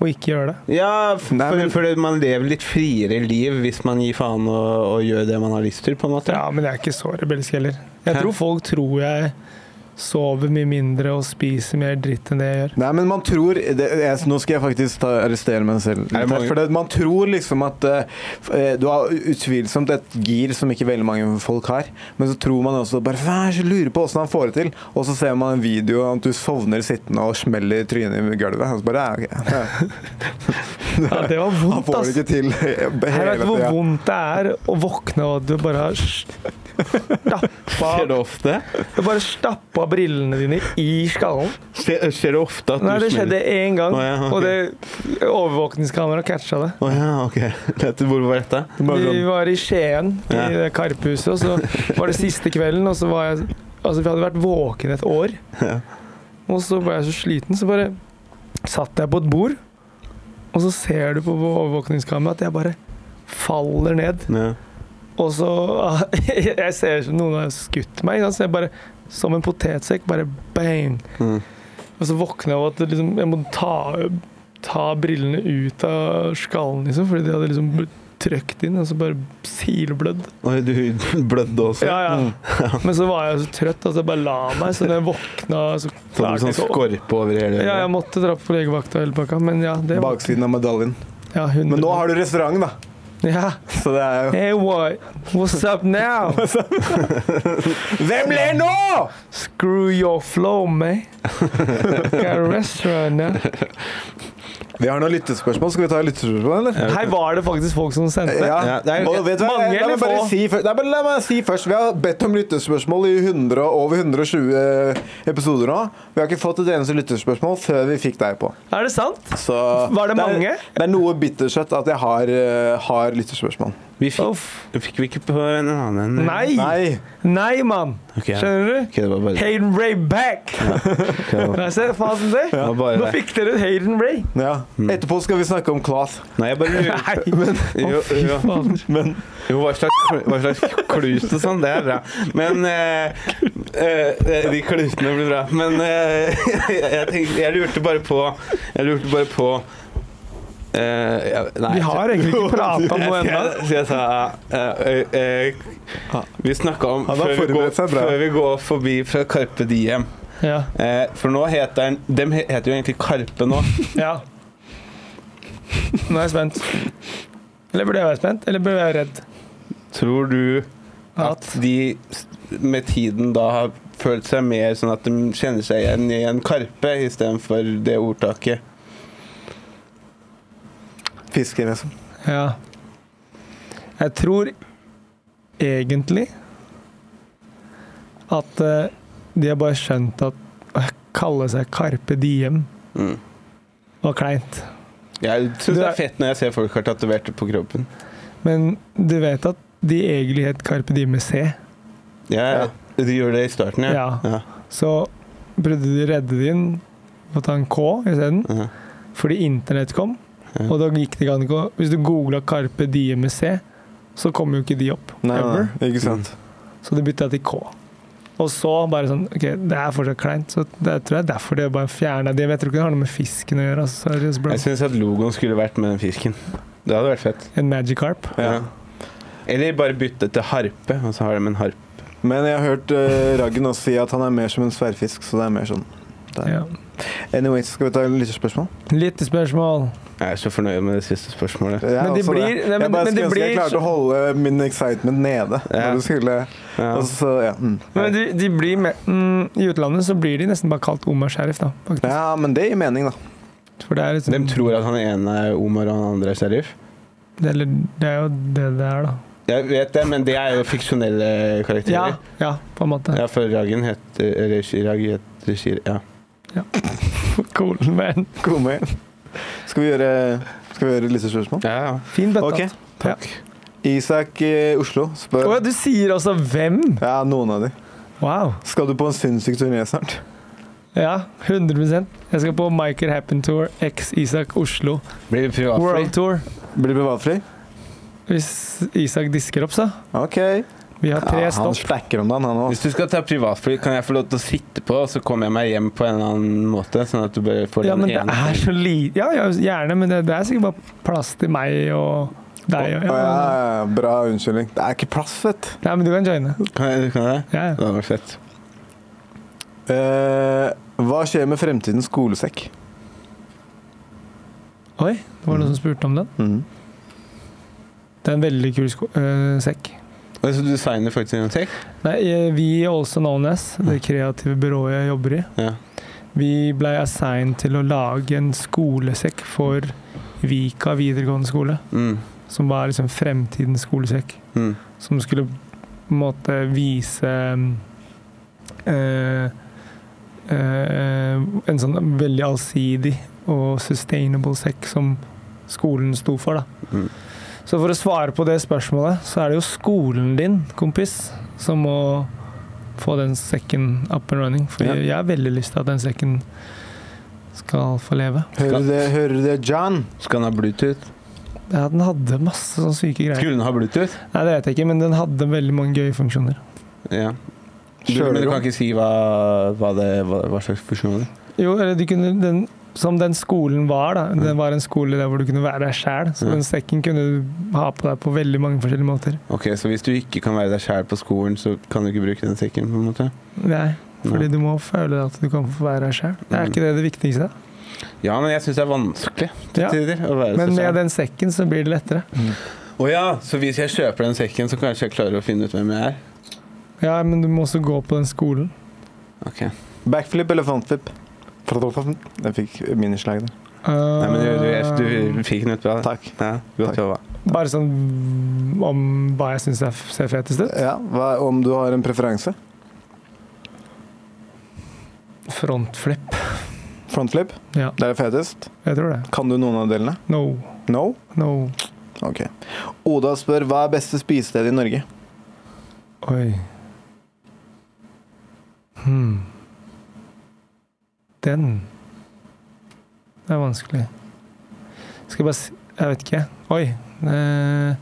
Speaker 5: Og ikke gjøre det.
Speaker 3: Ja, for,
Speaker 2: Nei, men-
Speaker 3: fordi man lever litt friere liv hvis man gir faen og, og gjør det man har lyst til, på en måte.
Speaker 5: Ja, men jeg er ikke så rebelsk heller.
Speaker 3: Hæ?
Speaker 5: Jeg tror folk tror jeg sover mye mindre og spiser mer dritt enn det jeg gjør.
Speaker 2: Nei, men man tror det, jeg, Nå skal jeg faktisk ta, arrestere meg selv.
Speaker 3: Er det mange-
Speaker 2: For det, man tror liksom at eh, f- eh, Du har utvilsomt et gir som ikke veldig mange folk har. Men så tror man også bare Vær så lurer på åssen han får det til. Og så ser man en video av at du sovner sittende og smeller trynet i gulvet. Og så bare, ja, ok.
Speaker 5: Ja, det var
Speaker 2: Han får
Speaker 5: vondt,
Speaker 2: det
Speaker 5: ass.
Speaker 2: ikke til
Speaker 5: Jeg vet
Speaker 2: hele
Speaker 5: hvor
Speaker 2: tida.
Speaker 5: vondt det er å våkne og at du bare har
Speaker 3: Skjer
Speaker 5: stappa,
Speaker 3: det ofte?
Speaker 5: du bare stappa brillene dine i skallen.
Speaker 3: Skjer, skjer det ofte at
Speaker 5: Nei,
Speaker 3: du
Speaker 5: det skjedde én gang,
Speaker 3: Å, ja, ok.
Speaker 5: og det overvåkningskameraet catcha det.
Speaker 3: Å ja, ok. Dette, hvor var dette?
Speaker 2: sånn
Speaker 5: Vi var i Skien, i
Speaker 3: sånn- Ja.
Speaker 5: det Karpehuset, og så var det siste kvelden, og så var jeg Altså, vi hadde vært våken et år,
Speaker 3: Ja.
Speaker 5: og så var jeg så sliten, så bare satt jeg på et bord, og så ser du på overvåkningskameraet at jeg bare faller ned.
Speaker 3: Ja.
Speaker 5: Og så Jeg ser ut som noen har skutt meg. ikke sant? Så jeg bare, som en potetsekk, bare bang.
Speaker 3: Mm.
Speaker 5: Og så våkner jeg av at det liksom, jeg må ta, ta brillene ut av skallen, liksom, fordi de hadde liksom blitt trøkt inn, og så bare silblødd.
Speaker 3: Oi, du blødde også?
Speaker 5: Ja, ja. Men så var jeg så trøtt at jeg bare la meg, så når jeg våkna så
Speaker 3: Så hadde du
Speaker 5: klarte jeg
Speaker 3: sånn
Speaker 5: ikke å-
Speaker 3: skorpe over hele
Speaker 5: Ja, jeg måtte dra på legevakta og hele pakka, men ja. Det var,
Speaker 2: Baksiden av medaljen.
Speaker 5: ja
Speaker 2: Men nå har du restaurant, da.
Speaker 5: Ja.
Speaker 2: Så det er jo
Speaker 5: Hey, what? What's up now?
Speaker 2: Hvem ler nå?!
Speaker 5: Screw your flow, man. Got a restaurant now.
Speaker 2: Vi har noen lyttespørsmål. Skal vi ta lyttespørsmål, eller?
Speaker 5: Her var det faktisk folk som sendte.
Speaker 2: Ja.
Speaker 3: Ja, det er-
Speaker 2: og vet du hva?
Speaker 5: Mange
Speaker 2: La
Speaker 5: eller
Speaker 2: meg bare
Speaker 5: få?
Speaker 2: si først, nei, men la meg si først Vi har bedt om lyttespørsmål i 100, og over 120 episoder nå. Vi har ikke fått et eneste lyttespørsmål før vi fikk deg på.
Speaker 5: Er det sant?
Speaker 2: Så
Speaker 5: Var det mange?
Speaker 2: Er, det er noe bittersøtt at jeg har, eh, har lyttespørsmål.
Speaker 3: Vi fikk,
Speaker 5: Uff.
Speaker 3: fikk vi ikke på en annen en?
Speaker 5: Nei!
Speaker 2: Nei.
Speaker 5: Nei, mann!
Speaker 3: Ok, ja.
Speaker 5: Skjønner du?
Speaker 3: Ok, det var bare
Speaker 5: Hayden Ray back!
Speaker 3: ok, det var-
Speaker 5: Nei, se faen som det.
Speaker 3: det var bare
Speaker 5: Nå
Speaker 3: det.
Speaker 5: fikk dere et Hayden Ray.
Speaker 2: Ja.
Speaker 5: Hmm.
Speaker 2: Etterpå skal vi snakke om Clath.
Speaker 3: Nei, jeg bare lurer
Speaker 5: Nei, men
Speaker 3: jo, jo,
Speaker 5: faen.
Speaker 3: jo, hva slags, hva slags klut og sånn, det er bra. Men eh, eh, De klutene blir bra. Men eh, jeg, tenkte, jeg lurte bare på Jeg lurte bare på eh, jeg- nei,
Speaker 5: Vi har egentlig ikke pratet om noe
Speaker 3: Jeg-
Speaker 5: ennå.
Speaker 3: jeg- Så jeg sa eh, eh, eh, Vi snakka om
Speaker 2: Han har
Speaker 3: før vi, går,
Speaker 2: forberedt seg bra.
Speaker 3: før vi går forbi fra Karpe Diem.
Speaker 5: Ja.
Speaker 3: Eh, for nå heter den De he- heter jo egentlig Karpe nå.
Speaker 5: ja. Nå er jeg spent. Eller burde jeg være spent? Eller burde jeg være redd?
Speaker 3: Tror du
Speaker 5: At
Speaker 3: de s- med tiden da har følt seg mer sånn at de kjenner seg igjen i en karpe istedenfor det ordtaket?
Speaker 2: Fisker, liksom.
Speaker 5: Ja. Jeg tror egentlig at eh, de har bare skjønt at å kalle seg Carpe Diem
Speaker 3: Mm.
Speaker 5: var kleint.
Speaker 3: Jeg
Speaker 5: Du
Speaker 3: syns det
Speaker 5: er-
Speaker 3: er fett når jeg ser folk har tatovert det på kroppen.
Speaker 5: Men du vet at de egentlig het Carpe Diem med C,
Speaker 3: Ja, ja. Du gjør det i starten, ja?
Speaker 5: Ja.
Speaker 3: ja.
Speaker 5: så prøvde de å redde det inn ved å ta en K isteden,
Speaker 3: ja.
Speaker 5: fordi internett kom.
Speaker 3: Ja.
Speaker 5: Og da gikk det ikke an å Hvis du googla Carpe Diem med C, så kom jo ikke de opp.
Speaker 2: Nei,
Speaker 5: ever.
Speaker 2: nei, ikke sant.
Speaker 5: Så det bytta jeg til K. Og så bare sånn OK, det er fortsatt kleint, så det jeg tror jeg er derfor de bare fjerna det. Men jeg tror ikke det har noe med fisken å gjøre. Altså, seriøst, bro.
Speaker 3: Jeg syns at logoen skulle vært med den fisken. Det hadde vært fett.
Speaker 5: En Magikarp.
Speaker 2: Ja.
Speaker 3: Eller bare bytte til harpe, og så har de en harp.
Speaker 5: Hmm.
Speaker 2: Men jeg har hørt eh, Raggen også si at han er mer som en sverrfisk, så det er mer sånn. Der.
Speaker 5: Ja.
Speaker 2: Anyways, skal vi ta litt spørsmål?
Speaker 5: Litt spørsmål.
Speaker 3: Jeg er så fornøyd med det siste spørsmålet.
Speaker 2: Jeg er
Speaker 5: Men de
Speaker 2: også
Speaker 5: blir- nei, men-
Speaker 2: altså jeg bare
Speaker 5: men de
Speaker 2: skulle ønske jeg
Speaker 5: blir
Speaker 2: klarte
Speaker 5: så-
Speaker 2: å holde min excitement nede.
Speaker 3: Ja.
Speaker 2: Når du skulle
Speaker 3: Ja.
Speaker 2: Og så, ja. Mm.
Speaker 5: Men de, de blir med, mm, I utlandet så blir de nesten bare kalt Omar Sheriff, da. Faktisk.
Speaker 2: ja, men det gir mening, da.
Speaker 5: For det er liksom
Speaker 3: De tror at han ene er Omar og han andre er Sharif.
Speaker 5: det, eller, det er jo det det er, da.
Speaker 3: Jeg vet det, men det er jo fiksjonelle
Speaker 5: Ja,
Speaker 3: karakterer.
Speaker 5: ja på en måte.
Speaker 3: Ja, for Ragen heter eller Chirag heter Chir... Ja.
Speaker 5: Cool, men
Speaker 2: Kom igjen. Skal vi gjøre, skal vi gjøre lyttespørsmål?
Speaker 3: ja, ja.
Speaker 5: fin altså. bøtta.
Speaker 2: Ok, takk. Isak i Oslo
Speaker 5: Å
Speaker 2: spør
Speaker 5: ja, du sier altså hvem?
Speaker 2: Ja, noen av de.
Speaker 5: Wow.
Speaker 2: Skal du på en sinnssyk turné snart?
Speaker 5: Ja, 100 Jeg skal på Michael Happen Tour X Isak Oslo
Speaker 3: Blir det
Speaker 5: World
Speaker 3: privatfly?
Speaker 5: Tour.
Speaker 2: Blir du privatfri?
Speaker 5: Hvis Isak disker opp, så.
Speaker 2: OK.
Speaker 5: Vi har tre
Speaker 2: Ja, han
Speaker 5: stopp.
Speaker 2: stacker om dagen, han òg.
Speaker 3: Hvis du skal ta privatfly, kan jeg få lov til å sitte på, og så kommer jeg meg hjem på en eller annen måte? Sånn at du bare får
Speaker 5: Ja, men
Speaker 3: den
Speaker 5: det
Speaker 3: ene
Speaker 5: er så lite Ja, ja, gjerne, men det, det er sikkert bare plass til meg og deg.
Speaker 2: Ja,
Speaker 5: Og, ja.
Speaker 2: ja, bra unnskyldning. Det er ikke plass, vet du.
Speaker 5: Nei, men du kan joine.
Speaker 3: Kan jeg, kan jeg det?
Speaker 5: Ja,
Speaker 3: Det
Speaker 5: ja.
Speaker 3: hadde vært fett.
Speaker 2: Eh, hva skjer med fremtidens skolesekk?
Speaker 5: Oi, det var noen som spurte om den.
Speaker 2: Mhm.
Speaker 5: Det er en veldig kul sko øh, sekk.
Speaker 3: Og Så du designer faktisk en sekk?
Speaker 5: Nei, eh, vi i Også Known As, det kreative byrået jeg jobber i,
Speaker 3: Ja.
Speaker 5: Vi ble assignet til å lage en skolesekk for Vika videregående skole,
Speaker 3: Mm.
Speaker 5: som var liksom fremtidens skolesekk.
Speaker 3: Mm.
Speaker 5: Som skulle på en måte vise eh, eh, en sånn veldig allsidig og sustainable sekk som skolen sto for. Da.
Speaker 3: Mm.
Speaker 5: Så for å svare på det spørsmålet, så er det jo skolen din, kompis, som må få den sekken up and running. For
Speaker 3: Ja.
Speaker 5: jeg, jeg har veldig lyst til at den sekken skal få leve.
Speaker 2: Hører du det, hører du det, John?
Speaker 3: Skal den ha Bluetooth?
Speaker 5: Ja, den hadde masse sånne syke greier.
Speaker 3: Skulle den ha Bluetooth?
Speaker 5: Nei, det vet jeg ikke, men den hadde veldig mange gøye funksjoner.
Speaker 3: Ja. Du,
Speaker 2: Kjører
Speaker 3: men du
Speaker 2: du?
Speaker 3: kan ikke si hva, hva, det, hva, hva slags funksjon det er?
Speaker 5: Jo, eller du kunne den, Som den skolen var, da.
Speaker 3: Mm.
Speaker 5: Den var en skole der hvor du kunne være deg sjæl. Så
Speaker 3: Ja.
Speaker 5: den sekken kunne du ha på deg på veldig mange forskjellige måter.
Speaker 3: Ok, Så hvis du ikke kan være deg sjæl på skolen, så kan du ikke bruke den sekken? på en måte?
Speaker 5: Nei,
Speaker 3: Nei.
Speaker 5: fordi du må føle at du kan få være deg sjæl. Er
Speaker 3: Mm.
Speaker 5: ikke det det viktigste?
Speaker 3: Ja, men jeg syns det er vanskelig til
Speaker 5: Ja.
Speaker 3: tider å være
Speaker 5: Men
Speaker 3: seg sjæl.
Speaker 5: med den sekken så blir det lettere.
Speaker 3: Å ja, så hvis jeg kjøper den sekken, så kanskje jeg klarer å finne ut hvem jeg er?
Speaker 5: Ja, men du må også gå på den skolen.
Speaker 3: Ok.
Speaker 2: Backflip eller frontflip? Jeg fikk minislag der.
Speaker 3: Nei, men du, du, du fikk den ut bra. da.
Speaker 2: Takk.
Speaker 3: Ja,
Speaker 2: Takk.
Speaker 3: godt jobba.
Speaker 5: Eh, Bare sånn om hva jeg syns ser fetest ut.
Speaker 2: Ja, hva, om du har en preferanse?
Speaker 5: Frontflip.
Speaker 2: Frontflip?
Speaker 5: Ja,
Speaker 2: Det er det fetest.
Speaker 5: jeg tror det.
Speaker 2: Kan du noen av delene?
Speaker 5: No.
Speaker 2: No?
Speaker 5: No.
Speaker 2: Ok. Oda spør hva er beste spisested i Norge?
Speaker 5: Oi. Hmm. Den Det er vanskelig. Skal jeg bare si Jeg vet ikke. Oi. Eh,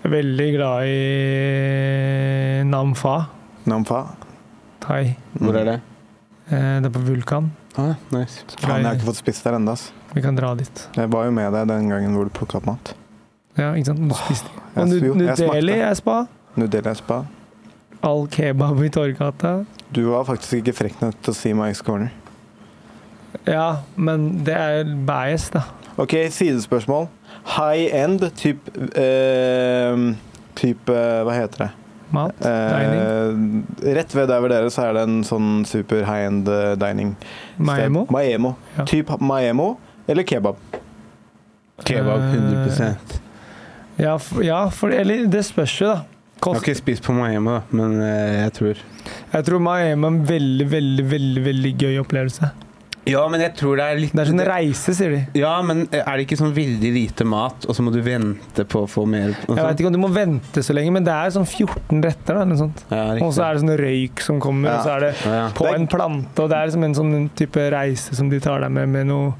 Speaker 5: jeg er veldig glad i Nam Pha
Speaker 2: Namfa?
Speaker 5: thai.
Speaker 2: Mm.
Speaker 3: Hvor er det?
Speaker 5: Eh, det er på Vulkan.
Speaker 3: Ah, nice.
Speaker 5: Så
Speaker 2: Faen, jeg har
Speaker 5: glad i-
Speaker 2: ikke fått spist der ennå. ass.
Speaker 5: Vi kan dra dit.
Speaker 2: Jeg var jo med deg den gangen hvor du plukka opp mat.
Speaker 5: Ja, ikke sant? Du spiste Og
Speaker 2: Jeg-
Speaker 5: Nu-
Speaker 2: jo, jeg
Speaker 5: Nudeli
Speaker 2: smakte.
Speaker 5: er spa.
Speaker 2: Nudeli er spa.
Speaker 5: All kebab i Torgata.
Speaker 2: Du var faktisk ikke frekk nok til å si Mike's Corner.
Speaker 5: Ja, men det er bias, da.
Speaker 2: Ok, sidespørsmål. High end, typ eh, Typ eh, Hva heter det?
Speaker 5: Mat. Dining.
Speaker 2: Eh, rett ved der hvor dere så er det en sånn super high end eh, dining.
Speaker 5: Maemo.
Speaker 2: Sted. Maemo.
Speaker 5: Ja.
Speaker 2: Typ Maemo eller kebab.
Speaker 3: Kebab 100
Speaker 5: Eh,
Speaker 3: Jeg
Speaker 5: Ja, f- ja for, eller det spørs jo, da.
Speaker 3: har
Speaker 5: Kost.
Speaker 3: ikke spist på Miami, da, men eh, jeg tror
Speaker 5: Jeg tror Miami er en veldig, veldig, veldig veldig gøy opplevelse.
Speaker 3: Ja, men jeg tror det er litt
Speaker 5: Det er sånn reise, sier de.
Speaker 3: Ja, men er det ikke sånn veldig lite mat, og så må du vente på å få mer? og
Speaker 5: Jeg
Speaker 3: sånn?
Speaker 5: vet ikke om du må vente så lenge, men det er sånn 14 retter, da, eller noe sånt.
Speaker 3: Ja, riktig.
Speaker 5: Og så er det sånn røyk som kommer,
Speaker 2: Ja.
Speaker 5: og så er det
Speaker 3: ja, ja.
Speaker 5: på
Speaker 2: Det er-
Speaker 5: en plante, og det er liksom en sånn type reise som de tar deg med, med noe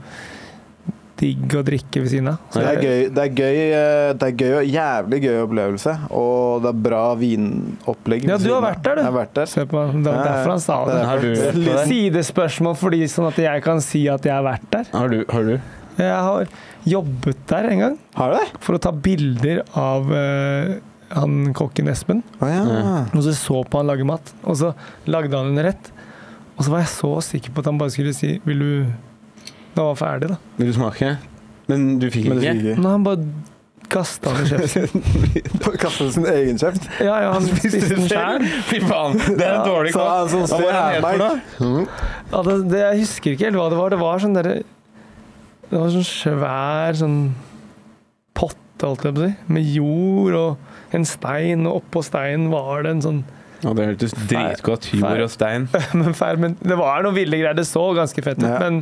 Speaker 5: digg å drikke ved siden av. Så
Speaker 2: Det er gøy, det er gøy, eh, det er gøy og jævlig gøy opplevelse. Og det er bra vinopplegg.
Speaker 5: Ja,
Speaker 2: ved
Speaker 5: du har
Speaker 2: siden av.
Speaker 5: vært der, du.
Speaker 2: Jeg har vært der.
Speaker 5: Se på, det var derfor han sa
Speaker 2: Det
Speaker 5: det.
Speaker 2: er
Speaker 3: Har du
Speaker 2: derfor.
Speaker 3: vært der?
Speaker 5: Sidespørsmål fordi sånn at jeg kan si at jeg har vært der.
Speaker 3: Har du? Har du?
Speaker 5: Jeg har jobbet der en gang
Speaker 2: Har du det?
Speaker 5: for å ta bilder av eh, han kokken Espen.
Speaker 2: Å ja.
Speaker 5: Og så så på han lage mat, og så lagde han en rett. Og så var jeg så sikker på at han bare skulle si 'vil du' Da var han ferdig, da.
Speaker 3: Vil du smake? Men du fikk
Speaker 2: Men det
Speaker 3: ikke?
Speaker 2: fikk ikke.
Speaker 5: Men han bare kasta den i kjeften.
Speaker 2: Kastet sin egen kjeft.
Speaker 5: Ja, ja, han spiste den sjøl.
Speaker 3: Fy faen, det er en dårlig
Speaker 2: Så
Speaker 3: kopp.
Speaker 2: han sånn som
Speaker 3: Hva
Speaker 2: ser
Speaker 3: var han
Speaker 2: her,
Speaker 3: het for
Speaker 2: Mike.
Speaker 3: noe?
Speaker 5: Ja, det, det, jeg husker ikke helt hva det var. Det var sånn derre Det var sånn svær sånn potte, holdt jeg på å si, med jord og en stein, og oppå steinen var det en sånn
Speaker 3: Å, det hørtes dritgodt jord og stein.
Speaker 5: men, fair, men Det var noe ville greier. Det så ganske fett ut,
Speaker 2: Ja.
Speaker 5: men,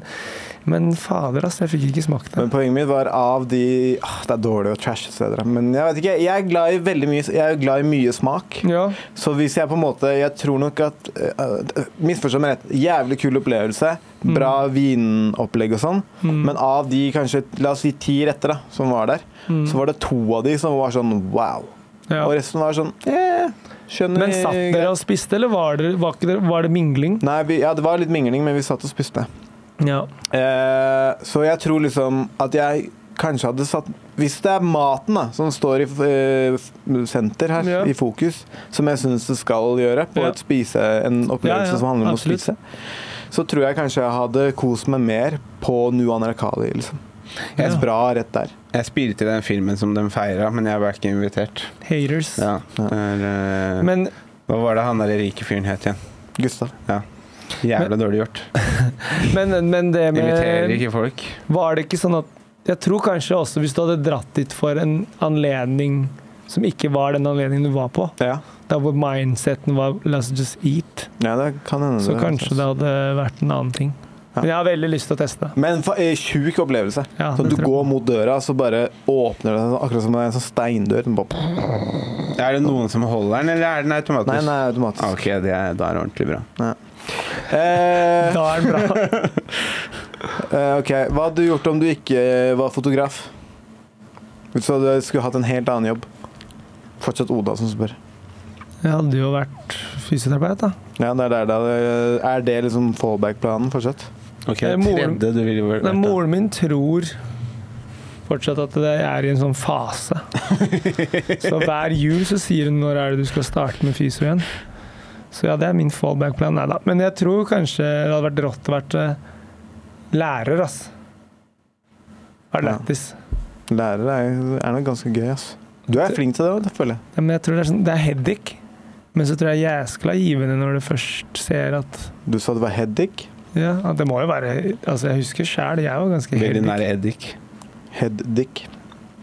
Speaker 5: men fader, altså. Jeg fikk ikke smakt det.
Speaker 2: Men poenget mitt var av de ah, Det er dårlig å trashe steder, men jeg vet ikke. Jeg er glad i veldig mye Jeg er glad i mye smak.
Speaker 5: Ja.
Speaker 2: Så hvis jeg på en måte Jeg tror nok at uh, Misforstå meg rett. Jævlig kul opplevelse.
Speaker 5: Mm.
Speaker 2: Bra vinopplegg og sånn. Men av de kanskje La oss si ti retter da som var der, så var det to av de som var sånn wow.
Speaker 5: Mm. ja.
Speaker 2: Og resten var sånn eh, Skjønner
Speaker 5: Men satt dere og spiste, eller var, dere, var, ikke dere, var det mingling?
Speaker 2: Nei, vi, ja, det var litt mingling, men vi satt og spiste.
Speaker 5: Ja.
Speaker 2: Eh, så jeg tror liksom at jeg kanskje hadde satt Hvis det er maten da, som står i eh, f- senter her,
Speaker 5: Ja.
Speaker 2: i fokus, som jeg syns det skal gjøre på
Speaker 5: Ja.
Speaker 2: et spise, en opplevelse
Speaker 5: Ja, ja,
Speaker 2: som handler om
Speaker 5: absolutt.
Speaker 2: å spise, så tror jeg kanskje jeg hadde kost meg mer på Nuan Rakali. Liksom. Et
Speaker 5: Ja.
Speaker 2: bra rett der.
Speaker 3: Jeg spirte i den filmen som de feira, men jeg var ikke invitert.
Speaker 5: Haters.
Speaker 3: Ja. Er, eh,
Speaker 5: Men
Speaker 3: hva var det han der rike fyren het igjen?
Speaker 2: Gustav.
Speaker 3: Jævla dårlig gjort.
Speaker 5: Men, men det
Speaker 3: Inviterer
Speaker 5: med
Speaker 3: ikke folk.
Speaker 5: Var det ikke sånn at Jeg tror kanskje også hvis du hadde dratt dit for en anledning som ikke var den anledningen du var på,
Speaker 2: Ja,
Speaker 5: der hvor mindseten var 'let's just eat',
Speaker 2: ja det kan hende.
Speaker 5: så
Speaker 2: det,
Speaker 5: kanskje det hadde vært en annen ting.
Speaker 2: Ja.
Speaker 5: Men jeg har veldig lyst til å teste.
Speaker 2: Men fa- eh, sjuk opplevelse.
Speaker 5: Ja,
Speaker 2: Sånn, du
Speaker 5: det tror jeg.
Speaker 2: går mot døra, så bare åpner det seg, akkurat som en sånn steindør. Den bare,
Speaker 3: Er det noen som holder den, eller er den automatisk?
Speaker 2: nei, nei,
Speaker 3: Ah,
Speaker 2: automatisk.
Speaker 3: Ok, det er, da er det ordentlig bra.
Speaker 2: Eh,
Speaker 5: Da er den bra.
Speaker 2: Eh, ok, Hva hadde du gjort om du ikke eh, var fotograf? Så du skulle hatt en helt annen jobb? Fortsatt Oda som spør.
Speaker 5: Jeg hadde jo vært fysioterapeut, da.
Speaker 2: Ja, det Er der, det er- er det liksom fallback-planen fortsatt?
Speaker 3: Ok,
Speaker 5: Eh, moren-
Speaker 3: tredje du ville vært
Speaker 5: Men
Speaker 3: da.
Speaker 5: moren min tror fortsatt at det er i en sånn fase. Så hver jul så sier hun 'når er det du skal starte med fysio igjen'? Så ja, det er min fallback-plan. Nei da. Men jeg tror kanskje det hadde vært rått å være eh, lærer, ass. Er det
Speaker 2: Ja.
Speaker 5: lættis.
Speaker 2: Lærer er, er nok ganske gøy, ass. Du er flink til det, også, det føler jeg.
Speaker 5: Ja, men jeg tror det er sånn Det er headache. Men så tror jeg jæskla givende når du først ser at
Speaker 2: Du sa det var headache.
Speaker 5: Ja, at det må jo være Altså, jeg husker sjæl, jeg var ganske
Speaker 3: Veldig
Speaker 5: heldig.
Speaker 3: nær eddik.
Speaker 2: Headdick.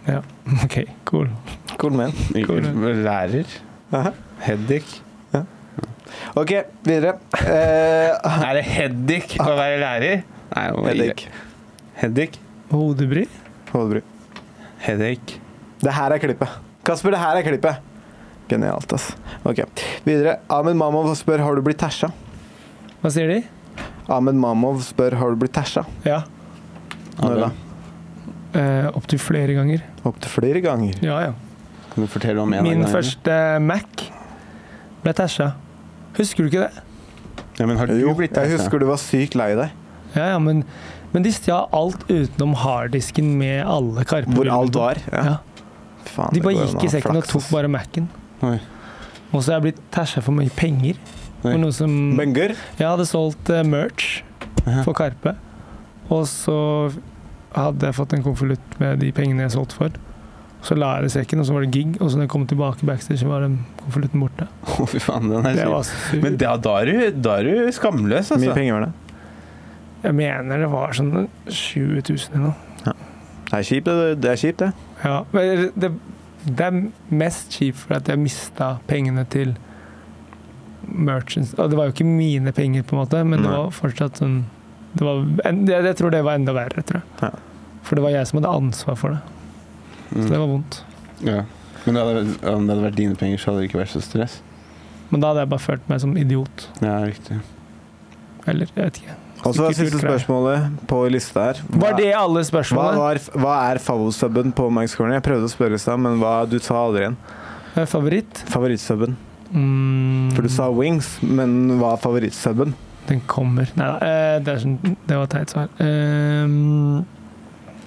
Speaker 5: OK, cool.
Speaker 2: Cool man.
Speaker 5: Cool.
Speaker 3: Lærer.
Speaker 2: Aha.
Speaker 3: Heddik.
Speaker 2: OK, videre. Eh,
Speaker 5: Ah.
Speaker 3: Er det heddik å være lærer? Nei, jeg må gi det.
Speaker 2: headache.
Speaker 3: Heddik.
Speaker 5: Hodebry?
Speaker 2: Hodebry.
Speaker 3: Heddik.
Speaker 2: Det her er klippet. Kasper, det her er klippet. Genialt, ass. Ok, Videre. Ahmed Mamov spør har du blitt tæsja.
Speaker 5: Hva sier de?
Speaker 2: Ahmed Mamov spør har du blitt tæsja.
Speaker 5: Ja.
Speaker 2: Når da?
Speaker 5: Eh, Opptil flere ganger.
Speaker 2: Opptil flere ganger.
Speaker 5: Ja, ja.
Speaker 3: Kan du fortelle om en av
Speaker 5: Min
Speaker 3: gangene?
Speaker 5: første Mac ble tasha. Husker du ikke det?
Speaker 3: Ja, men har du
Speaker 2: Jo,
Speaker 3: blitt
Speaker 2: jeg husker du var sykt lei deg.
Speaker 5: Ja, ja, men, men de stjal alt utenom harddisken med alle karpe
Speaker 2: Hvor alt var. Ja.
Speaker 5: Ja.
Speaker 2: Faen,
Speaker 5: De
Speaker 2: det
Speaker 5: bare
Speaker 2: går an å
Speaker 5: gikk
Speaker 2: ha
Speaker 5: i sekken og
Speaker 2: flaks,
Speaker 5: tok
Speaker 2: ass.
Speaker 5: bare Mac-en.
Speaker 3: Oi.
Speaker 5: Og så er jeg blitt tasha for mye penger. For
Speaker 3: Oi.
Speaker 5: noe som
Speaker 2: Benger?
Speaker 5: Jeg hadde solgt eh, merch
Speaker 3: Ja.
Speaker 5: for Karpe. Og så hadde jeg fått en konvolutt med de pengene jeg solgte for. Så la jeg det i sekken, og så var det gig. Og så når jeg kom tilbake backstage, så var den konvolutten borte.
Speaker 3: Å, fy faen, den er
Speaker 5: Det
Speaker 3: syk.
Speaker 5: var surt.
Speaker 3: Men da, da, er du, da er du skamløs,
Speaker 2: Hvor mye
Speaker 3: altså.
Speaker 2: penger var det?
Speaker 5: Jeg mener det var sånn 20 000 eller noe.
Speaker 2: Det er kjipt, det. det, er kjipt, det.
Speaker 5: Ja, men det, det er mest kjipt for at jeg mista pengene til merchants. Og det var jo ikke mine penger, på en måte, men det
Speaker 2: Nei.
Speaker 5: var fortsatt sånn det var, en- jeg, jeg tror det var enda verre, tror jeg.
Speaker 2: Ja.
Speaker 5: For det var jeg som hadde ansvar for det. Så det
Speaker 3: Mm.
Speaker 5: var vondt.
Speaker 3: Ja. Men det hadde, om det hadde vært dine penger, så hadde det ikke vært så stress.
Speaker 5: Men da hadde jeg bare følt meg som idiot.
Speaker 3: Ja, riktig.
Speaker 5: Eller jeg vet ikke.
Speaker 2: Og så var
Speaker 5: Ikke kult
Speaker 2: siste
Speaker 5: greier.
Speaker 2: spørsmålet på lista her.
Speaker 5: Var det alle
Speaker 2: hva,
Speaker 5: spørsmålene?
Speaker 2: var, hva er favorittsubben på Mike's Corner? Jeg prøvde å spørre i stad, men hva, du sa aldri en.
Speaker 5: Eh, Favoritt?
Speaker 2: Favorittsubben.
Speaker 5: Mm,
Speaker 2: For du sa wings, men hva er favorittsubben?
Speaker 5: Den kommer. Nei da. eh, Det, er sånn, det var teit svar. Ehm,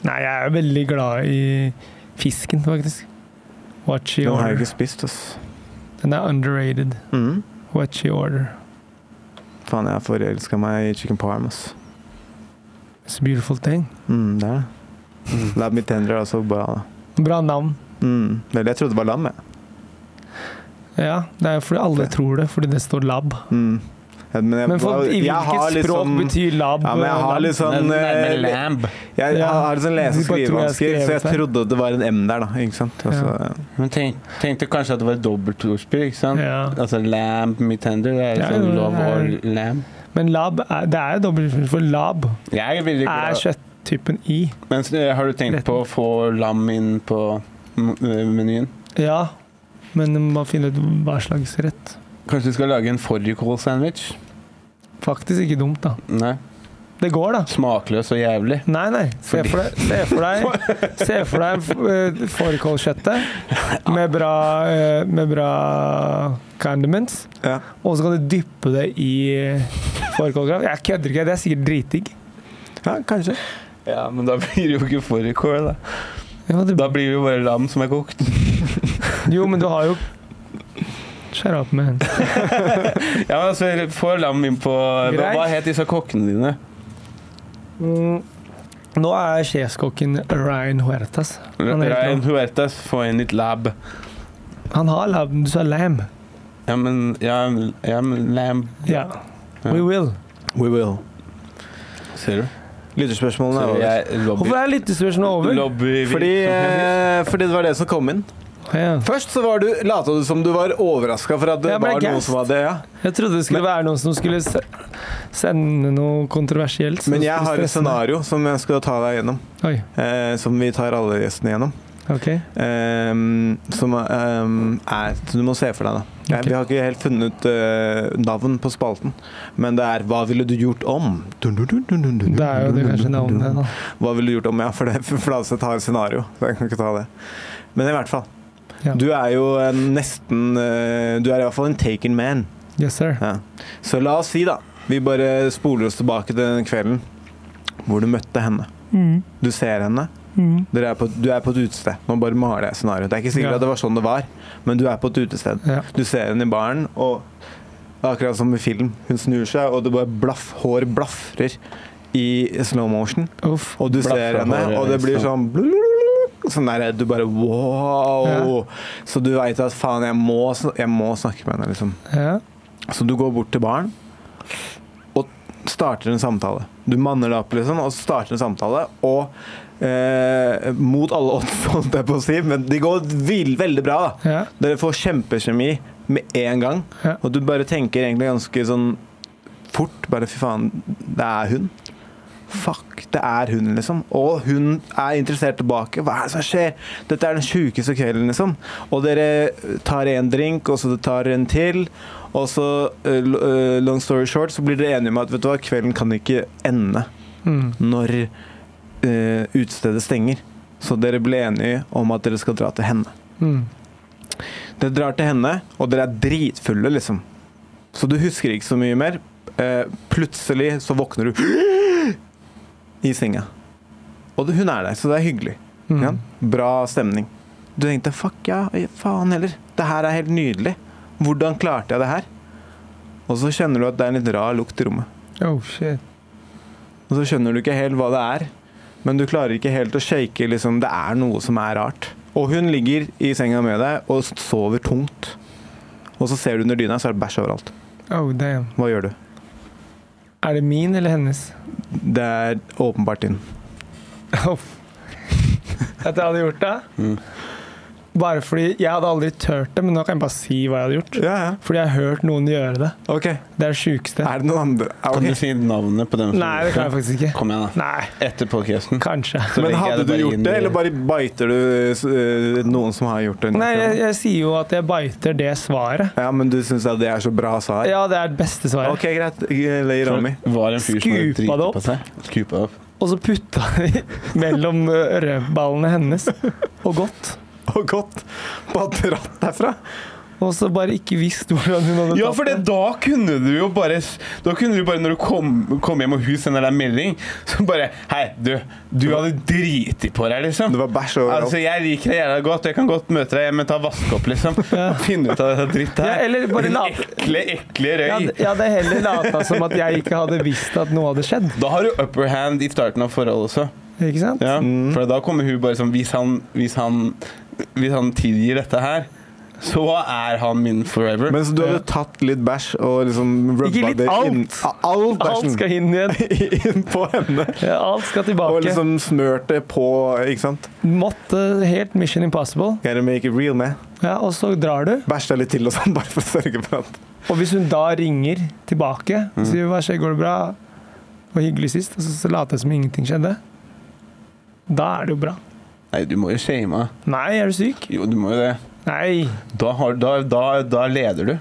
Speaker 5: nei, jeg er veldig glad i fisken, faktisk. Watch
Speaker 2: Den
Speaker 5: your
Speaker 2: har jeg
Speaker 5: order.
Speaker 2: ikke spist, ass.
Speaker 5: Den er underrated.
Speaker 2: Mm.
Speaker 5: Watch your order.
Speaker 2: Faen, jeg forelska meg i chicken parm, ass.
Speaker 5: It's a beautiful thing.
Speaker 2: Mm, det er det.
Speaker 5: Mm.
Speaker 2: Lab me tender er også bra, da.
Speaker 5: Bra navn.
Speaker 2: Mm. Vel, jeg trodde det var lam, jeg.
Speaker 5: Ja, det er jo fordi alle
Speaker 2: Det-
Speaker 5: tror det, fordi det står lab.
Speaker 2: Mm. Ja, men jeg,
Speaker 5: Men for, i
Speaker 2: jeg har
Speaker 5: hvilket
Speaker 2: litt
Speaker 5: språk
Speaker 2: sånn-
Speaker 5: betyr lab?
Speaker 2: Ja, men jeg har
Speaker 5: lab?
Speaker 2: litt sånn eh,
Speaker 3: Nærmere
Speaker 2: le-
Speaker 3: lamb.
Speaker 2: Jeg, jeg
Speaker 5: Ja.
Speaker 2: har litt sånn lese- og
Speaker 5: Du bare tror jeg har
Speaker 2: skrivevansker, så jeg
Speaker 5: skrevet det.
Speaker 2: trodde det var en M der, da. Ikke sant? Altså,
Speaker 3: Hun tenk, tenkte kanskje at det var et dobbelt ordspill, ikke sant?
Speaker 2: sånn-
Speaker 5: Ja.
Speaker 3: Altså lamb me tender, det er
Speaker 5: Ja,
Speaker 3: sånn
Speaker 5: jo,
Speaker 3: love
Speaker 5: det
Speaker 3: or
Speaker 5: er-
Speaker 3: lamb.
Speaker 5: Men lab er, det er jo dobbeltfunksjon, for lab
Speaker 3: Jeg er veldig
Speaker 5: er
Speaker 3: glad.
Speaker 5: kjøtttypen i.
Speaker 3: Men eh, har du tenkt på å få lam inn på m- eh, menyen?
Speaker 5: Ja, men man må finne ut hva slags rett.
Speaker 3: Kanskje du skal lage en fårikål-sandwich?
Speaker 5: Faktisk ikke dumt, da.
Speaker 3: Nei.
Speaker 5: Det går, da.
Speaker 3: Smakløs og jævlig.
Speaker 5: Nei, nei. Se for deg, se for deg, se for deg eh, fårikålkjøttet med bra, eh, med bra condiments.
Speaker 2: Ja.
Speaker 5: Og så kan du dyppe det i fårikålkraft. Jeg kødder ikke, det er sikkert dritdigg.
Speaker 2: ja, kanskje.
Speaker 3: Ja, men da blir det jo ikke fårikål, da.
Speaker 5: Ja, det-
Speaker 3: Da blir det jo bare lam som er kokt.
Speaker 5: Jo, men du har jo Skjær opp med en.
Speaker 3: Ja, men altså, få lam inn på Hva,
Speaker 5: Greit.
Speaker 3: hva het disse kokkene dine?
Speaker 5: Mm. Nå er sjefskokken Ryan Huertas. Han er helt
Speaker 3: Rein
Speaker 5: lam.
Speaker 3: Huertas, få inn litt lab.
Speaker 5: Han har labben, du sa lam.
Speaker 3: Ja, men Ja, ja men lam.
Speaker 5: Ja.
Speaker 3: Ja.
Speaker 5: We will.
Speaker 2: We will.
Speaker 3: Ser du?
Speaker 2: Lytterspørsmålene er over.
Speaker 3: jeg lobby.
Speaker 5: Hvorfor er lyttespørsmålet over?
Speaker 3: Lobby
Speaker 2: Fordi, eh, fordi det var det som kom inn.
Speaker 5: Ja.
Speaker 2: Først så var du, lata du som du var overraska for at det
Speaker 5: Jeg ble
Speaker 2: var noen
Speaker 5: gassed.
Speaker 2: som var det. Ja.
Speaker 5: Jeg trodde det skulle være noen som skulle se sende noe kontroversielt. som
Speaker 2: Men
Speaker 5: skulle
Speaker 2: jeg har et
Speaker 5: stresse meg.
Speaker 2: scenario som jeg skal ta deg gjennom.
Speaker 5: Oi,
Speaker 2: Eh, som vi tar alle gjestene gjennom.
Speaker 5: ok.
Speaker 2: Eh, som eh, er Så du må se for deg, da. Jeg,
Speaker 5: Ok.
Speaker 2: vi har ikke helt funnet eh, navn på spalten, men det er 'Hva ville du gjort om?' Dun, dun, dun, dun, dun, dun,
Speaker 5: Det er jo det
Speaker 2: dun,
Speaker 5: kanskje
Speaker 2: dun, dun,
Speaker 5: navnet,
Speaker 2: dun.
Speaker 5: da.
Speaker 2: Hva ville du gjort om? Ja, for det for Fladseth har et scenario. Så jeg kan ikke ta det. Men i hvert fall.
Speaker 5: Ja.
Speaker 2: Du er jo en nesten eh, Du er i hvert fall en taken man.
Speaker 5: Yes, sir.
Speaker 2: Ja. Så la oss si, da. Vi bare spoler oss tilbake til den kvelden hvor du møtte henne.
Speaker 5: Mm.
Speaker 2: Du ser henne.
Speaker 5: Mm.
Speaker 2: Dere er på, du er på et utested. Nå bare maler jeg scenarioet. Det er ikke sikkert
Speaker 5: Ja.
Speaker 2: at det var sånn det var, men du er på et utested.
Speaker 5: Ja.
Speaker 2: Du ser henne i baren, og akkurat som i film, hun snur seg, og det bare blaff, hår blafrer i slow motion.
Speaker 5: Uff.
Speaker 2: Og du
Speaker 3: Blaff
Speaker 2: ser
Speaker 3: fra
Speaker 2: henne,
Speaker 3: håret,
Speaker 2: og det blir sånn
Speaker 3: liksom.
Speaker 2: blulululul, Sånn der, Du bare wow! Så du veit at faen, jeg må, sn- jeg må snakke med henne, liksom.
Speaker 5: Ja.
Speaker 2: Så du går bort til baren og starter en samtale. Du manner deg opp, liksom, og starter en samtale. Og eh, mot alle odds, holdt jeg på å si, men det går vil, veldig bra, da.
Speaker 5: Ja.
Speaker 2: Dere får kjempekjemi med en gang.
Speaker 5: Ja.
Speaker 2: Og du bare tenker egentlig ganske sånn fort Bare fy faen, det er hun. Fuck, det er hun, liksom. Og hun er interessert tilbake. Hva er det som skjer? Dette er den sjukeste kvelden, liksom. Og dere eh, tar en drink, og så tar dere en til. Og så, eh, l- eh, long story short, så blir dere enige om at vet du hva, kvelden kan ikke ende
Speaker 5: Mm.
Speaker 2: når eh, utestedet stenger. Så dere ble enige om at dere skal dra til henne.
Speaker 5: Mm.
Speaker 2: Dere drar til henne, og dere er dritfulle, liksom. Så du husker ikke så mye mer. Eh, plutselig så våkner du i senga. Og det- hun er der, så det er hyggelig.
Speaker 5: Mm.
Speaker 2: Ja? Bra stemning. Du tenkte 'fuck ja, faen heller'. Det her er helt nydelig. Hvordan klarte jeg det her? Og så kjenner du at det er en litt rar lukt i rommet.
Speaker 5: Oh, shit.
Speaker 2: Og så skjønner du ikke helt hva det er, men du klarer ikke helt å shake liksom, det er noe som er rart. Og hun ligger i senga med deg og sover tungt. Og så ser du under dyna, så er det bæsj overalt.
Speaker 5: Oh, damn.
Speaker 2: Hva gjør du?
Speaker 5: Er det min eller hennes?
Speaker 2: Det er åpenbart din. Mm.
Speaker 5: Uff. At jeg hadde gjort det? Bare fordi Jeg hadde aldri turt det, men nå kan jeg bare si hva jeg hadde gjort.
Speaker 2: Ja, ja.
Speaker 5: Fordi jeg har hørt noen gjøre det.
Speaker 2: Ok.
Speaker 5: Det er det sjukeste.
Speaker 2: Er det noen andre Ja, ok.
Speaker 3: Kan du si navnet på den? som
Speaker 5: Nei, det kan jeg faktisk ikke.
Speaker 3: Kom igjen, da.
Speaker 5: Nei,
Speaker 3: Etter podcasten.
Speaker 5: kanskje.
Speaker 3: Så
Speaker 2: Men
Speaker 3: legger jeg
Speaker 2: hadde du
Speaker 3: det bare
Speaker 2: gjort
Speaker 3: inn
Speaker 2: det,
Speaker 3: i-
Speaker 2: eller bare biter du eh, noen som har gjort det?
Speaker 5: Nei, jeg, jeg sier jo at jeg biter det svaret.
Speaker 2: Ja, men du syns det er så bra svar?
Speaker 5: Ja, det er det beste svaret.
Speaker 2: Ok, greit. Lei Rami.
Speaker 3: Var en fyr som hadde
Speaker 5: Skupa
Speaker 3: driti
Speaker 5: det opp.
Speaker 3: på seg. Skupa det opp.
Speaker 5: Og så putta de mellom eh, rødballene hennes og godt.
Speaker 2: Og godt. Bare dratt derfra.
Speaker 5: Og så bare ikke visst hvordan hun hadde
Speaker 3: Ja, for det, da kunne du jo bare Da kunne du bare, når du kom, kom hjem og hun sender deg en melding, så bare Hei, du, du hadde driti på deg, liksom.
Speaker 2: Det var bæsj overalt.
Speaker 3: Altså, Jeg liker deg jævla godt, og jeg kan godt møte deg hjemme, ta og vaske opp, liksom. Og finne ut av dette drittet
Speaker 5: Ja,
Speaker 3: her.
Speaker 5: eller bare
Speaker 3: Din
Speaker 5: late-
Speaker 3: ekle, ekle røy.
Speaker 5: Jeg hadde, jeg hadde heller lata som at jeg ikke hadde visst at noe hadde skjedd.
Speaker 3: Da har du upper hand i starten av forholdet også.
Speaker 5: Ikke sant?
Speaker 3: Ja, For da kommer hun bare som hvis han, hvis, han, hvis han tilgir dette her, så er han min forever.
Speaker 2: Men så du hadde tatt litt bæsj og liksom rubba
Speaker 5: Ikke litt,
Speaker 2: det inn
Speaker 5: alt.
Speaker 2: Ja, All
Speaker 5: Alt
Speaker 2: bæsjen
Speaker 5: skal inn igjen.
Speaker 2: inn på henne.
Speaker 5: Ja, alt skal
Speaker 2: Og
Speaker 5: tilbake.
Speaker 2: liksom smørt det på, ikke sant?
Speaker 5: Måtte helt Mission Impossible.
Speaker 2: Gotta make it real, man.
Speaker 5: Ja, og så drar du.
Speaker 2: Bæsj deg litt til og sånn, bare for å sørge for at
Speaker 5: Og hvis hun da ringer tilbake og sier 'hva skjer, går det bra', og 'hyggelig sist', og så, så later jeg som ingenting skjedde, da er det jo bra.
Speaker 3: Nei, du må jo shame henne.
Speaker 5: Nei, er du syk?
Speaker 3: Jo, du må jo det.
Speaker 5: Nei.
Speaker 3: Da, har, da, da, da leder du.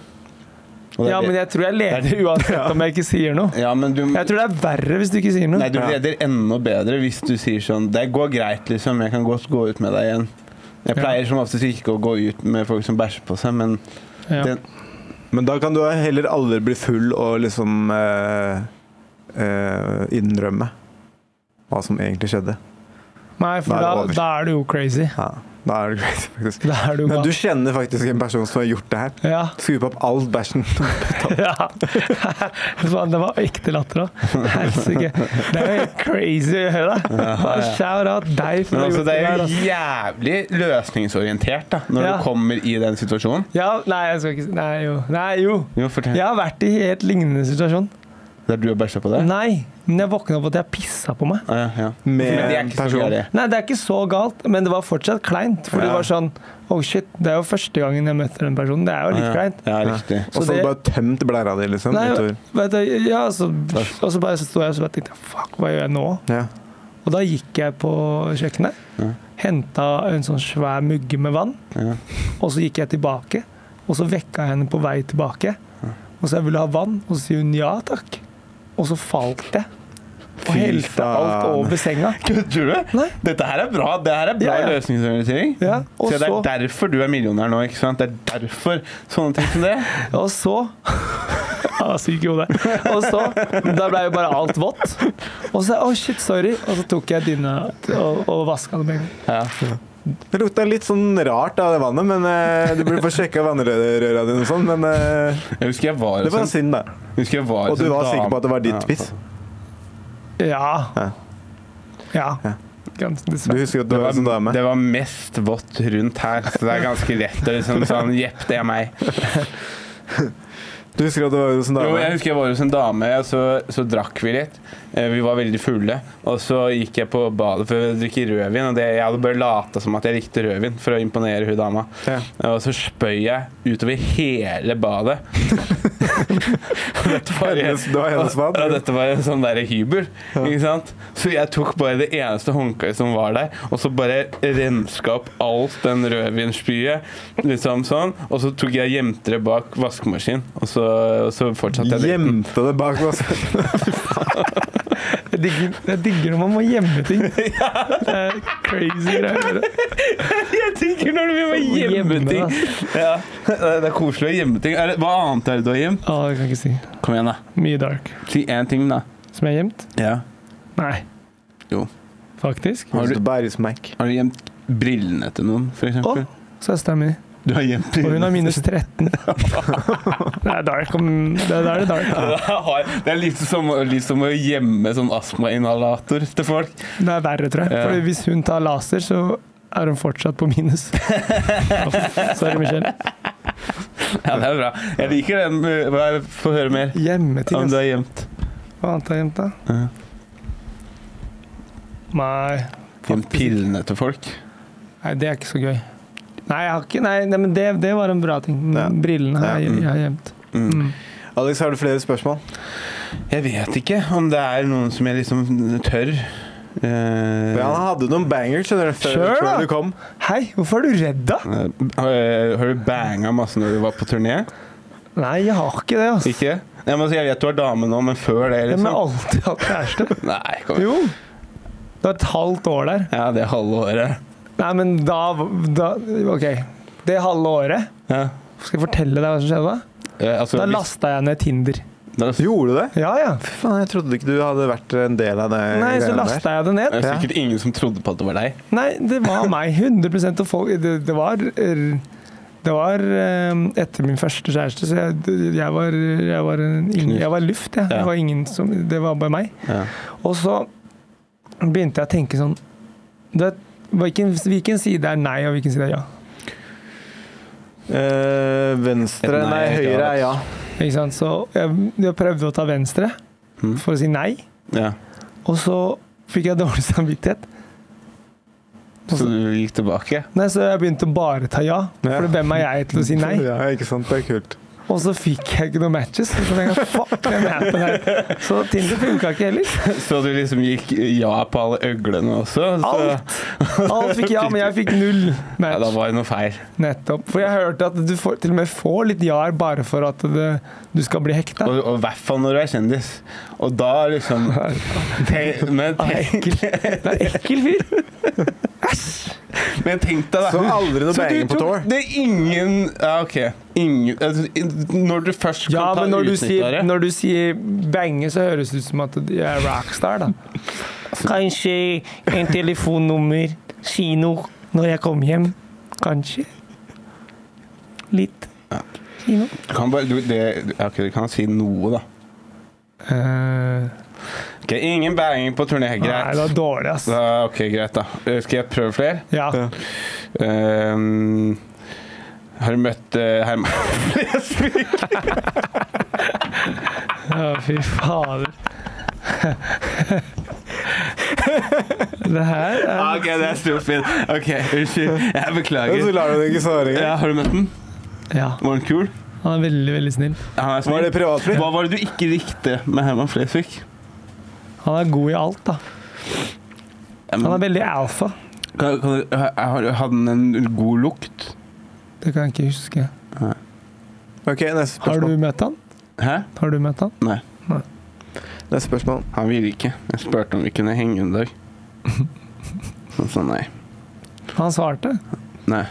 Speaker 3: Og det er
Speaker 5: Ja, men
Speaker 3: det-
Speaker 5: jeg tror jeg leder uansett om jeg ikke sier noe.
Speaker 3: ja, men du
Speaker 5: Jeg tror det er verre hvis du ikke sier
Speaker 3: Nei,
Speaker 5: noe.
Speaker 3: du
Speaker 2: Ja.
Speaker 3: leder enda bedre hvis du sier sånn Det går greit, liksom. Jeg kan godt gå ut med deg igjen. Jeg
Speaker 5: Ja.
Speaker 3: pleier som oftest ikke å gå ut med folk som bæsjer på seg, men
Speaker 5: Ja.
Speaker 3: den,
Speaker 2: Men da kan du heller aldri bli full og liksom eh, eh, innrømme hva som egentlig skjedde.
Speaker 5: Nei, for
Speaker 2: Da er det
Speaker 5: da,
Speaker 2: over.
Speaker 5: da er du jo crazy.
Speaker 2: Ja, da er det greit, faktisk.
Speaker 5: Da er du
Speaker 2: Men
Speaker 5: gal.
Speaker 2: du kjenner faktisk en person som har gjort det her.
Speaker 5: Ja.
Speaker 2: Skupe opp all bæsjen.
Speaker 5: ja. Faen, det var ekte latter òg. Helsike. Det er jo helt crazy å høre. Bare Shout out deg for
Speaker 3: Men
Speaker 5: å
Speaker 3: altså,
Speaker 5: ha gjort
Speaker 3: det er
Speaker 5: der,
Speaker 3: jo
Speaker 5: altså.
Speaker 3: jævlig løsningsorientert da, når
Speaker 5: Ja.
Speaker 3: du kommer i den situasjonen.
Speaker 5: Ja, nei, jeg skal ikke si Nei, jo. Nei, jo.
Speaker 3: Jo, fortell.
Speaker 5: Jeg har vært i helt lignende situasjon.
Speaker 3: Der du har bæsja på deg?
Speaker 5: Nei, men jeg våkna opp at jeg pissa på meg.
Speaker 3: Ah, ja, ja.
Speaker 2: Med
Speaker 3: Men det er ikke så
Speaker 2: person.
Speaker 3: gærlig.
Speaker 5: Nei, det er ikke så galt, men det var fortsatt kleint. For det
Speaker 2: Ja.
Speaker 5: var sånn Oh shit, det er jo første gangen jeg møter den personen. Det er jo litt
Speaker 3: Ah,
Speaker 5: kleint.
Speaker 3: Ja,
Speaker 2: Ja.
Speaker 3: ja riktig.
Speaker 2: Og så
Speaker 5: det-
Speaker 2: har du bare tømt blæra di, liksom.
Speaker 5: Nei,
Speaker 2: utover.
Speaker 5: vet du, ja, så, og så bare sto jeg og så bare tenkte jeg, Fuck, hva gjør jeg nå?
Speaker 2: Ja.
Speaker 5: Og da gikk jeg på kjøkkenet,
Speaker 3: Ja.
Speaker 5: henta en sånn svær mugge med vann,
Speaker 3: Ja.
Speaker 5: og så gikk jeg tilbake. Og så vekka jeg henne på vei tilbake. Og så jeg ville ha vann, og så sier hun ja takk. Og så falt jeg.
Speaker 2: Fy
Speaker 5: Og helte alt
Speaker 2: faen.
Speaker 5: over senga.
Speaker 3: Kødder du?
Speaker 5: Nei.
Speaker 3: Dette her er bra. Det her er bra
Speaker 5: Ja, ja.
Speaker 3: løsningsorientering.
Speaker 5: Ja, og,
Speaker 3: Så det
Speaker 5: så,
Speaker 3: er derfor du er millionær nå, ikke sant? Det er derfor sånne ting som det.
Speaker 5: og så Han var syk i hodet. Og så Da ble jo bare alt vått. Og så Å, shit, sorry. Og så tok jeg dyna og, og vaska det med en gang.
Speaker 3: Ja.
Speaker 2: Det lukta litt sånn rart av det vannet, men eh, du burde få sjekka vannrøra dine og sånn. Men eh,
Speaker 3: Jeg husker jeg var
Speaker 2: det var
Speaker 3: hos en-
Speaker 2: synd, da.
Speaker 3: jeg husker jeg var
Speaker 2: Og
Speaker 3: hos
Speaker 2: du
Speaker 3: en
Speaker 2: var sikker
Speaker 3: dame-
Speaker 2: på at det var
Speaker 3: Ja,
Speaker 2: ditt piss?
Speaker 5: Ja.
Speaker 2: Ja.
Speaker 5: Ja.
Speaker 2: Ja.
Speaker 5: Gans-
Speaker 2: Du
Speaker 5: Dessverre.
Speaker 2: husker at du
Speaker 3: Det
Speaker 2: var en sånn
Speaker 3: var,
Speaker 2: dame?
Speaker 3: det var mest vått rundt her, så det er ganske lett å liksom sånn Jepp, det er meg.
Speaker 2: Du husker at du var en sånn
Speaker 3: Jo, jeg
Speaker 2: dame?
Speaker 3: husker jeg var hos en dame, og så, så drakk vi litt. Eh, Vi var veldig fulle. Og så gikk jeg på badet for å drikke rødvin, og det, jeg hadde bare lata som at jeg likte rødvin for å imponere hun dama.
Speaker 2: Ja.
Speaker 3: Og så spøy jeg utover hele badet. dette var,
Speaker 2: Hennes- det var hennes bad?
Speaker 3: Ja, dette var en sånn der hybel. Ikke sant? Så jeg tok bare det eneste håndkleet som var der, og så bare renska opp alt den rødvinsspyet. Liksom sånn. Og så tok jeg gjemte det bak vaskemaskinen, og så, og så fortsatte jeg dritten.
Speaker 2: Gjemte det bak oss.
Speaker 5: Jeg digger, jeg digger når man må gjemme ting. Det er crazy greier.
Speaker 3: Jeg tenker når du vil gjemme
Speaker 5: Gjemme,
Speaker 3: ting! Ja, det er koselig å gjemme ting. Er det, hva annet er det du har gjemt?
Speaker 5: Å, det kan jeg ikke si.
Speaker 3: Kom igjen, da.
Speaker 5: Mye dark.
Speaker 3: Si én ting, da.
Speaker 5: Som jeg har gjemt?
Speaker 3: Ja.
Speaker 5: Nei.
Speaker 3: Jo.
Speaker 5: Faktisk.
Speaker 3: Har
Speaker 2: Har
Speaker 3: du-
Speaker 2: du bæresmack?
Speaker 3: Har du gjemt brillene til noen, for
Speaker 5: Å,
Speaker 3: eksempel?
Speaker 5: søsteren min.
Speaker 3: Du har gjemt
Speaker 5: Og hun
Speaker 3: brillene.
Speaker 5: har minus 13. Det er dark. om- Det er, da er det dark.
Speaker 3: Det har- Det er litt som, litt som å gjemme sånn astmainhalator til folk.
Speaker 5: Det er verre, tror jeg.
Speaker 3: Ja.
Speaker 5: Fordi hvis hun tar laser, så er hun fortsatt på minus. Sorry, Michelle.
Speaker 3: Ja, det er bra. Jeg liker den. Hva- Få høre mer
Speaker 5: Hjemmeting.
Speaker 3: om du
Speaker 5: Altså.
Speaker 3: har gjemt.
Speaker 5: Hva annet har jeg gjemt, da?
Speaker 3: Ja.
Speaker 5: Nei.
Speaker 3: Gjemt pillene til folk.
Speaker 5: Nei, det er ikke så gøy. Nei, jeg har ikke, nei, nei men det, det var en bra ting.
Speaker 2: Ja.
Speaker 5: Brillene har
Speaker 2: Ja,
Speaker 5: jeg,
Speaker 2: mm.
Speaker 5: jeg har gjemt.
Speaker 3: Mm.
Speaker 5: Mm.
Speaker 2: Alex, har du flere spørsmål?
Speaker 3: Jeg vet ikke om det er noen som jeg liksom tør. Eh,
Speaker 2: Ja, han hadde noen bangers skjønner du, før,
Speaker 5: Sure, da.
Speaker 2: før du kom.
Speaker 5: Hei, hvorfor er du redd, da?
Speaker 3: eh, har du banga masse når du var på turné?
Speaker 5: Nei, jeg har ikke det, altså.
Speaker 3: Ikke? Ja, men, altså, jeg vet du er dame nå, men før det,
Speaker 5: Jeg har
Speaker 3: liksom?
Speaker 5: alltid hatt kjæreste.
Speaker 3: Nei, kom igjen.
Speaker 5: Jo. Det var et halvt år der.
Speaker 3: Ja, det halve året.
Speaker 5: Nei, men da, da OK. Det halve året
Speaker 3: Ja.
Speaker 5: Skal jeg fortelle deg hva som skjedde? da?
Speaker 3: Eh, altså,
Speaker 5: Da
Speaker 3: hvis-
Speaker 5: lasta jeg ned Tinder.
Speaker 3: da-
Speaker 2: Gjorde du det?
Speaker 5: Ja, ja.
Speaker 2: Fy faen, jeg trodde ikke du hadde vært en del av det.
Speaker 5: Nei, så
Speaker 2: greiene der.
Speaker 5: lasta jeg det ned.
Speaker 3: Det er
Speaker 2: Ja.
Speaker 3: sikkert ingen som trodde på at det var deg.
Speaker 5: Nei, det var meg. 100 og folk Det, det var eh, Det var eh, etter min første kjæreste, så jeg, jeg, var, jeg, var, en, ingen- jeg var luft, jeg.
Speaker 3: Ja.
Speaker 5: Det var, ingen som, det var bare meg.
Speaker 3: Ja.
Speaker 5: Og så begynte jeg å tenke sånn du vet, hvilken, hvilken side er nei, og hvilken side er ja?
Speaker 2: Eh, venstre,
Speaker 3: Et nei
Speaker 2: nei,
Speaker 3: er ikke
Speaker 2: høyre er ja.
Speaker 5: Ikke sant? Så jeg, jeg prøvde å ta venstre
Speaker 3: Mm.
Speaker 5: for å si nei,
Speaker 3: ja.
Speaker 5: og så fikk jeg dårlig samvittighet.
Speaker 3: Så du gikk tilbake?
Speaker 5: Nei, Så jeg begynte å bare ta ja,
Speaker 2: Ja.
Speaker 5: for hvem er jeg til å si nei?
Speaker 2: Ja, ikke sant, det er kult.
Speaker 5: Og så fikk jeg ikke noen matches. Så, tenkte jeg, fuck den appen her. så Tinder funka ikke heller.
Speaker 3: Så du liksom gikk ja på alle øglene også? Så,
Speaker 5: Alt, alt fikk ja, men jeg fikk null
Speaker 3: ja, da
Speaker 5: match.
Speaker 3: var det noe feil.
Speaker 5: Nettopp. For jeg hørte at du får, til og med får litt ja-er bare for at det, du skal bli hekta.
Speaker 3: Og, og i hvert fall når du er kjendis. Og da liksom tenk, men, tenk,
Speaker 5: Det er ekkel fyr.
Speaker 3: men tenk deg, da.
Speaker 2: Så aldri noe banging på tour.
Speaker 3: Det er ingen Ja, OK. Ingen, altså, når du først kan
Speaker 5: Ja,
Speaker 3: ta
Speaker 5: men når du,
Speaker 3: utnytte
Speaker 5: sier,
Speaker 3: av det
Speaker 5: når du sier bange, så høres det ut som at jeg er rockstar, da. Kanskje en telefonnummer, kino, når jeg kommer hjem. Kanskje. Litt. Kino.
Speaker 3: Du kan bare du, det, ja, ok, du kan si noe, da.
Speaker 5: Eh,
Speaker 3: Ok, ingen banging på turné.
Speaker 5: Nei, det var
Speaker 3: Greit.
Speaker 5: dårlig, ass.
Speaker 3: Da, ok, greit, da. Eh, Skal jeg prøve flere?
Speaker 5: Ja.
Speaker 2: Ja.
Speaker 3: Ehm, har du møtt eh, Herman Flesvig?
Speaker 5: Å, fy fader. det her er
Speaker 3: Ok, det er storfint. Ok, unnskyld. Jeg
Speaker 2: Og så
Speaker 3: beklager.
Speaker 2: lar du det ikke svare engang.
Speaker 3: Ja, har du møtt den?
Speaker 5: Ja,
Speaker 3: Var den kul?
Speaker 5: han er veldig, veldig snill.
Speaker 3: Han er
Speaker 2: Var
Speaker 3: snill.
Speaker 2: det privatfly?
Speaker 3: Hva var det du ikke likte med Herman Flesvig?
Speaker 5: Han er god i alt, da. Han er veldig alfa.
Speaker 3: Kan, kan du, ha- har- hadde den en god lukt?
Speaker 5: Det kan jeg ikke huske.
Speaker 2: Ok, neste
Speaker 5: Har du
Speaker 2: spørsmål.
Speaker 5: møtt han?
Speaker 3: Hæ?
Speaker 5: Har du møtt han?
Speaker 3: Nei,
Speaker 2: Neste spørsmål.
Speaker 3: han ville ikke. Jeg spurte om vi kunne henge en dag. Han sa nei.
Speaker 5: Han svarte.
Speaker 3: Nei.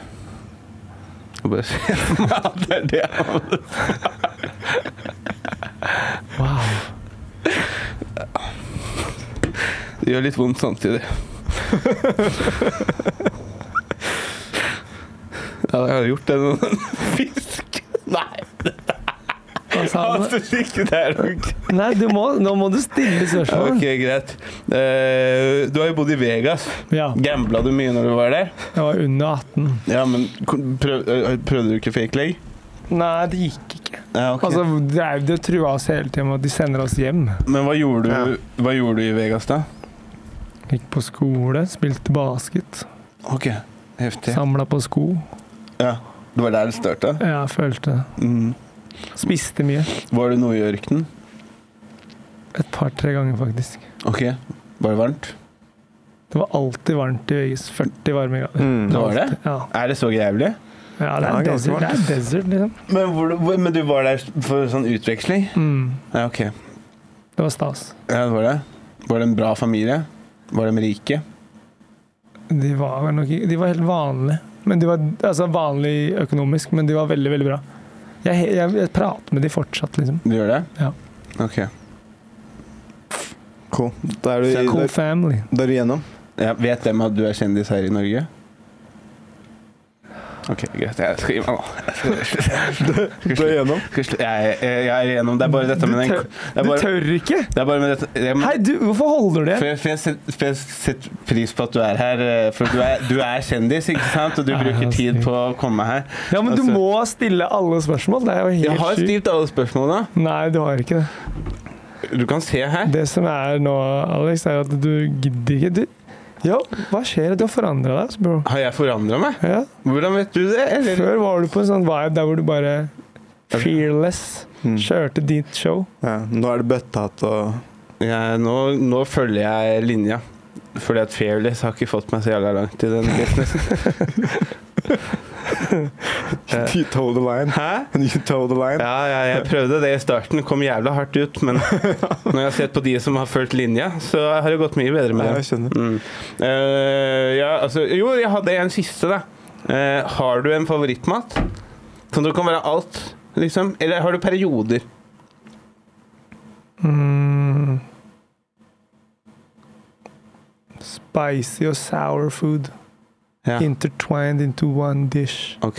Speaker 3: Jeg bare ser for meg at det er det han
Speaker 5: Wow.
Speaker 3: Det gjør litt vondt samtidig. Ja, jeg har gjort det noen fisk. Nei,
Speaker 5: Hva sa
Speaker 3: han
Speaker 5: han?
Speaker 3: syns ikke det er noe gøy.
Speaker 5: Nei, du må, nå må du stille
Speaker 3: Ja,
Speaker 5: spørsmål.
Speaker 3: Ok, greit. Eh, du har jo bodd i Vegas.
Speaker 5: Ja,
Speaker 3: Gambla du mye når du var der?
Speaker 5: jeg var under 18.
Speaker 3: Ja, men kon- prøv, eh, prøvde du ikke fake leg?
Speaker 5: Nei, det gikk ikke.
Speaker 3: Ja, ok.
Speaker 5: Altså, det, er- det trua oss hele tiden med at de sender oss hjem.
Speaker 3: men hva gjorde, du, hva gjorde du i Vegas, da?
Speaker 5: Gikk på skole, spilte basket,
Speaker 3: Ok, heftig.
Speaker 5: samla på sko.
Speaker 3: Ja, det var der det starta?
Speaker 5: Ja, jeg følte det.
Speaker 3: Mm.
Speaker 5: Spiste mye.
Speaker 3: Var du noe i ørkenen?
Speaker 5: Et par-tre ganger, faktisk.
Speaker 3: Ok. Var det varmt?
Speaker 5: Det var alltid varmt i Vegas. 40 varmegrader.
Speaker 2: Mm.
Speaker 3: Det var det?
Speaker 5: Ja.
Speaker 3: Er det så jævlig?
Speaker 5: ja, det
Speaker 2: Ja,
Speaker 5: er
Speaker 2: ganske
Speaker 5: desert, det er
Speaker 2: varmt.
Speaker 5: desert liksom.
Speaker 3: Men, hvor- hvor- men du var der for sånn utveksling?
Speaker 5: Mm.
Speaker 3: Ja, ok.
Speaker 5: Det var stas.
Speaker 3: Ja, det var det. Var det en bra familie? Var de rike?
Speaker 5: De var, vel nok, ikke- de var helt vanlige. Men de var, altså vanlig økonomisk, men de var veldig, veldig bra. Jeg, he- jeg, jeg prater med de fortsatt, liksom.
Speaker 3: Du gjør det?
Speaker 5: Ja.
Speaker 3: Ok.
Speaker 2: Cool. Da er du, da,
Speaker 5: Cool family.
Speaker 2: da er du gjennom.
Speaker 3: Ja, vet dem at du er kjendis her i Norge? Ok, greit. Jeg skal gi meg nå.
Speaker 2: Du er gjennom.
Speaker 3: Skal jeg slu- Jeg, jeg, jeg er igjennom. Det er bare dette med den
Speaker 5: Du tør-
Speaker 3: Det er
Speaker 5: Du
Speaker 3: bare,
Speaker 5: tør ikke!
Speaker 3: det er bare med dette jeg, må-
Speaker 5: Hei, du, hvorfor holder du
Speaker 3: for
Speaker 5: det?
Speaker 3: jeg, for jeg setter for jeg setter pris på at du er her, eh, for du er, du er kjendis, ikke sant? Og du
Speaker 5: Ja,
Speaker 3: bruker
Speaker 5: ja,
Speaker 3: tid
Speaker 5: sykt.
Speaker 3: på å komme her.
Speaker 5: Ja, men du
Speaker 3: Altså-
Speaker 5: må stille alle spørsmål. Det er jo
Speaker 3: Jeg
Speaker 5: helt
Speaker 3: har
Speaker 5: sjukt.
Speaker 3: stilt alle spørsmålene.
Speaker 5: Nei, du har ikke det.
Speaker 3: Du kan se her.
Speaker 5: Det som er nå, Alex, er at du gidder ikke. Du, Yo, hva skjer? Du har forandra deg, altså, bro.
Speaker 3: Har jeg forandra meg?
Speaker 5: Ja.
Speaker 3: Hvordan vet du det? Eller?
Speaker 5: Før var du på en sånn vibe der hvor du bare
Speaker 3: Altså-
Speaker 5: fearless
Speaker 2: Mm.
Speaker 5: kjørte ditt show.
Speaker 2: Ja, nå er det bøttehatt og
Speaker 3: Jeg, nå, nå følger jeg linja. Fordi at Fairless har ikke fått meg så jævla langt i den businessen.
Speaker 2: You toe the line.
Speaker 3: Hæ?
Speaker 2: You toe the line.
Speaker 3: Ja, ja, jeg prøvde det i starten. Kom jævla hardt ut. Men når jeg har sett på de som har fulgt linja, så har det gått mye bedre med
Speaker 2: Ja,
Speaker 3: det.
Speaker 2: jeg skjønner.
Speaker 3: Mm. Eh, ja, altså, jo, jeg hadde en siste, da. Eh, har du en favorittmat? Som du kan være alt, liksom? Eller har du perioder?
Speaker 5: Mm. Spicy og sour food
Speaker 3: Ja,
Speaker 5: intertwined into one dish.
Speaker 3: ok.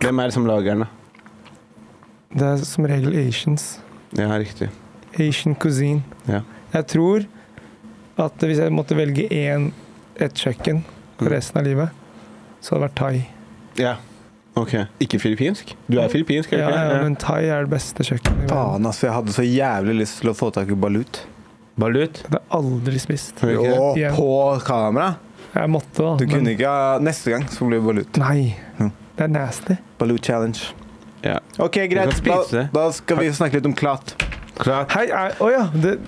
Speaker 3: Hvem er det som lager den, da?
Speaker 5: Det er som regel Asians.
Speaker 3: Ja, riktig.
Speaker 5: Asian cuisine.
Speaker 3: Ja.
Speaker 5: Jeg tror at hvis jeg måtte velge én, et kjøkken for
Speaker 3: Mm.
Speaker 5: resten av livet, så hadde det vært thai.
Speaker 3: Ja, ok. Ikke filippinsk? Du er filippinsk, er du
Speaker 5: Ja,
Speaker 3: ikke?
Speaker 5: ja, men thai er det beste kjøkkenet i verden.
Speaker 2: Faen, altså. Jeg hadde så jævlig lyst til å få tak i balut.
Speaker 3: Balut?
Speaker 5: Det har jeg aldri spist.
Speaker 3: Har du ikke det?
Speaker 2: Jo,
Speaker 5: Ja.
Speaker 2: på kamera.
Speaker 5: Jeg måtte, da.
Speaker 2: Du
Speaker 5: men-
Speaker 2: kunne ikke ha Neste gang så blir det balut.
Speaker 5: Nei.
Speaker 2: Mm.
Speaker 5: Det er nasty.
Speaker 2: Balut challenge.
Speaker 3: Ja.
Speaker 2: OK,
Speaker 3: kan
Speaker 2: greit.
Speaker 3: spise
Speaker 2: Da,
Speaker 3: det.
Speaker 2: da skal vi snakke litt om klat.
Speaker 3: Klart.
Speaker 5: Hei, er- å ja! Det,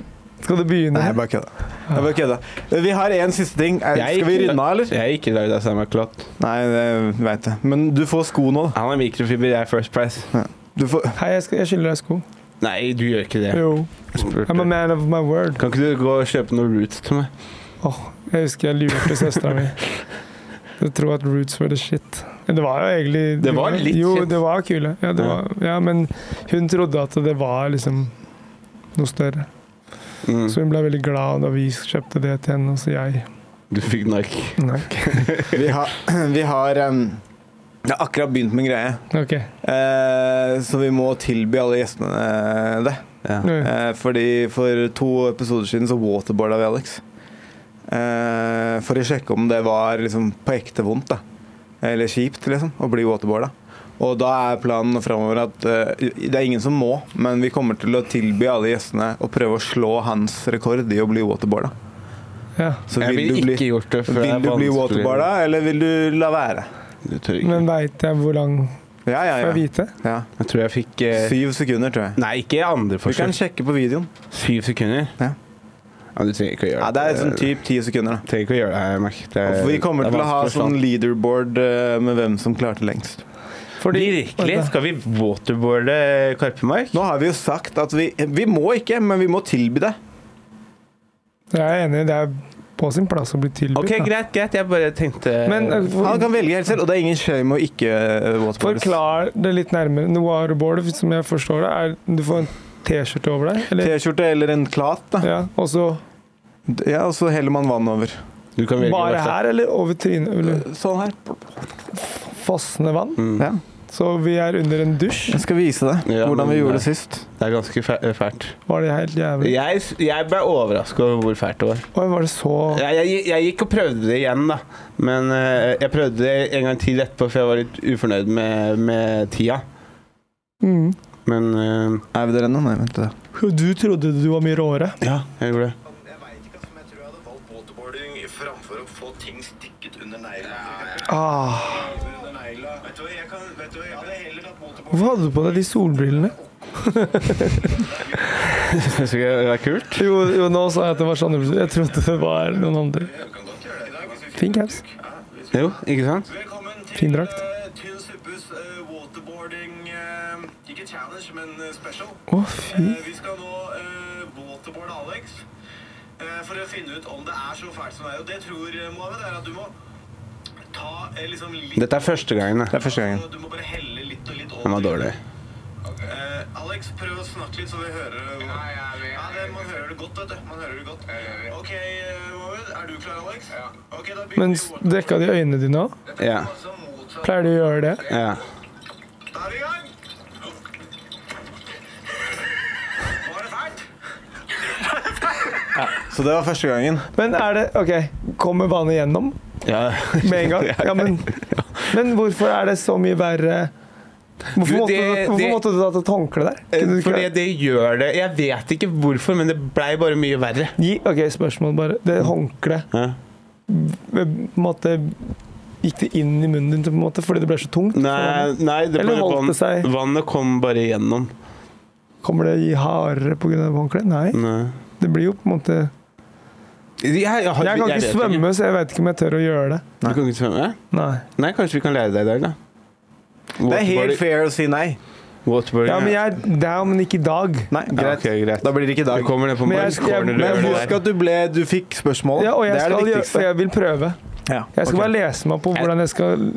Speaker 5: skal du begynne?
Speaker 2: Nei, jeg bare kødda. Jeg bare kødda. Vi har én siste ting. Er-
Speaker 3: Jeg-
Speaker 2: Skal vi runde av, eller?
Speaker 3: Jeg er ikke lagd av samme klott.
Speaker 2: Nei, det veit jeg. Men du får sko nå. da.
Speaker 3: Han er mikrofiber, jeg er First Price.
Speaker 2: Du får
Speaker 5: Hei, jeg, skal, jeg skylder deg sko.
Speaker 3: Nei, du gjør ikke det.
Speaker 5: Jo.
Speaker 3: Jeg spurte.
Speaker 5: I'm a man of my word.
Speaker 3: Kan ikke du gå og kjøpe noen roots til meg?
Speaker 5: Åh, jeg husker jeg lurte søstera mi. Jeg tror at roots were the shit. Men Det var jo egentlig
Speaker 3: Det var litt
Speaker 5: jo,
Speaker 3: shit.
Speaker 5: det var kule. Ja, det
Speaker 3: Ja.
Speaker 5: var, ja, men hun trodde at det var liksom noe større.
Speaker 3: Mm.
Speaker 5: Så hun ble veldig glad da vi kjøpte det til henne, og så jeg
Speaker 3: Du fikk Nike.
Speaker 5: Nei.
Speaker 2: Vi har, vi har em, Jeg har akkurat begynt med en greie,
Speaker 5: OK.
Speaker 2: eh, så vi må tilby alle gjestene eh, det.
Speaker 3: Ja.
Speaker 5: Nå,
Speaker 2: Eh, fordi for to episoder siden så waterboarda vi Alex. Eh, for å sjekke om det var liksom på ekte vondt, da. Eller kjipt, liksom, å bli waterboarda. Og da er planen framover at eh, det er ingen som må, men vi kommer til å tilby alle gjestene å prøve å slå hans rekord i å bli waterboarda.
Speaker 5: Ja.
Speaker 2: Så
Speaker 3: jeg
Speaker 2: vil
Speaker 3: ville
Speaker 2: du
Speaker 3: ikke
Speaker 2: bli,
Speaker 3: gjort det. for det er
Speaker 2: vil du bli
Speaker 3: vanskelig.
Speaker 2: waterboarda, eller vil du la være?
Speaker 3: Du tør ikke.
Speaker 5: Men veit jeg hvor lang
Speaker 2: Ja, ja,
Speaker 5: Får jeg
Speaker 2: ja.
Speaker 5: vite?
Speaker 2: ja.
Speaker 3: Jeg tror jeg fikk eh,
Speaker 2: Syv sekunder, tror jeg.
Speaker 3: Nei, ikke andre
Speaker 2: Vi kan
Speaker 3: forsøk.
Speaker 2: sjekke på videoen.
Speaker 3: Syv sekunder?
Speaker 2: Ja.
Speaker 3: Ja, Du trenger ikke å gjøre
Speaker 2: Ja, det er sånn
Speaker 3: Du
Speaker 2: typ ti sekunder. da.
Speaker 3: trenger ikke å gjøre det, jeg merker. Det er-
Speaker 2: Og vi kommer
Speaker 3: Eh, det er
Speaker 2: til å ha
Speaker 3: vanskelig å slå
Speaker 2: sånn leaderboard eh, med hvem som klarte lengst.
Speaker 3: Virkelig? Skal vi waterboarde Karpemark?
Speaker 2: Nå har vi jo sagt at vi Vi må ikke, men vi må tilby det.
Speaker 5: Jeg er enig, det er på sin plass å bli tilbudt.
Speaker 3: Ok,
Speaker 5: da.
Speaker 3: greit, greit. Jeg bare tenkte
Speaker 5: Men eh,
Speaker 2: Han
Speaker 5: for,
Speaker 2: kan velge helt selv, og det er ingen shame å ikke eh, waterboardes.
Speaker 5: forklar det litt nærmere. Noirboard, som jeg forstår det, er du får en T-skjorte over deg, eller?
Speaker 2: T-skjorte eller en klat, da.
Speaker 5: Ja, og så
Speaker 2: Ja, og så heller man vann over.
Speaker 3: Du kan velge
Speaker 5: bare
Speaker 3: hva slags-
Speaker 5: her, eller over trynet? Eller
Speaker 2: Sånn her.
Speaker 5: fossende vann?
Speaker 3: Mm.
Speaker 2: Ja.
Speaker 5: Så vi er under en dusj?
Speaker 2: Jeg skal vise deg
Speaker 3: Ja,
Speaker 2: hvordan vi
Speaker 3: men-
Speaker 2: gjorde det Mm. sist.
Speaker 3: Det er ganske fæ- fælt.
Speaker 5: Var det helt jævlig?
Speaker 3: Jeg, jeg ble overraska over hvor fælt det var.
Speaker 5: Oi, var det så
Speaker 3: Jeg, jeg, jeg gikk og prøvde det igjen, da. Men eh, jeg prøvde det en gang til etterpå, for jeg var litt ufornøyd med, med tida.
Speaker 5: mm.
Speaker 3: Men eh,
Speaker 2: Er vi der ennå? Nei, vent. da.
Speaker 5: Du trodde du var mye råere.
Speaker 3: ja, jeg gjorde det.
Speaker 6: Jeg vet ikke, ass, men jeg tror jeg hadde valgt waterboarding framfor å få ting stikket under negla.
Speaker 5: Ah.
Speaker 6: Under negla. Vet du hva, jeg kan Vet du hva, jeg hadde heller tatt waterboarding.
Speaker 5: Hvorfor hadde du på deg de solbrillene?
Speaker 3: Syns du ikke det var kult?
Speaker 5: Jo, jo, nå sa jeg at det var sånne briller. Jeg trodde det var noen andre.
Speaker 6: Jeg kan godt gjøre det i dag. hvis vi finner
Speaker 5: Fin caps.
Speaker 6: ut. Ja, hvis vi-
Speaker 3: Jo, ikke sant?
Speaker 6: Velkommen til
Speaker 5: Fin drakt.
Speaker 6: eh, Tynn suppes eh, waterboarding eh, Ikke challenge, men eh, special.
Speaker 5: Å, fy.
Speaker 6: Eh, vi skal nå eh, waterboarde Alex eh, for å finne ut om det er så fælt som det er. Og det tror eh, Mohammed er at du må ta eh, liksom litt
Speaker 3: Dette er første gangen,
Speaker 2: Det
Speaker 3: da.
Speaker 2: er første gangen.
Speaker 6: Du må bare helle litt og litt over.
Speaker 3: Den var dårlig.
Speaker 6: Eh, Alex, prøv å snakke litt så vi hører det. Ja, det, man hører det godt, vet du. Man hører det godt. Ok, eh, Mohammed, er du klar, Alex? Ja. Ok, da begynner
Speaker 5: Men
Speaker 6: vi waterboarding.
Speaker 5: dekka de øynene dine òg?
Speaker 3: Ja.
Speaker 6: Altså, motsatt.
Speaker 5: Pleier du å gjøre det?
Speaker 3: ja.
Speaker 6: Da er vi i gang! Var det fælt?
Speaker 2: Så det var første gangen.
Speaker 5: Men er det OK, kommer vannet gjennom
Speaker 3: ja.
Speaker 5: med en gang? Ja, men, men hvorfor er det så mye verre Hvorfor,
Speaker 3: Du,
Speaker 5: måtte,
Speaker 3: det-
Speaker 5: du- hvorfor
Speaker 3: det- Eh,
Speaker 5: måtte du ha et håndkle der? Kunne du ikke-
Speaker 3: Fordi det gjør det Jeg vet ikke hvorfor, men det blei bare mye verre.
Speaker 5: Gi- OK, spørsmål bare. Det
Speaker 3: Mm.
Speaker 5: håndkleet på en måte Gikk det inn i munnen din på en måte, fordi det ble så tungt?
Speaker 3: Nei, nei det
Speaker 5: Eller
Speaker 3: bare
Speaker 5: holdt
Speaker 3: vann,
Speaker 5: det seg?
Speaker 3: vannet kom bare igjennom.
Speaker 5: Kommer det i hardere pga. håndkleet? Nei.
Speaker 3: Nei.
Speaker 5: Det blir jo på en måte
Speaker 3: Jeg, jeg, har-
Speaker 5: Jeg kan
Speaker 3: jeg
Speaker 5: ikke
Speaker 3: vet
Speaker 5: svømme, så jeg vet ikke om jeg tør å gjøre det.
Speaker 3: Du kan ikke svømme?
Speaker 5: Nei.
Speaker 3: Nei, kanskje vi kan lære deg i dag, da.
Speaker 2: Det er helt fair å si nei.
Speaker 3: Waterboarding.
Speaker 5: Ja, men jeg er down, men ikke i dag.
Speaker 2: Nei, greit.
Speaker 3: ok, greit.
Speaker 2: Da blir det ikke i
Speaker 3: Du
Speaker 2: dag.
Speaker 3: kommer ned på
Speaker 5: Men jeg-
Speaker 3: Mars Corner
Speaker 5: jeg-
Speaker 2: Men
Speaker 3: du gjør det
Speaker 2: husk
Speaker 3: der.
Speaker 2: at du ble Du fikk spørsmål.
Speaker 5: Ja, og jeg,
Speaker 2: det er
Speaker 5: skal
Speaker 2: det
Speaker 5: gjøre, og
Speaker 2: viktigste.
Speaker 5: jeg vil prøve.
Speaker 2: Ja,
Speaker 5: Jeg skal
Speaker 2: ok.
Speaker 5: bare lese meg på hvordan jeg skal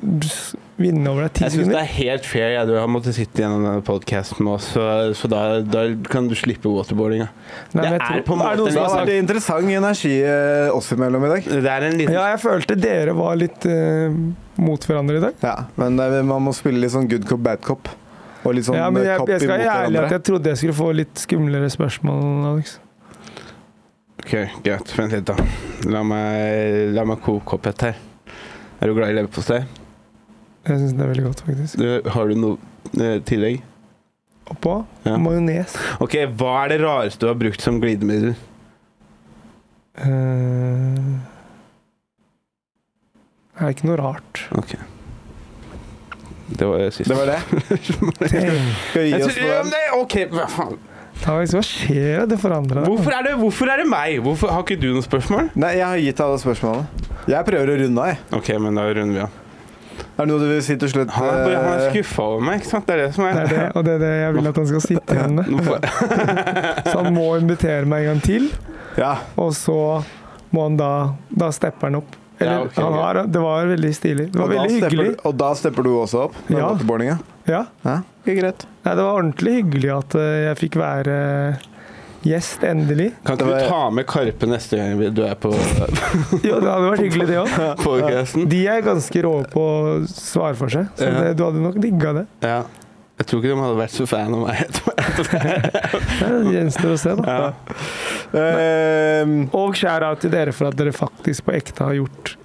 Speaker 5: vinne over deg ti
Speaker 3: Jeg syns det
Speaker 5: sekunder.
Speaker 3: er helt fair. Jeg, du har måttet sitte gjennom denne podcasten med oss, så, så da, da kan du slippe waterboardinga.
Speaker 5: Nei, men
Speaker 3: det
Speaker 5: jeg
Speaker 3: er
Speaker 5: tror-
Speaker 3: på en
Speaker 5: er det noen
Speaker 3: måte
Speaker 5: som
Speaker 2: Det
Speaker 5: har
Speaker 2: har vært interessant energi eh, oss imellom i dag.
Speaker 3: Det er en liten
Speaker 5: Ja, jeg følte dere var litt eh, mot hverandre i dag.
Speaker 2: Ja, men eh, man må spille litt sånn good cop, bad cop. Og litt sånn
Speaker 5: Ja, men
Speaker 2: eh,
Speaker 5: jeg,
Speaker 2: cop
Speaker 5: jeg skal
Speaker 2: imot
Speaker 5: være ærlig at
Speaker 2: hverandre.
Speaker 5: jeg trodde jeg skulle få litt skumlere spørsmål, Alex.
Speaker 3: Ok, greit. Vent litt, da. La meg, la meg koke opp et her. Er du glad i leverpostei?
Speaker 5: Jeg syns det er veldig godt, faktisk.
Speaker 3: Du- Har du noe eh, tillegg?
Speaker 5: Oppå
Speaker 3: Ja.
Speaker 5: majones.
Speaker 3: Ok, hva er det rareste du har brukt som glidemiddel?
Speaker 5: Eh, det er ikke noe rart.
Speaker 3: Det var eh, sist.
Speaker 2: Det var det. Skal vi gi
Speaker 3: Jeg
Speaker 2: oss
Speaker 3: tror-
Speaker 2: på
Speaker 3: ja,
Speaker 2: den?
Speaker 3: men det- ok, hva faen.
Speaker 5: Alex, hva skjer? Det forandra deg.
Speaker 3: Hvorfor er det, hvorfor er det meg? Hvorfor, har ikke du noen spørsmål?
Speaker 2: Nei, jeg har gitt alle spørsmålene. Jeg prøver å runde av, jeg.
Speaker 3: Ok, men da runder vi av.
Speaker 2: Er det noe du vil si til slutt?
Speaker 3: Han er, bare, han er
Speaker 2: eh,
Speaker 3: skuffa over meg, ikke sant? Det er det som
Speaker 5: Det
Speaker 3: er
Speaker 5: er det, og det er det jeg vil at han skal sitte igjen med.
Speaker 3: Nå får-
Speaker 5: Så han må invitere meg en gang til,
Speaker 2: Ja.
Speaker 5: og så må han da Da stepper han opp. Eller,
Speaker 3: Ja, ok,
Speaker 5: han
Speaker 3: ok.
Speaker 5: har, det var veldig stilig. Det var
Speaker 2: og, da
Speaker 5: veldig
Speaker 2: stepper,
Speaker 5: hyggelig.
Speaker 2: du- og da stepper du også opp med
Speaker 5: Ja.
Speaker 2: waterboardinga?
Speaker 5: Ja.
Speaker 2: Ja.
Speaker 5: greit. Nei, det var ordentlig hyggelig at eh, jeg fikk være eh, gjest, endelig.
Speaker 3: Kan ikke
Speaker 2: Det
Speaker 3: du
Speaker 2: var-
Speaker 3: ta med Karpe neste gang vi- du er på
Speaker 5: Jo, det hadde vært hyggelig, det òg.
Speaker 3: podkasten?
Speaker 5: De er ganske rå på å svare for seg, så
Speaker 3: Ja.
Speaker 5: det, du hadde nok digga det.
Speaker 3: Ja. Jeg tror ikke de hadde vært så fan av meg. etterpå.
Speaker 5: Nei, Det gjenstår å se, da.
Speaker 3: Ja.
Speaker 2: Ehm,
Speaker 5: Og shout-out til dere for at dere faktisk på ekte har gjort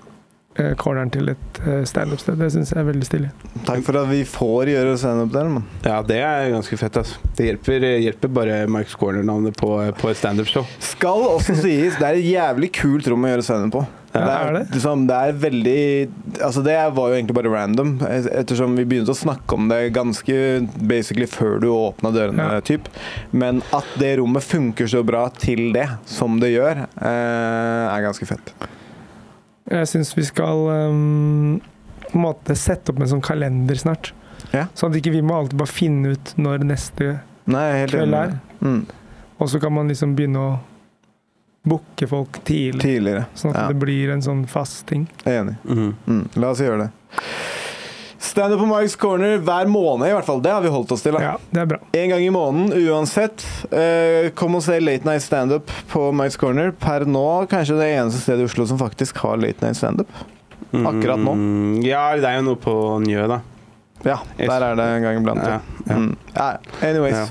Speaker 5: eh, corneren til et eh, standup-sted. Det syns jeg er veldig stilig.
Speaker 2: takk for at vi får gjøre standup der, mann.
Speaker 3: ja, det er ganske fett, altså. Det hjelper, hjelper bare Marks Corner-navnet på, på et standup-show.
Speaker 2: Skal også sies, det er et jævlig kult rom å gjøre standup på.
Speaker 5: Ja,
Speaker 2: det, er,
Speaker 5: er det?
Speaker 2: Liksom, det er veldig Altså, det var jo egentlig bare random, et- ettersom vi begynte å snakke om det ganske basically før du åpna dørene,
Speaker 5: Ja.
Speaker 2: typ. Men at det rommet funker så bra til det som det gjør, eh, er ganske fett.
Speaker 5: Jeg syns vi skal ehm, på en måte sette opp en sånn kalender snart.
Speaker 2: Ja.
Speaker 5: Sånn at ikke vi må alltid bare finne ut når neste
Speaker 2: Nei, jeg er helt
Speaker 5: kveld
Speaker 2: enig.
Speaker 5: er.
Speaker 2: Mm,
Speaker 5: Og så kan man liksom begynne å booke folk tidlig,
Speaker 2: tidligere.
Speaker 5: sånn at
Speaker 2: Ja.
Speaker 5: det blir en sånn fast ting.
Speaker 2: Jeg er enig. Mm, la oss gjøre det. Standup på Mike's Corner hver måned, i hvert fall. Det har vi holdt oss til. da.
Speaker 5: Ja, det er bra.
Speaker 2: En gang i måneden uansett. Eh, kom og se Late Night Standup på Mike's Corner. Per nå kanskje det eneste stedet i Oslo som faktisk har Late Night Standup. Akkurat nå.
Speaker 3: Mm, Ja, det er jo noe på Njø, da.
Speaker 2: Ja, der er det en gang iblant.
Speaker 3: Ja,
Speaker 2: Ja.
Speaker 3: ja.
Speaker 2: Mm. Ja, anyways.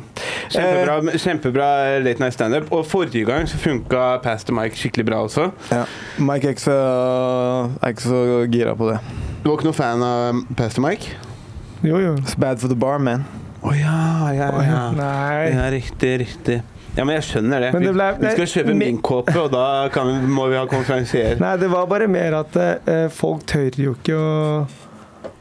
Speaker 3: Kjempebra, kjempebra Late Night Standup. Og forrige gang så funka Pastor Mike skikkelig bra også.
Speaker 2: Ja. Mike er ikke, så, er ikke så gira på det.
Speaker 3: Du var ikke noen fan av Pastor Mike?
Speaker 5: Jo, jo.
Speaker 2: It's bad for the bar, man.
Speaker 3: Å ja, ja,
Speaker 5: Å, ja. Nei.
Speaker 3: Ja, riktig, riktig. Ja, men jeg skjønner det.
Speaker 5: Men det
Speaker 3: Vi-
Speaker 5: ble-
Speaker 3: vi skal kjøpe
Speaker 5: Nei,
Speaker 3: min kåpe, og da kan vi, må vi ha konferansier.
Speaker 5: Nei, det var bare mer at eh, folk tør jo ikke å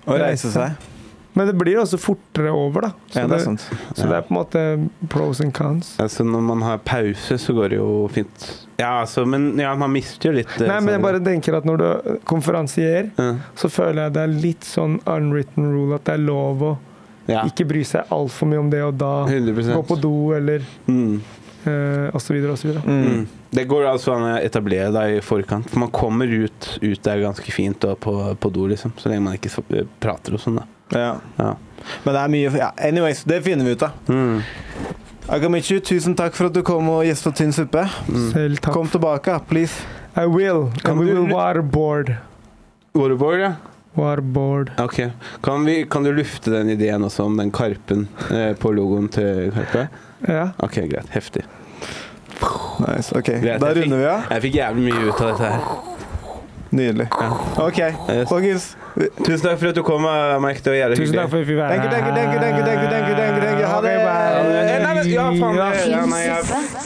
Speaker 2: Å reise seg.
Speaker 5: Men det blir også fortere over, da. Så,
Speaker 2: Ja, det er sant.
Speaker 5: så det er på en måte pros and cons.
Speaker 3: Altså, når man har pause, så går det jo fint. Ja, altså, men ja, man mister jo litt eh,
Speaker 5: Nei, men jeg
Speaker 3: sånn-
Speaker 5: bare tenker at når du konferansier,
Speaker 3: Ja.
Speaker 5: så føler jeg det er litt sånn unwritten rule at det er lov å
Speaker 3: Ja,
Speaker 5: ikke bry seg altfor mye om det, og da
Speaker 3: 100
Speaker 5: gå på do eller
Speaker 3: mm.
Speaker 5: eh, og så videre og så videre.
Speaker 3: Mm. Det går altså an å etablere deg i forkant. For man kommer ut, ut der ganske fint og på, på do, liksom. Så lenge man ikke så- prater og sånn, da.
Speaker 2: Ja.
Speaker 3: Ja.
Speaker 2: Men det er mye ja. Anyways, det finner vi ut av.
Speaker 3: Mm.
Speaker 2: Agamichu, tusen takk for at du kom og gjesta Tynn suppe.
Speaker 5: Selv takk.
Speaker 2: Mm. Kom tilbake, please.
Speaker 5: I will.
Speaker 3: Kan
Speaker 5: And we
Speaker 3: du-
Speaker 5: will waterboard.
Speaker 3: Waterboard, ja.
Speaker 5: Waterboard.
Speaker 3: Ok. Kan, vi, kan du lufte den ideen også om den karpen eh, på logoen til Karpe?
Speaker 5: Ja.
Speaker 3: Ok, greit. Heftig.
Speaker 2: Nice, ok.
Speaker 3: Greit,
Speaker 2: Da
Speaker 3: jeg fikk-
Speaker 2: runder vi av.
Speaker 3: Jeg fikk jævlig mye ut av dette her.
Speaker 2: Nydelig. OK,
Speaker 3: Yes.
Speaker 2: folkens.
Speaker 3: Tusen takk for at du kom, eh, Mike. Det var jævlig
Speaker 5: Tusen takk for at vi fikk
Speaker 2: Ah,
Speaker 5: være
Speaker 2: Thank you, thank you, thank you, thank you, thank you, thank you, thank you. Ha
Speaker 5: Ok,
Speaker 2: det.
Speaker 5: bye.
Speaker 3: Eh,
Speaker 5: nou
Speaker 3: Nei, men, Ah, ja, faen. det- Ja,
Speaker 1: Fin
Speaker 3: nei, jeg
Speaker 1: suppe.